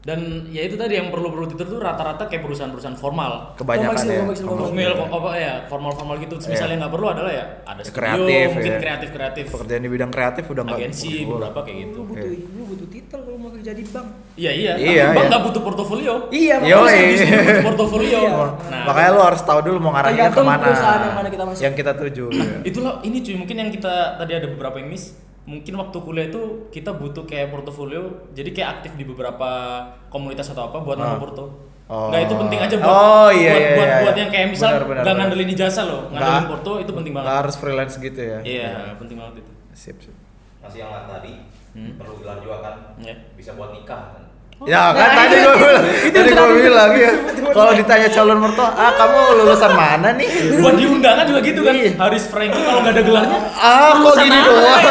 Speaker 5: Dan ya itu tadi yang perlu-perlu titel tuh rata-rata kayak perusahaan-perusahaan formal.
Speaker 3: Kebanyakan
Speaker 4: Komersil,
Speaker 3: ya.
Speaker 4: komersil,
Speaker 3: komersil.
Speaker 5: Formal kok apa ya formal-formal gitu. Misalnya nggak perlu adalah ya ada
Speaker 3: Ya, Iya.
Speaker 5: studio,
Speaker 3: kreatif,
Speaker 5: mungkin
Speaker 3: ya.
Speaker 5: kreatif-kreatif.
Speaker 3: Pekerjaan di bidang kreatif udah nggak
Speaker 5: Agensi
Speaker 3: boleh.
Speaker 5: beberapa kayak gitu.
Speaker 4: Lu butuh lu butuh titel kalau mau kerja di bank.
Speaker 5: Iya iya.
Speaker 3: Iya,
Speaker 5: Tapi bang
Speaker 3: iya.
Speaker 5: nggak butuh portofolio.
Speaker 4: Iya,
Speaker 3: Yoi.
Speaker 5: Terus habis itu butuh portofolio.
Speaker 4: Iya.
Speaker 5: Nah,
Speaker 3: Makanya lu harus tahu dulu mau ngarahinnya
Speaker 4: Tergantung
Speaker 3: kemana.
Speaker 4: perusahaan yang mana kita masuk.
Speaker 3: Yang kita tuju. ya.
Speaker 5: itulah ini cuy mungkin yang kita tadi ada beberapa yang miss mungkin waktu kuliah itu kita butuh kayak portofolio jadi kayak aktif di beberapa komunitas atau apa buat nama porto
Speaker 3: Oh.
Speaker 5: Nggak itu penting aja buat
Speaker 3: Oh, iya,
Speaker 5: buat,
Speaker 3: iya,
Speaker 5: buat,
Speaker 3: iya,
Speaker 5: buat
Speaker 3: iya.
Speaker 5: yang kayak misal
Speaker 3: Benar, benar,
Speaker 5: nggak
Speaker 3: benar.
Speaker 5: ngandelin ijazah loh ngandelin
Speaker 3: Nggak.
Speaker 5: porto itu penting
Speaker 3: Nggak
Speaker 5: banget
Speaker 3: harus freelance gitu ya.
Speaker 5: iya penting banget itu
Speaker 3: Sip, sip.
Speaker 2: Masih yang tadi
Speaker 3: Hmm.
Speaker 2: perlu gelar juga kan.
Speaker 5: Iya.
Speaker 2: Bisa buat nikah kan.
Speaker 4: Nah,
Speaker 3: Ya kan tadi gua bilang, tadi gua bilang ya. Kalau ditanya calon mertua, "Ah, kamu lulusan mana nih?"
Speaker 5: buat di undangan juga gitu kan
Speaker 3: Iya.
Speaker 5: Haris Franky kalau nggak ada gelarnya
Speaker 3: Ah, kok gini
Speaker 4: ya?
Speaker 3: doang?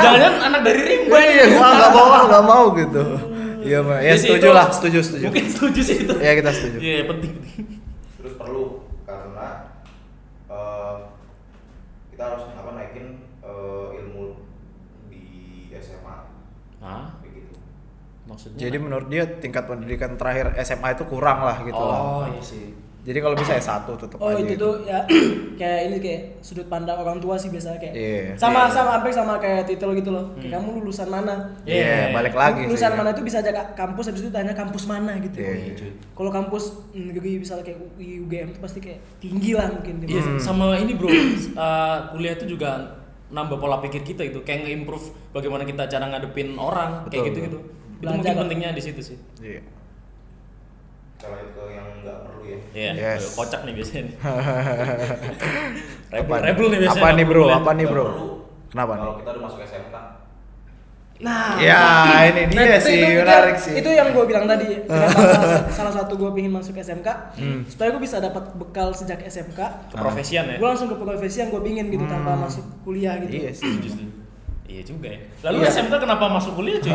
Speaker 5: jangan anak dari rimba
Speaker 3: Iya, gua nggak mau, ah, nggak mau gitu. Iya, Ma. ya
Speaker 5: Jadi
Speaker 3: setuju
Speaker 5: itu-
Speaker 3: lah, setuju, setuju.
Speaker 5: mungkin setuju sih itu
Speaker 3: Ya kita setuju.
Speaker 5: iya penting penting
Speaker 2: Terus perlu karena eh, kita harus apa naikin eh, ilmu di SMA
Speaker 5: ah
Speaker 2: begitu.
Speaker 5: maksudnya
Speaker 3: Jadi menurut dia tingkat pendidikan terakhir SMA itu kurang lah gitu lah.
Speaker 5: oh iya sih
Speaker 3: Jadi kalau bisa S1 tetap
Speaker 4: Oh
Speaker 3: aja. gitu.
Speaker 4: itu tuh ya kayak ini kayak sudut pandang orang tua sih biasanya kayak
Speaker 3: Iya.
Speaker 4: sama sama hampir sama kayak titel gitu loh. Kayak kamu lulusan mana?
Speaker 3: Iya, balik lagi sih.
Speaker 4: lulusan mana itu bisa aja Kak, kampus habis itu tanya kampus mana gitu.
Speaker 3: Iya, iya.
Speaker 4: Kalau kampus negeri misalnya kayak UI, UGM itu pasti kayak tinggi lah mungkin.
Speaker 5: Iya,
Speaker 3: Hmm.
Speaker 5: sama ini bro, eh, kuliah itu juga nambah pola pikir kita gitu, kayak nge-improve bagaimana kita cara ngadepin orang, kayak
Speaker 3: Betul,
Speaker 5: gitu-gitu. Itu
Speaker 4: Belajar
Speaker 5: mungkin
Speaker 4: lah.
Speaker 5: pentingnya di situ sih.
Speaker 3: Iya.
Speaker 2: Kalau itu yang nggak perlu ya.
Speaker 5: Iya,
Speaker 3: Yes.
Speaker 5: aduh, kocak nih biasanya. nih. rebel, rebel nih biasanya.
Speaker 3: Apa nih bro?
Speaker 5: kuliah.
Speaker 3: Apa nih
Speaker 2: Nggak
Speaker 3: bro?
Speaker 2: perlu.
Speaker 3: Kenapa nih?
Speaker 2: Kalau kita udah masuk SMK,
Speaker 4: Nah,
Speaker 3: Ya ini
Speaker 4: Nah,
Speaker 3: dia sih
Speaker 4: itu,
Speaker 3: menarik
Speaker 4: itu-
Speaker 3: sih.
Speaker 4: Itu yang gue bilang tadi. kenapa salah, salah satu gue pengen masuk SMK
Speaker 3: Hmm.
Speaker 4: supaya gue bisa dapat bekal sejak SMK.
Speaker 5: Keprofesian ya.
Speaker 4: Gue langsung ke profesi yang gue pingin gitu tanpa masuk kuliah
Speaker 3: Hmm.
Speaker 4: gitu.
Speaker 3: Iya sih.
Speaker 5: Justru. Iya juga ya. Lalu
Speaker 3: Iya.
Speaker 5: SMK kenapa masuk kuliah cuy?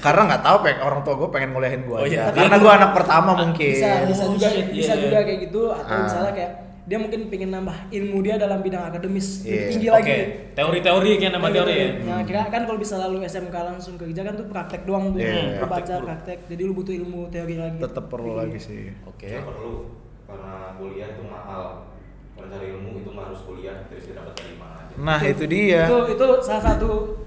Speaker 3: Karena nggak tahu pengen orang tua gue pengen nguliahin gue.
Speaker 5: Oh, iya.
Speaker 3: Karena gue anak pertama mungkin.
Speaker 4: Bisa, bisa
Speaker 5: Oh,
Speaker 4: juga,
Speaker 5: shit,
Speaker 4: bisa
Speaker 5: iya,
Speaker 4: juga
Speaker 5: iya.
Speaker 4: kayak gitu atau
Speaker 3: Ah.
Speaker 4: misalnya kayak dia mungkin pengen nambah ilmu dia dalam bidang akademis lebih
Speaker 3: Iya. Hmm.
Speaker 4: tinggi
Speaker 5: Oke,
Speaker 4: lagi.
Speaker 5: teori-teori kayak nama
Speaker 4: Nah,
Speaker 5: teori
Speaker 4: gitu.
Speaker 5: ya.
Speaker 4: Nah, kira kan kalau bisa lalu SMK langsung kerja kan tuh praktek doang tuh.
Speaker 3: Iya.
Speaker 4: Lu baca
Speaker 5: Hmm, Praktek.
Speaker 4: praktek. Jadi lu butuh ilmu teori lagi.
Speaker 3: Tetap
Speaker 4: Iya.
Speaker 3: perlu lagi sih.
Speaker 5: Oke.
Speaker 2: nggak perlu karena kuliah itu mahal. Kalau cari ilmu itu nggak harus kuliah, terus dapat dari mana aja.
Speaker 3: Nah itu dia.
Speaker 4: Itu itu salah satu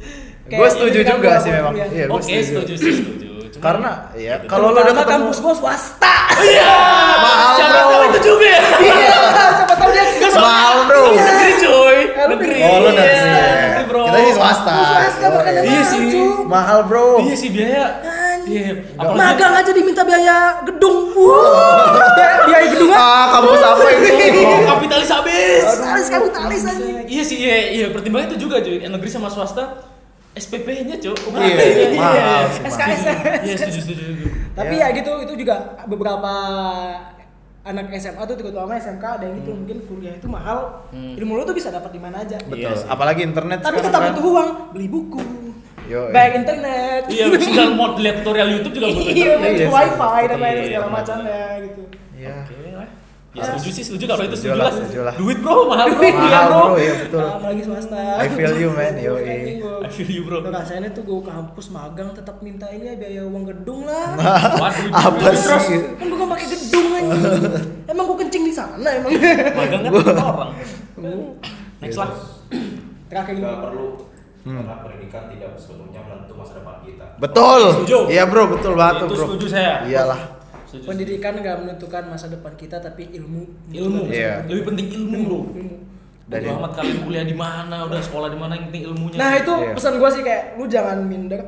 Speaker 4: kayak
Speaker 3: Gue setuju
Speaker 4: pendidikan
Speaker 3: juga
Speaker 4: gua
Speaker 3: sih
Speaker 4: buat
Speaker 3: memang.
Speaker 4: kuliah.
Speaker 3: Iya, gua
Speaker 5: Oke, setuju sih, setuju. Cuman-
Speaker 3: Karena ya
Speaker 5: Gitu.
Speaker 3: kalau lo udah
Speaker 4: Karena
Speaker 3: ketemu
Speaker 4: kampus gue swasta.
Speaker 5: Iya.
Speaker 3: Mahal,
Speaker 5: Siapa
Speaker 3: bro.
Speaker 5: tahu itu juga ya.
Speaker 4: Iya, siapa tahu dia enggak
Speaker 3: mahal bro.
Speaker 5: Negeri cuy,
Speaker 4: lu
Speaker 5: negeri.
Speaker 3: Oh lo dari
Speaker 5: Iya,
Speaker 3: sini.
Speaker 5: negeri, bro.
Speaker 3: Kita sih swasta.
Speaker 4: swasta
Speaker 3: Oh,
Speaker 4: makanya
Speaker 3: iya.
Speaker 5: Iya
Speaker 4: mahal,
Speaker 5: sih.
Speaker 4: cu.
Speaker 3: Mahal bro.
Speaker 5: Iya sih biaya Iya, apalagi-
Speaker 4: Magang aja diminta biaya gedung. Wah, biaya gedung
Speaker 3: Ah, kampus apa ini?
Speaker 5: Oh, kapitalis habis.
Speaker 4: Kapitalis, kapitalis aja.
Speaker 5: Iya sih, iya, iya pertimbangannya itu juga cuy. Negeri sama swasta SPP-nya cuy.
Speaker 3: Iya, mahal sih, mahal.
Speaker 4: SKS.
Speaker 5: ya? Iya, setuju, setuju. setuju.
Speaker 4: Tapi
Speaker 3: Iya.
Speaker 4: ya gitu, itu juga beberapa anak SMA tuh terutama SMK ada yang gitu mungkin kuliah itu mahal. Ilmu lu tuh bisa dapat di mana aja.
Speaker 3: Hmm. Betul.
Speaker 5: Iya sih.
Speaker 3: Apalagi internet
Speaker 4: Tapi
Speaker 3: sekarang
Speaker 4: tetap
Speaker 3: kan.
Speaker 4: butuh uang, beli buku.
Speaker 3: Yo, eh.
Speaker 4: Bayar internet.
Speaker 5: Iya, sekarang mau lihat tutorial YouTube juga butuh
Speaker 4: Iya,
Speaker 5: internet.
Speaker 4: butuh
Speaker 3: sih.
Speaker 4: wifi dan lain
Speaker 5: Iya, iya,
Speaker 4: segala
Speaker 5: benar,
Speaker 4: macamnya gitu.
Speaker 3: Iya.
Speaker 5: Oke lah. Ya setuju sih, setuju kalau itu
Speaker 3: Setuju
Speaker 5: setuju
Speaker 3: lah,
Speaker 5: lah.
Speaker 3: setuju lah.
Speaker 5: Duit bro, mahal bro.
Speaker 4: Duit,
Speaker 5: Iya
Speaker 3: Mahal
Speaker 5: bro.
Speaker 3: bro, iya betul.
Speaker 4: Apalagi Oh, swasta.
Speaker 3: I feel you, man. Yo,
Speaker 4: Anjing,
Speaker 3: iya.
Speaker 4: gua-
Speaker 5: I feel you bro.
Speaker 4: Tuh rasanya tuh gue kampus magang tetap minta ini ya biaya uang gedung lah.
Speaker 3: Nah,
Speaker 5: Waduh,
Speaker 3: Apa
Speaker 5: duit, bro.
Speaker 3: sih?
Speaker 4: kan gue gak pakai gedung aja. emang gue kencing di sana emang.
Speaker 5: Magang kan tiga orang. Next
Speaker 3: Iya,
Speaker 5: lah.
Speaker 4: Terakhir ini.
Speaker 2: Gak perlu karena pendidikan tidak sepenuhnya menentu masa depan kita.
Speaker 3: Betul.
Speaker 5: Setuju.
Speaker 3: Iya, Bro, betul banget tuh,
Speaker 5: Itu
Speaker 3: Bro.
Speaker 5: setuju saya.
Speaker 3: Iyalah.
Speaker 5: Setuju.
Speaker 4: Pendidikan gak menentukan masa depan kita tapi ilmu.
Speaker 5: Ilmu.
Speaker 3: Iya.
Speaker 5: Lebih penting ilmu bro.
Speaker 4: Ilmu.
Speaker 3: Dari-
Speaker 5: Dari amat kalian kuliah di mana, udah sekolah di mana, yang penting ilmunya.
Speaker 4: Nah itu
Speaker 3: Iya.
Speaker 4: pesan gue sih kayak lu jangan minder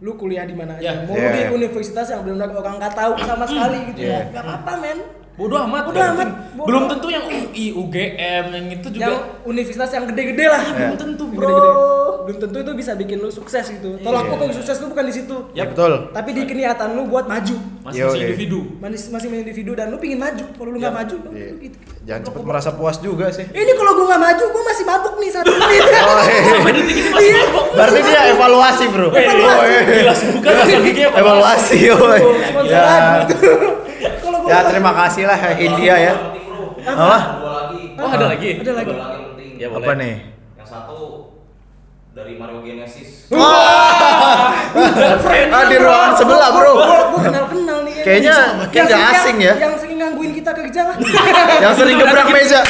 Speaker 4: lu kuliah di mana aja
Speaker 5: Iya.
Speaker 4: mau
Speaker 3: Iya,
Speaker 4: di
Speaker 3: iya.
Speaker 4: universitas yang benar-benar orang nggak tahu sama sekali
Speaker 5: Hmm.
Speaker 4: gitu
Speaker 3: Iya.
Speaker 4: ya nggak apa-apa men
Speaker 5: Bodoh amat.
Speaker 4: Bodoh amat. Bodoh.
Speaker 5: Belum tentu yang UI, UGM, yang itu juga. Iya,
Speaker 4: yang universitas yang gede-gede lah
Speaker 5: Belum tentu bro. Iya.
Speaker 4: Gede-gede. belum tentu itu bisa bikin lu sukses gitu tolak ukur sukses lu bukan di situ
Speaker 3: Ya, betul.
Speaker 4: tapi di kenyataan lu buat maju
Speaker 5: Masih
Speaker 3: Yoi.
Speaker 5: individu.
Speaker 4: Manis- masing-masing individu dan lu pingin maju kalau lu
Speaker 5: Ya.
Speaker 4: nggak maju
Speaker 3: Iya.
Speaker 4: lu gitu.
Speaker 3: Jangan cepet merasa puas juga sih. Oh,
Speaker 4: ini kalau gue nggak maju gue masih mabuk nih Iya. satu menit
Speaker 3: iya.
Speaker 5: Sampai detik Oh, ini masih mabok.
Speaker 3: Berarti dia evaluasi, Bro. Iya.
Speaker 5: Jelas bukan asal gigi apa?
Speaker 3: Evaluasi, yoi.
Speaker 4: Cuman
Speaker 3: Ya.
Speaker 4: selalu. kalau gue
Speaker 3: Ya, terima kasih lah India ya. Apa?
Speaker 2: Dua lagi.
Speaker 5: Oh ada lagi.
Speaker 4: ada lagi
Speaker 2: Dua lagi yang penting.
Speaker 5: Ya boleh.
Speaker 3: Apa nih?
Speaker 2: Yang satu dari Mario Genesis.
Speaker 3: Ah, di ruangan sebelah, Bro.
Speaker 4: gue kenal kenal nih ya.
Speaker 3: Kayaknya
Speaker 4: Yang
Speaker 3: kayaknya
Speaker 4: sering-
Speaker 3: asing ya.
Speaker 4: yang sering gangguin kita kerja lah
Speaker 3: Yang sering gebrak meja.
Speaker 5: Aduh,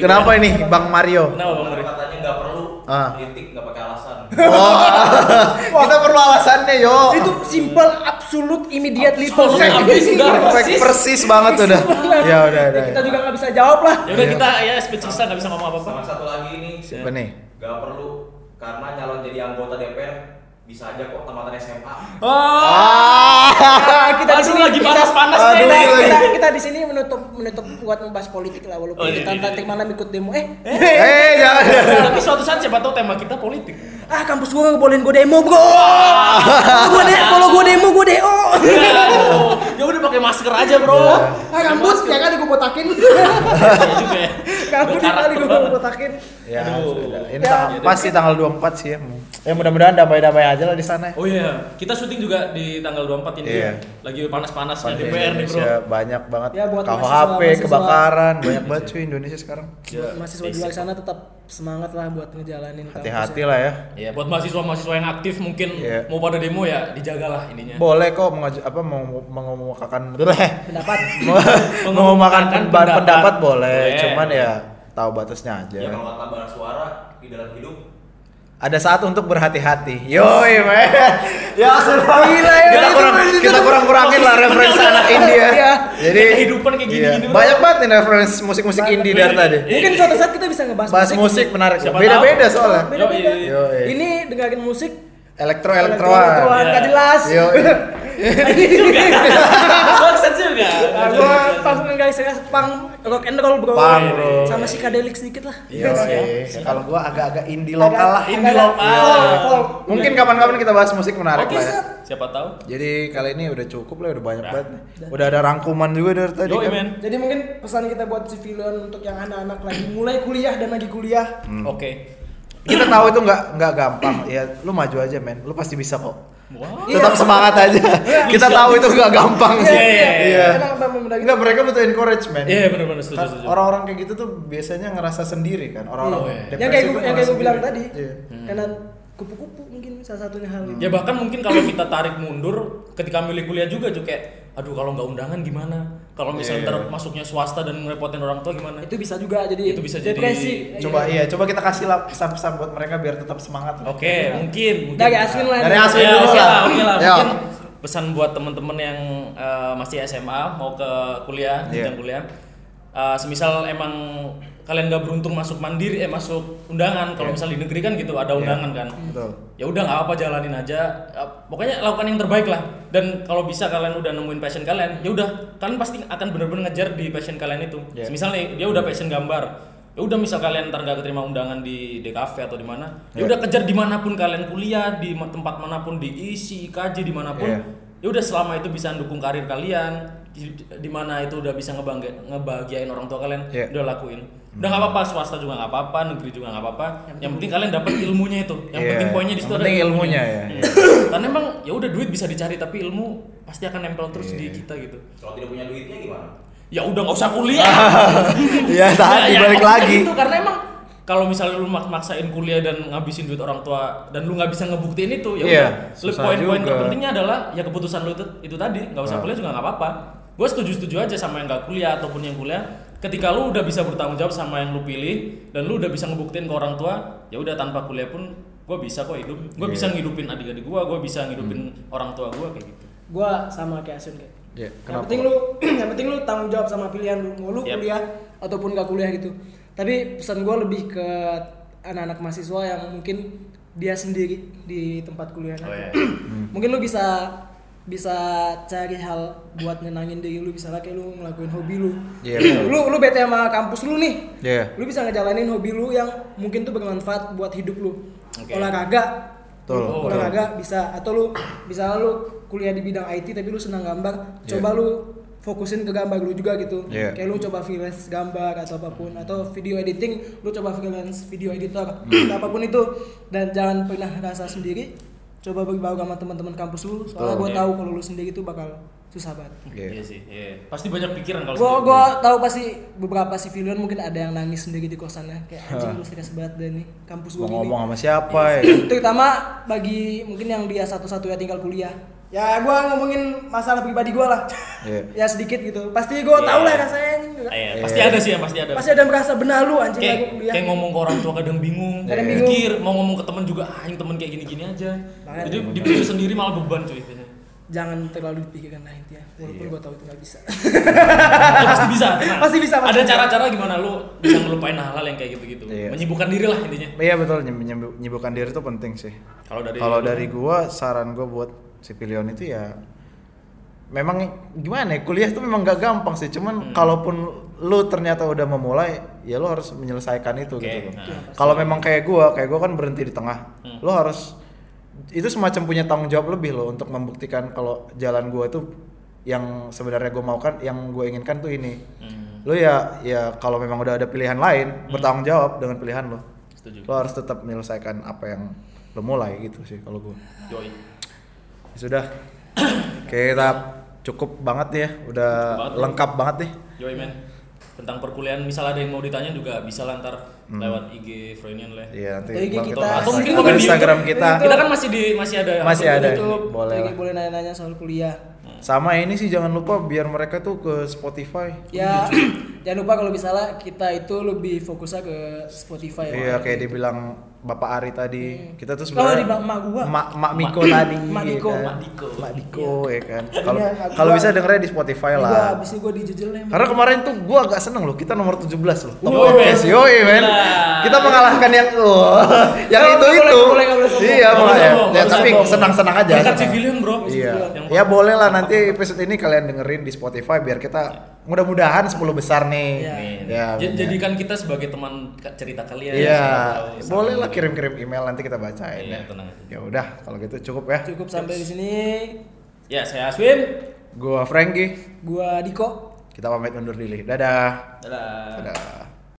Speaker 3: Iya. Kenapa ini, Bang Mario?
Speaker 5: Kenapa bang
Speaker 2: Karena
Speaker 5: Meri?
Speaker 2: katanya nggak perlu
Speaker 3: Ah.
Speaker 2: kritik nggak pakai alasan.
Speaker 3: Kita perlu alasannya, yo.
Speaker 4: itu simple absolute immediately
Speaker 5: Absolute,
Speaker 4: perfect.
Speaker 5: abis, udah,
Speaker 3: Perfect
Speaker 5: persis.
Speaker 3: persis banget udah. Ya udah udah.
Speaker 4: kita juga nggak bisa jawab lah
Speaker 5: Ya udah kita ya speechless nggak bisa ngomong apa-apa.
Speaker 2: Sama satu lagi ini
Speaker 3: Siapa nih?
Speaker 2: nggak perlu karena nyalon jadi anggota DPR bisa aja kok tamatan SMA.
Speaker 5: Ah,
Speaker 4: Nah, Oh, kita di
Speaker 5: Aduh,
Speaker 4: sini
Speaker 5: lagi panas-panas
Speaker 4: kita,
Speaker 5: nih.
Speaker 3: iya
Speaker 4: kita,
Speaker 5: Aduh,
Speaker 4: kita, kita di sini menutup menutup buat membahas politik lah walaupun
Speaker 5: Oh, iya,
Speaker 4: kita
Speaker 5: iya,
Speaker 4: nanti
Speaker 5: iya.
Speaker 4: malam ikut demo eh
Speaker 3: Eh, jangan.
Speaker 5: tapi suatu saat siapa tahu tema kita politik.
Speaker 4: ah kampus gua nggak bolehin gua demo bro Kalau gua de- kalau gua demo gua do
Speaker 5: Oh, ya udah pakai masker aja bro.
Speaker 3: Iya.
Speaker 4: ah rambut ya kan gua botakin
Speaker 5: Iya juga ya.
Speaker 4: rambut
Speaker 5: Udah
Speaker 4: kali
Speaker 5: karakter
Speaker 4: gua
Speaker 5: banget.
Speaker 4: botakin
Speaker 3: Ya,
Speaker 5: Aduh.
Speaker 3: sudah. ini tanggal, pasti tanggal 24 sih ya. Ya mudah-mudahan damai-damai aja lah di sana.
Speaker 5: Oh iya, kita syuting juga di tanggal 24 ini.
Speaker 3: Iya.
Speaker 5: ya. Lagi panas-panasnya
Speaker 3: Pandemi
Speaker 5: DPR nih bro.
Speaker 3: Indonesia banyak banget
Speaker 4: Ya, buat
Speaker 3: KUHP,
Speaker 4: mahasiswa-mahasiswa.
Speaker 3: kebakaran, banyak banget cuy Indonesia sekarang.
Speaker 5: Ya,
Speaker 4: mahasiswa di luar sana tetap semangat lah buat ngejalanin kampus
Speaker 3: Hati-hati
Speaker 4: ya.
Speaker 3: lah ya.
Speaker 5: Ya, buat mahasiswa-mahasiswa yang aktif mungkin
Speaker 3: Iya.
Speaker 5: mau pada demo ya dijagalah ininya.
Speaker 3: Boleh kok mengaj- apa mengu- mengemukakan
Speaker 4: pendapat
Speaker 3: mengumumkakan pendapat,
Speaker 5: pendapat.
Speaker 3: pendapat boleh,
Speaker 5: Boleh.
Speaker 3: cuman ya tahu batasnya aja.
Speaker 2: Ya kalau tambah suara di dalam hidup
Speaker 3: Ada saat untuk berhati-hati. Yoi, men. ya sudah gila
Speaker 4: ya,
Speaker 3: Kita
Speaker 4: itu
Speaker 3: kurang
Speaker 4: bener-bener.
Speaker 3: kita kurang-kurangin lah
Speaker 5: Posisi
Speaker 3: referensi
Speaker 5: bener-bener.
Speaker 3: anak India.
Speaker 4: Iya.
Speaker 3: ya. Jadi
Speaker 5: Kayak kehidupan kayak gini,
Speaker 3: iya.
Speaker 5: gini, bro.
Speaker 3: Banyak banget nih referensi musik-musik
Speaker 4: Banyak.
Speaker 3: indie dari tadi.
Speaker 4: mungkin suatu saat kita bisa ngebahas
Speaker 3: Bahas musik menarik.
Speaker 5: Siapa
Speaker 3: Beda-beda soalnya.
Speaker 4: beda-beda
Speaker 5: Yoi. Iya.
Speaker 3: Yoi.
Speaker 4: ini dengerin musik
Speaker 3: Elektro elektroan.
Speaker 4: gak jelas
Speaker 3: Yo,
Speaker 5: Bangsat juga.
Speaker 4: Nah, gua pas nggak serius pang rock and roll bro,
Speaker 3: Punk, bro.
Speaker 4: sama psychedelic sedikit lah ya.
Speaker 3: yo, kalau gua agak-agak indie lokal lah.
Speaker 5: Indie lokal.
Speaker 4: folk, folk.
Speaker 3: Mungkin kapan-kapan kita bahas musik menarik
Speaker 4: Oke,
Speaker 3: lah. ya.
Speaker 4: siap.
Speaker 5: Siapa tahu?
Speaker 3: Jadi kali ini udah cukup lah, udah banyak banget. nih. Udah ada rangkuman juga dari tadi
Speaker 5: Yoi,
Speaker 3: kan.
Speaker 5: men.
Speaker 4: jadi mungkin pesan kita buat civilian untuk yang anak-anak lagi mulai kuliah dan lagi kuliah
Speaker 3: Hmm.
Speaker 5: Oke.
Speaker 3: Kita tahu itu nggak nggak gampang. Ya, lu maju aja, men. Lu pasti bisa kok.
Speaker 5: Wow.
Speaker 4: Iya.
Speaker 3: Tetap semangat aja. Kita
Speaker 5: Bisa.
Speaker 3: tahu itu nggak gampang
Speaker 5: Iya,
Speaker 3: sih.
Speaker 5: iya,
Speaker 3: Iya.
Speaker 4: Enak banget membedakan.
Speaker 3: Enggak, mereka butuh encouragement.
Speaker 5: Iya benar-benar setuju
Speaker 3: Kan
Speaker 5: setuju.
Speaker 3: orang-orang kayak gitu tuh biasanya ngerasa sendiri kan. Orang-orang
Speaker 5: Iya.
Speaker 3: depresi
Speaker 4: yang kayak
Speaker 3: tuh
Speaker 4: gue yang kayak
Speaker 3: ngerasa
Speaker 4: gue bilang
Speaker 3: sendiri.
Speaker 4: tadi
Speaker 3: Iya.
Speaker 4: karena kupu-kupu mungkin salah satunya hal itu
Speaker 5: Ya bahkan mungkin kalau kita tarik mundur ketika milih kuliah juga juga kayak aduh kalau nggak undangan gimana? Kalau
Speaker 3: Iya.
Speaker 5: misalnya ntar masuknya swasta dan ngerepotin orang tua gimana?
Speaker 4: itu bisa juga jadi
Speaker 5: Itu bisa jadi-
Speaker 4: depresi
Speaker 3: Coba iya, coba kita kasih lah pesan-pesan buat mereka biar tetap semangat.
Speaker 5: Oke, mungkin, mungkin.
Speaker 4: dari Aswin lah Iya.
Speaker 3: Dari Aswin
Speaker 5: Ya,
Speaker 3: dulu
Speaker 5: oke
Speaker 3: lah.
Speaker 5: lah, oke lah.
Speaker 3: Ya.
Speaker 5: Mungkin pesan buat temen-temen yang eh, masih SMA mau ke kuliah,
Speaker 3: Iya.
Speaker 5: jenjang kuliah. Eh, semisal emang kalian gak beruntung masuk mandiri eh masuk undangan kalau misalnya di negeri kan gitu ada undangan kan
Speaker 3: Iya. Betul.
Speaker 5: ya udah nggak apa jalanin aja Eh, pokoknya lakukan yang terbaik lah dan kalau bisa kalian udah nemuin passion kalian ya udah kalian pasti akan bener-bener ngejar di passion kalian itu
Speaker 3: Yeah.
Speaker 5: misal nih dia udah passion gambar ya udah misal kalian ntar nggak keterima undangan di DKV atau di mana ya
Speaker 3: Yeah.
Speaker 5: udah kejar dimanapun kalian kuliah di ma- tempat manapun di ISI IKJ dimanapun
Speaker 3: Yeah.
Speaker 5: ya udah selama itu bisa dukung karir kalian di, di mana itu udah bisa ngebangga, ngebahagiain orang tua kalian
Speaker 3: Yeah.
Speaker 5: udah lakuin udah nggak apa-apa swasta juga nggak apa-apa negeri juga nggak apa-apa yang penting kalian dapat ilmunya itu yang
Speaker 3: Iya,
Speaker 5: penting poinnya di
Speaker 3: yang
Speaker 5: situ
Speaker 3: penting ilmunya ya.
Speaker 5: Iya. karena emang ya udah duit bisa dicari tapi ilmu pasti akan nempel terus di
Speaker 3: Iya.
Speaker 5: kita gitu
Speaker 2: Kalau tidak punya duitnya gimana?
Speaker 5: ya udah nggak usah kuliah
Speaker 3: Ya, tadi balik
Speaker 5: maksudnya
Speaker 3: lagi.
Speaker 5: itu, karena emang kalau misalnya lu mak- maksain kuliah dan ngabisin duit orang tua dan lu nggak bisa ngebuktiin itu ya
Speaker 3: Iya,
Speaker 5: udah
Speaker 3: susah juga.
Speaker 5: poin-poin
Speaker 3: Ah.
Speaker 5: terpentingnya adalah ya keputusan lu itu itu tadi nggak usah kuliah juga nggak apa-apa gue setuju-setuju aja sama yang nggak kuliah ataupun yang kuliah ketika lu udah bisa bertanggung jawab sama yang lu pilih dan lu udah bisa ngebuktiin ke orang tua ya udah tanpa kuliah pun gue bisa kok hidup
Speaker 3: Iya.
Speaker 5: gue bisa ngidupin adik-adik gue gue bisa ngidupin
Speaker 3: Hmm.
Speaker 5: orang tua gue kayak gitu
Speaker 4: gue sama kayak Asun kayak
Speaker 3: Iya,
Speaker 4: yang
Speaker 3: kenapa?
Speaker 4: penting lu yang penting lu tanggung jawab sama pilihan lu mau lu
Speaker 5: Yap.
Speaker 4: kuliah ataupun gak kuliah gitu tapi pesan gue lebih ke anak-anak mahasiswa yang mungkin dia sendiri di tempat
Speaker 3: Oh,
Speaker 4: kuliahnya
Speaker 3: iya.
Speaker 4: mungkin lu bisa bisa cari hal buat nyenangin diri lu misalnya kayak lu ngelakuin hobi lu
Speaker 3: Iya, betul.
Speaker 4: lu lu bete sama kampus lu nih
Speaker 3: Iya.
Speaker 4: lu bisa ngejalanin hobi lu yang mungkin tuh bermanfaat buat hidup lu
Speaker 5: Oke.
Speaker 4: olahraga
Speaker 3: Betul,
Speaker 4: Lu
Speaker 3: betul.
Speaker 4: olahraga bisa atau lu bisa lu kuliah di bidang IT tapi lu senang gambar coba lu fokusin ke gambar lu juga gitu
Speaker 3: Iya.
Speaker 4: kayak lu coba freelance gambar atau apapun atau video editing lu coba freelance video editor
Speaker 3: Hmm.
Speaker 4: apapun itu dan jangan pernah rasa sendiri coba berbaur sama teman-teman kampus lu soalnya
Speaker 3: Betul.
Speaker 4: gue
Speaker 5: Iya.
Speaker 4: tahu kalau lu sendiri tuh bakal susah banget
Speaker 3: Iya.
Speaker 5: iya sih iya. pasti banyak pikiran kalau
Speaker 4: Gua
Speaker 5: sendiri.
Speaker 4: gua tahu pasti beberapa civilian mungkin ada yang nangis sendiri di kosannya kayak anjing lu stres banget dan nih kampus
Speaker 3: Mau
Speaker 4: gua gini.
Speaker 3: ngomong sama siapa ya?
Speaker 4: Terutama bagi mungkin yang dia satu-satunya tinggal kuliah. Ya gua ngomongin masalah pribadi gua lah.
Speaker 3: Iya.
Speaker 4: ya sedikit gitu. Pasti gua
Speaker 5: Iya.
Speaker 4: tahu lah rasanya anjing.
Speaker 5: Iya, pasti ada sih yang pasti ada
Speaker 4: Pasti ada yang merasa benar lu anjing
Speaker 5: kayak,
Speaker 4: aku kuliah.
Speaker 5: kayak ngomong ke orang tua kadang bingung,
Speaker 4: Kadang
Speaker 5: Iya.
Speaker 4: bingung.
Speaker 5: mikir mau ngomong ke temen juga ah yang temen kayak gini-gini aja.
Speaker 4: Makanya.
Speaker 5: Jadi dipikir sendiri malah beban cuy. biasanya.
Speaker 4: Jangan terlalu dipikirkan nah intinya. Walaupun
Speaker 3: Iya.
Speaker 4: gua tahu itu nggak bisa.
Speaker 5: Lu pasti bisa, tenang.
Speaker 4: Pasti bisa, pasti
Speaker 5: Ada
Speaker 4: bisa.
Speaker 5: cara-cara gimana lu bisa ngelupain hal-hal yang kayak gitu-gitu.
Speaker 3: Iya.
Speaker 5: Menyibukkan diri lah intinya.
Speaker 3: Iya betul nyem- nyem- nyibukkan diri itu penting sih.
Speaker 5: Kalau dari
Speaker 3: Kalau dari gua saran gua buat sipilion itu ya memang gimana ya kuliah tuh memang gak gampang sih
Speaker 5: Hmm.
Speaker 3: cuman kalaupun lu ternyata udah memulai ya lu harus menyelesaikan itu
Speaker 5: Oke,
Speaker 3: gitu loh.
Speaker 5: nah. Hmm.
Speaker 3: Kalau memang kayak gua, kayak gua kan berhenti di tengah. Lu harus itu semacam punya tanggung jawab lebih loh untuk membuktikan kalau jalan gua itu yang sebenarnya gua mau kan yang gua inginkan tuh ini.
Speaker 5: Hmm,
Speaker 3: Lu ya ya kalau memang udah ada pilihan lain bertanggung jawab dengan pilihan lo.
Speaker 5: Setuju.
Speaker 3: Lu harus tetap menyelesaikan apa yang lu mulai gitu sih kalau gua.
Speaker 5: Yoi.
Speaker 3: Ya sudah. Oke, kita cukup banget ya. Udah
Speaker 5: Cukup banget,
Speaker 3: lengkap banget nih.
Speaker 5: Yoi men. Tentang perkuliahan misal ada yang mau ditanya juga bisa lantar lewat IG Freudian lah.
Speaker 3: Hmm. Iya, nanti
Speaker 4: Atau IG
Speaker 3: bakal
Speaker 4: kita.
Speaker 3: bahas
Speaker 5: Atau mungkin
Speaker 3: lagi.
Speaker 5: komen di
Speaker 3: Instagram
Speaker 5: YouTube.
Speaker 3: kita.
Speaker 5: Kita kan masih di masih ada
Speaker 3: Masih
Speaker 5: upload
Speaker 3: ada.
Speaker 5: di YouTube.
Speaker 3: Boleh
Speaker 4: Lagi
Speaker 3: lah.
Speaker 4: boleh nanya-nanya soal kuliah.
Speaker 3: Sama ini sih jangan lupa biar mereka tuh ke Spotify. Iya.
Speaker 4: Ya, jangan lupa kalau misalnya kita itu lebih fokusnya ke Spotify.
Speaker 3: Iya kayak dibilang Bapak Ari tadi. Kita tuh
Speaker 4: Iya. Kalau di
Speaker 3: sebenarnya
Speaker 4: bang emak gua.
Speaker 3: Mak Mak Miko tadi.
Speaker 4: Mak
Speaker 3: ya
Speaker 4: Diko,
Speaker 3: kan?
Speaker 5: Mak Diko.
Speaker 3: Mak Diko ya kan. Kalau
Speaker 4: Iya, aku
Speaker 3: kalau
Speaker 4: gua-
Speaker 3: bisa dengernya di Spotify
Speaker 4: Ini
Speaker 3: Iya,
Speaker 4: Gua
Speaker 3: lah.
Speaker 4: Iya, abis ini gua Iya, dijejel nih.
Speaker 3: Karena kemarin tuh gua agak seneng loh, kita nomor 17 loh. Top
Speaker 5: Yoi,
Speaker 3: podcast.
Speaker 5: men. Nah.
Speaker 3: Yoi, men.
Speaker 5: Gila.
Speaker 3: Kita mengalahkan yang oh, yang
Speaker 4: Nggak
Speaker 3: itu
Speaker 4: boleh,
Speaker 3: itu.
Speaker 4: nggak iya, boleh, nggak boleh sombong.
Speaker 3: Iya,
Speaker 5: Nggak boleh
Speaker 3: makanya.
Speaker 5: sombong,
Speaker 3: Ya,
Speaker 5: nggak
Speaker 3: tapi
Speaker 5: boleh sombong.
Speaker 3: senang-senang aja.
Speaker 5: Berkat
Speaker 3: senang.
Speaker 5: civilian, bro.
Speaker 3: Iya.
Speaker 5: Yang
Speaker 3: Ya boleh lah nanti episode ini kalian dengerin di Spotify biar kita mudah-mudahan 10 besar nih.
Speaker 4: Iya.
Speaker 3: Ya, punya.
Speaker 5: J- jadikan kita sebagai teman ka- cerita kalian.
Speaker 3: Iya,
Speaker 5: ya, Siapa tahu
Speaker 3: boleh
Speaker 5: sama-
Speaker 3: lah kirim-kirim email nanti kita bacain ya.
Speaker 5: Iya, tenang aja.
Speaker 3: Ya udah, kalau gitu cukup ya.
Speaker 4: Cukup sampai di sini.
Speaker 5: Ya, saya Aswin.
Speaker 3: Gua Frankie,
Speaker 4: Gua Diko.
Speaker 3: kita pamit undur diri. Dadah.
Speaker 5: Dadah.
Speaker 3: Dadah.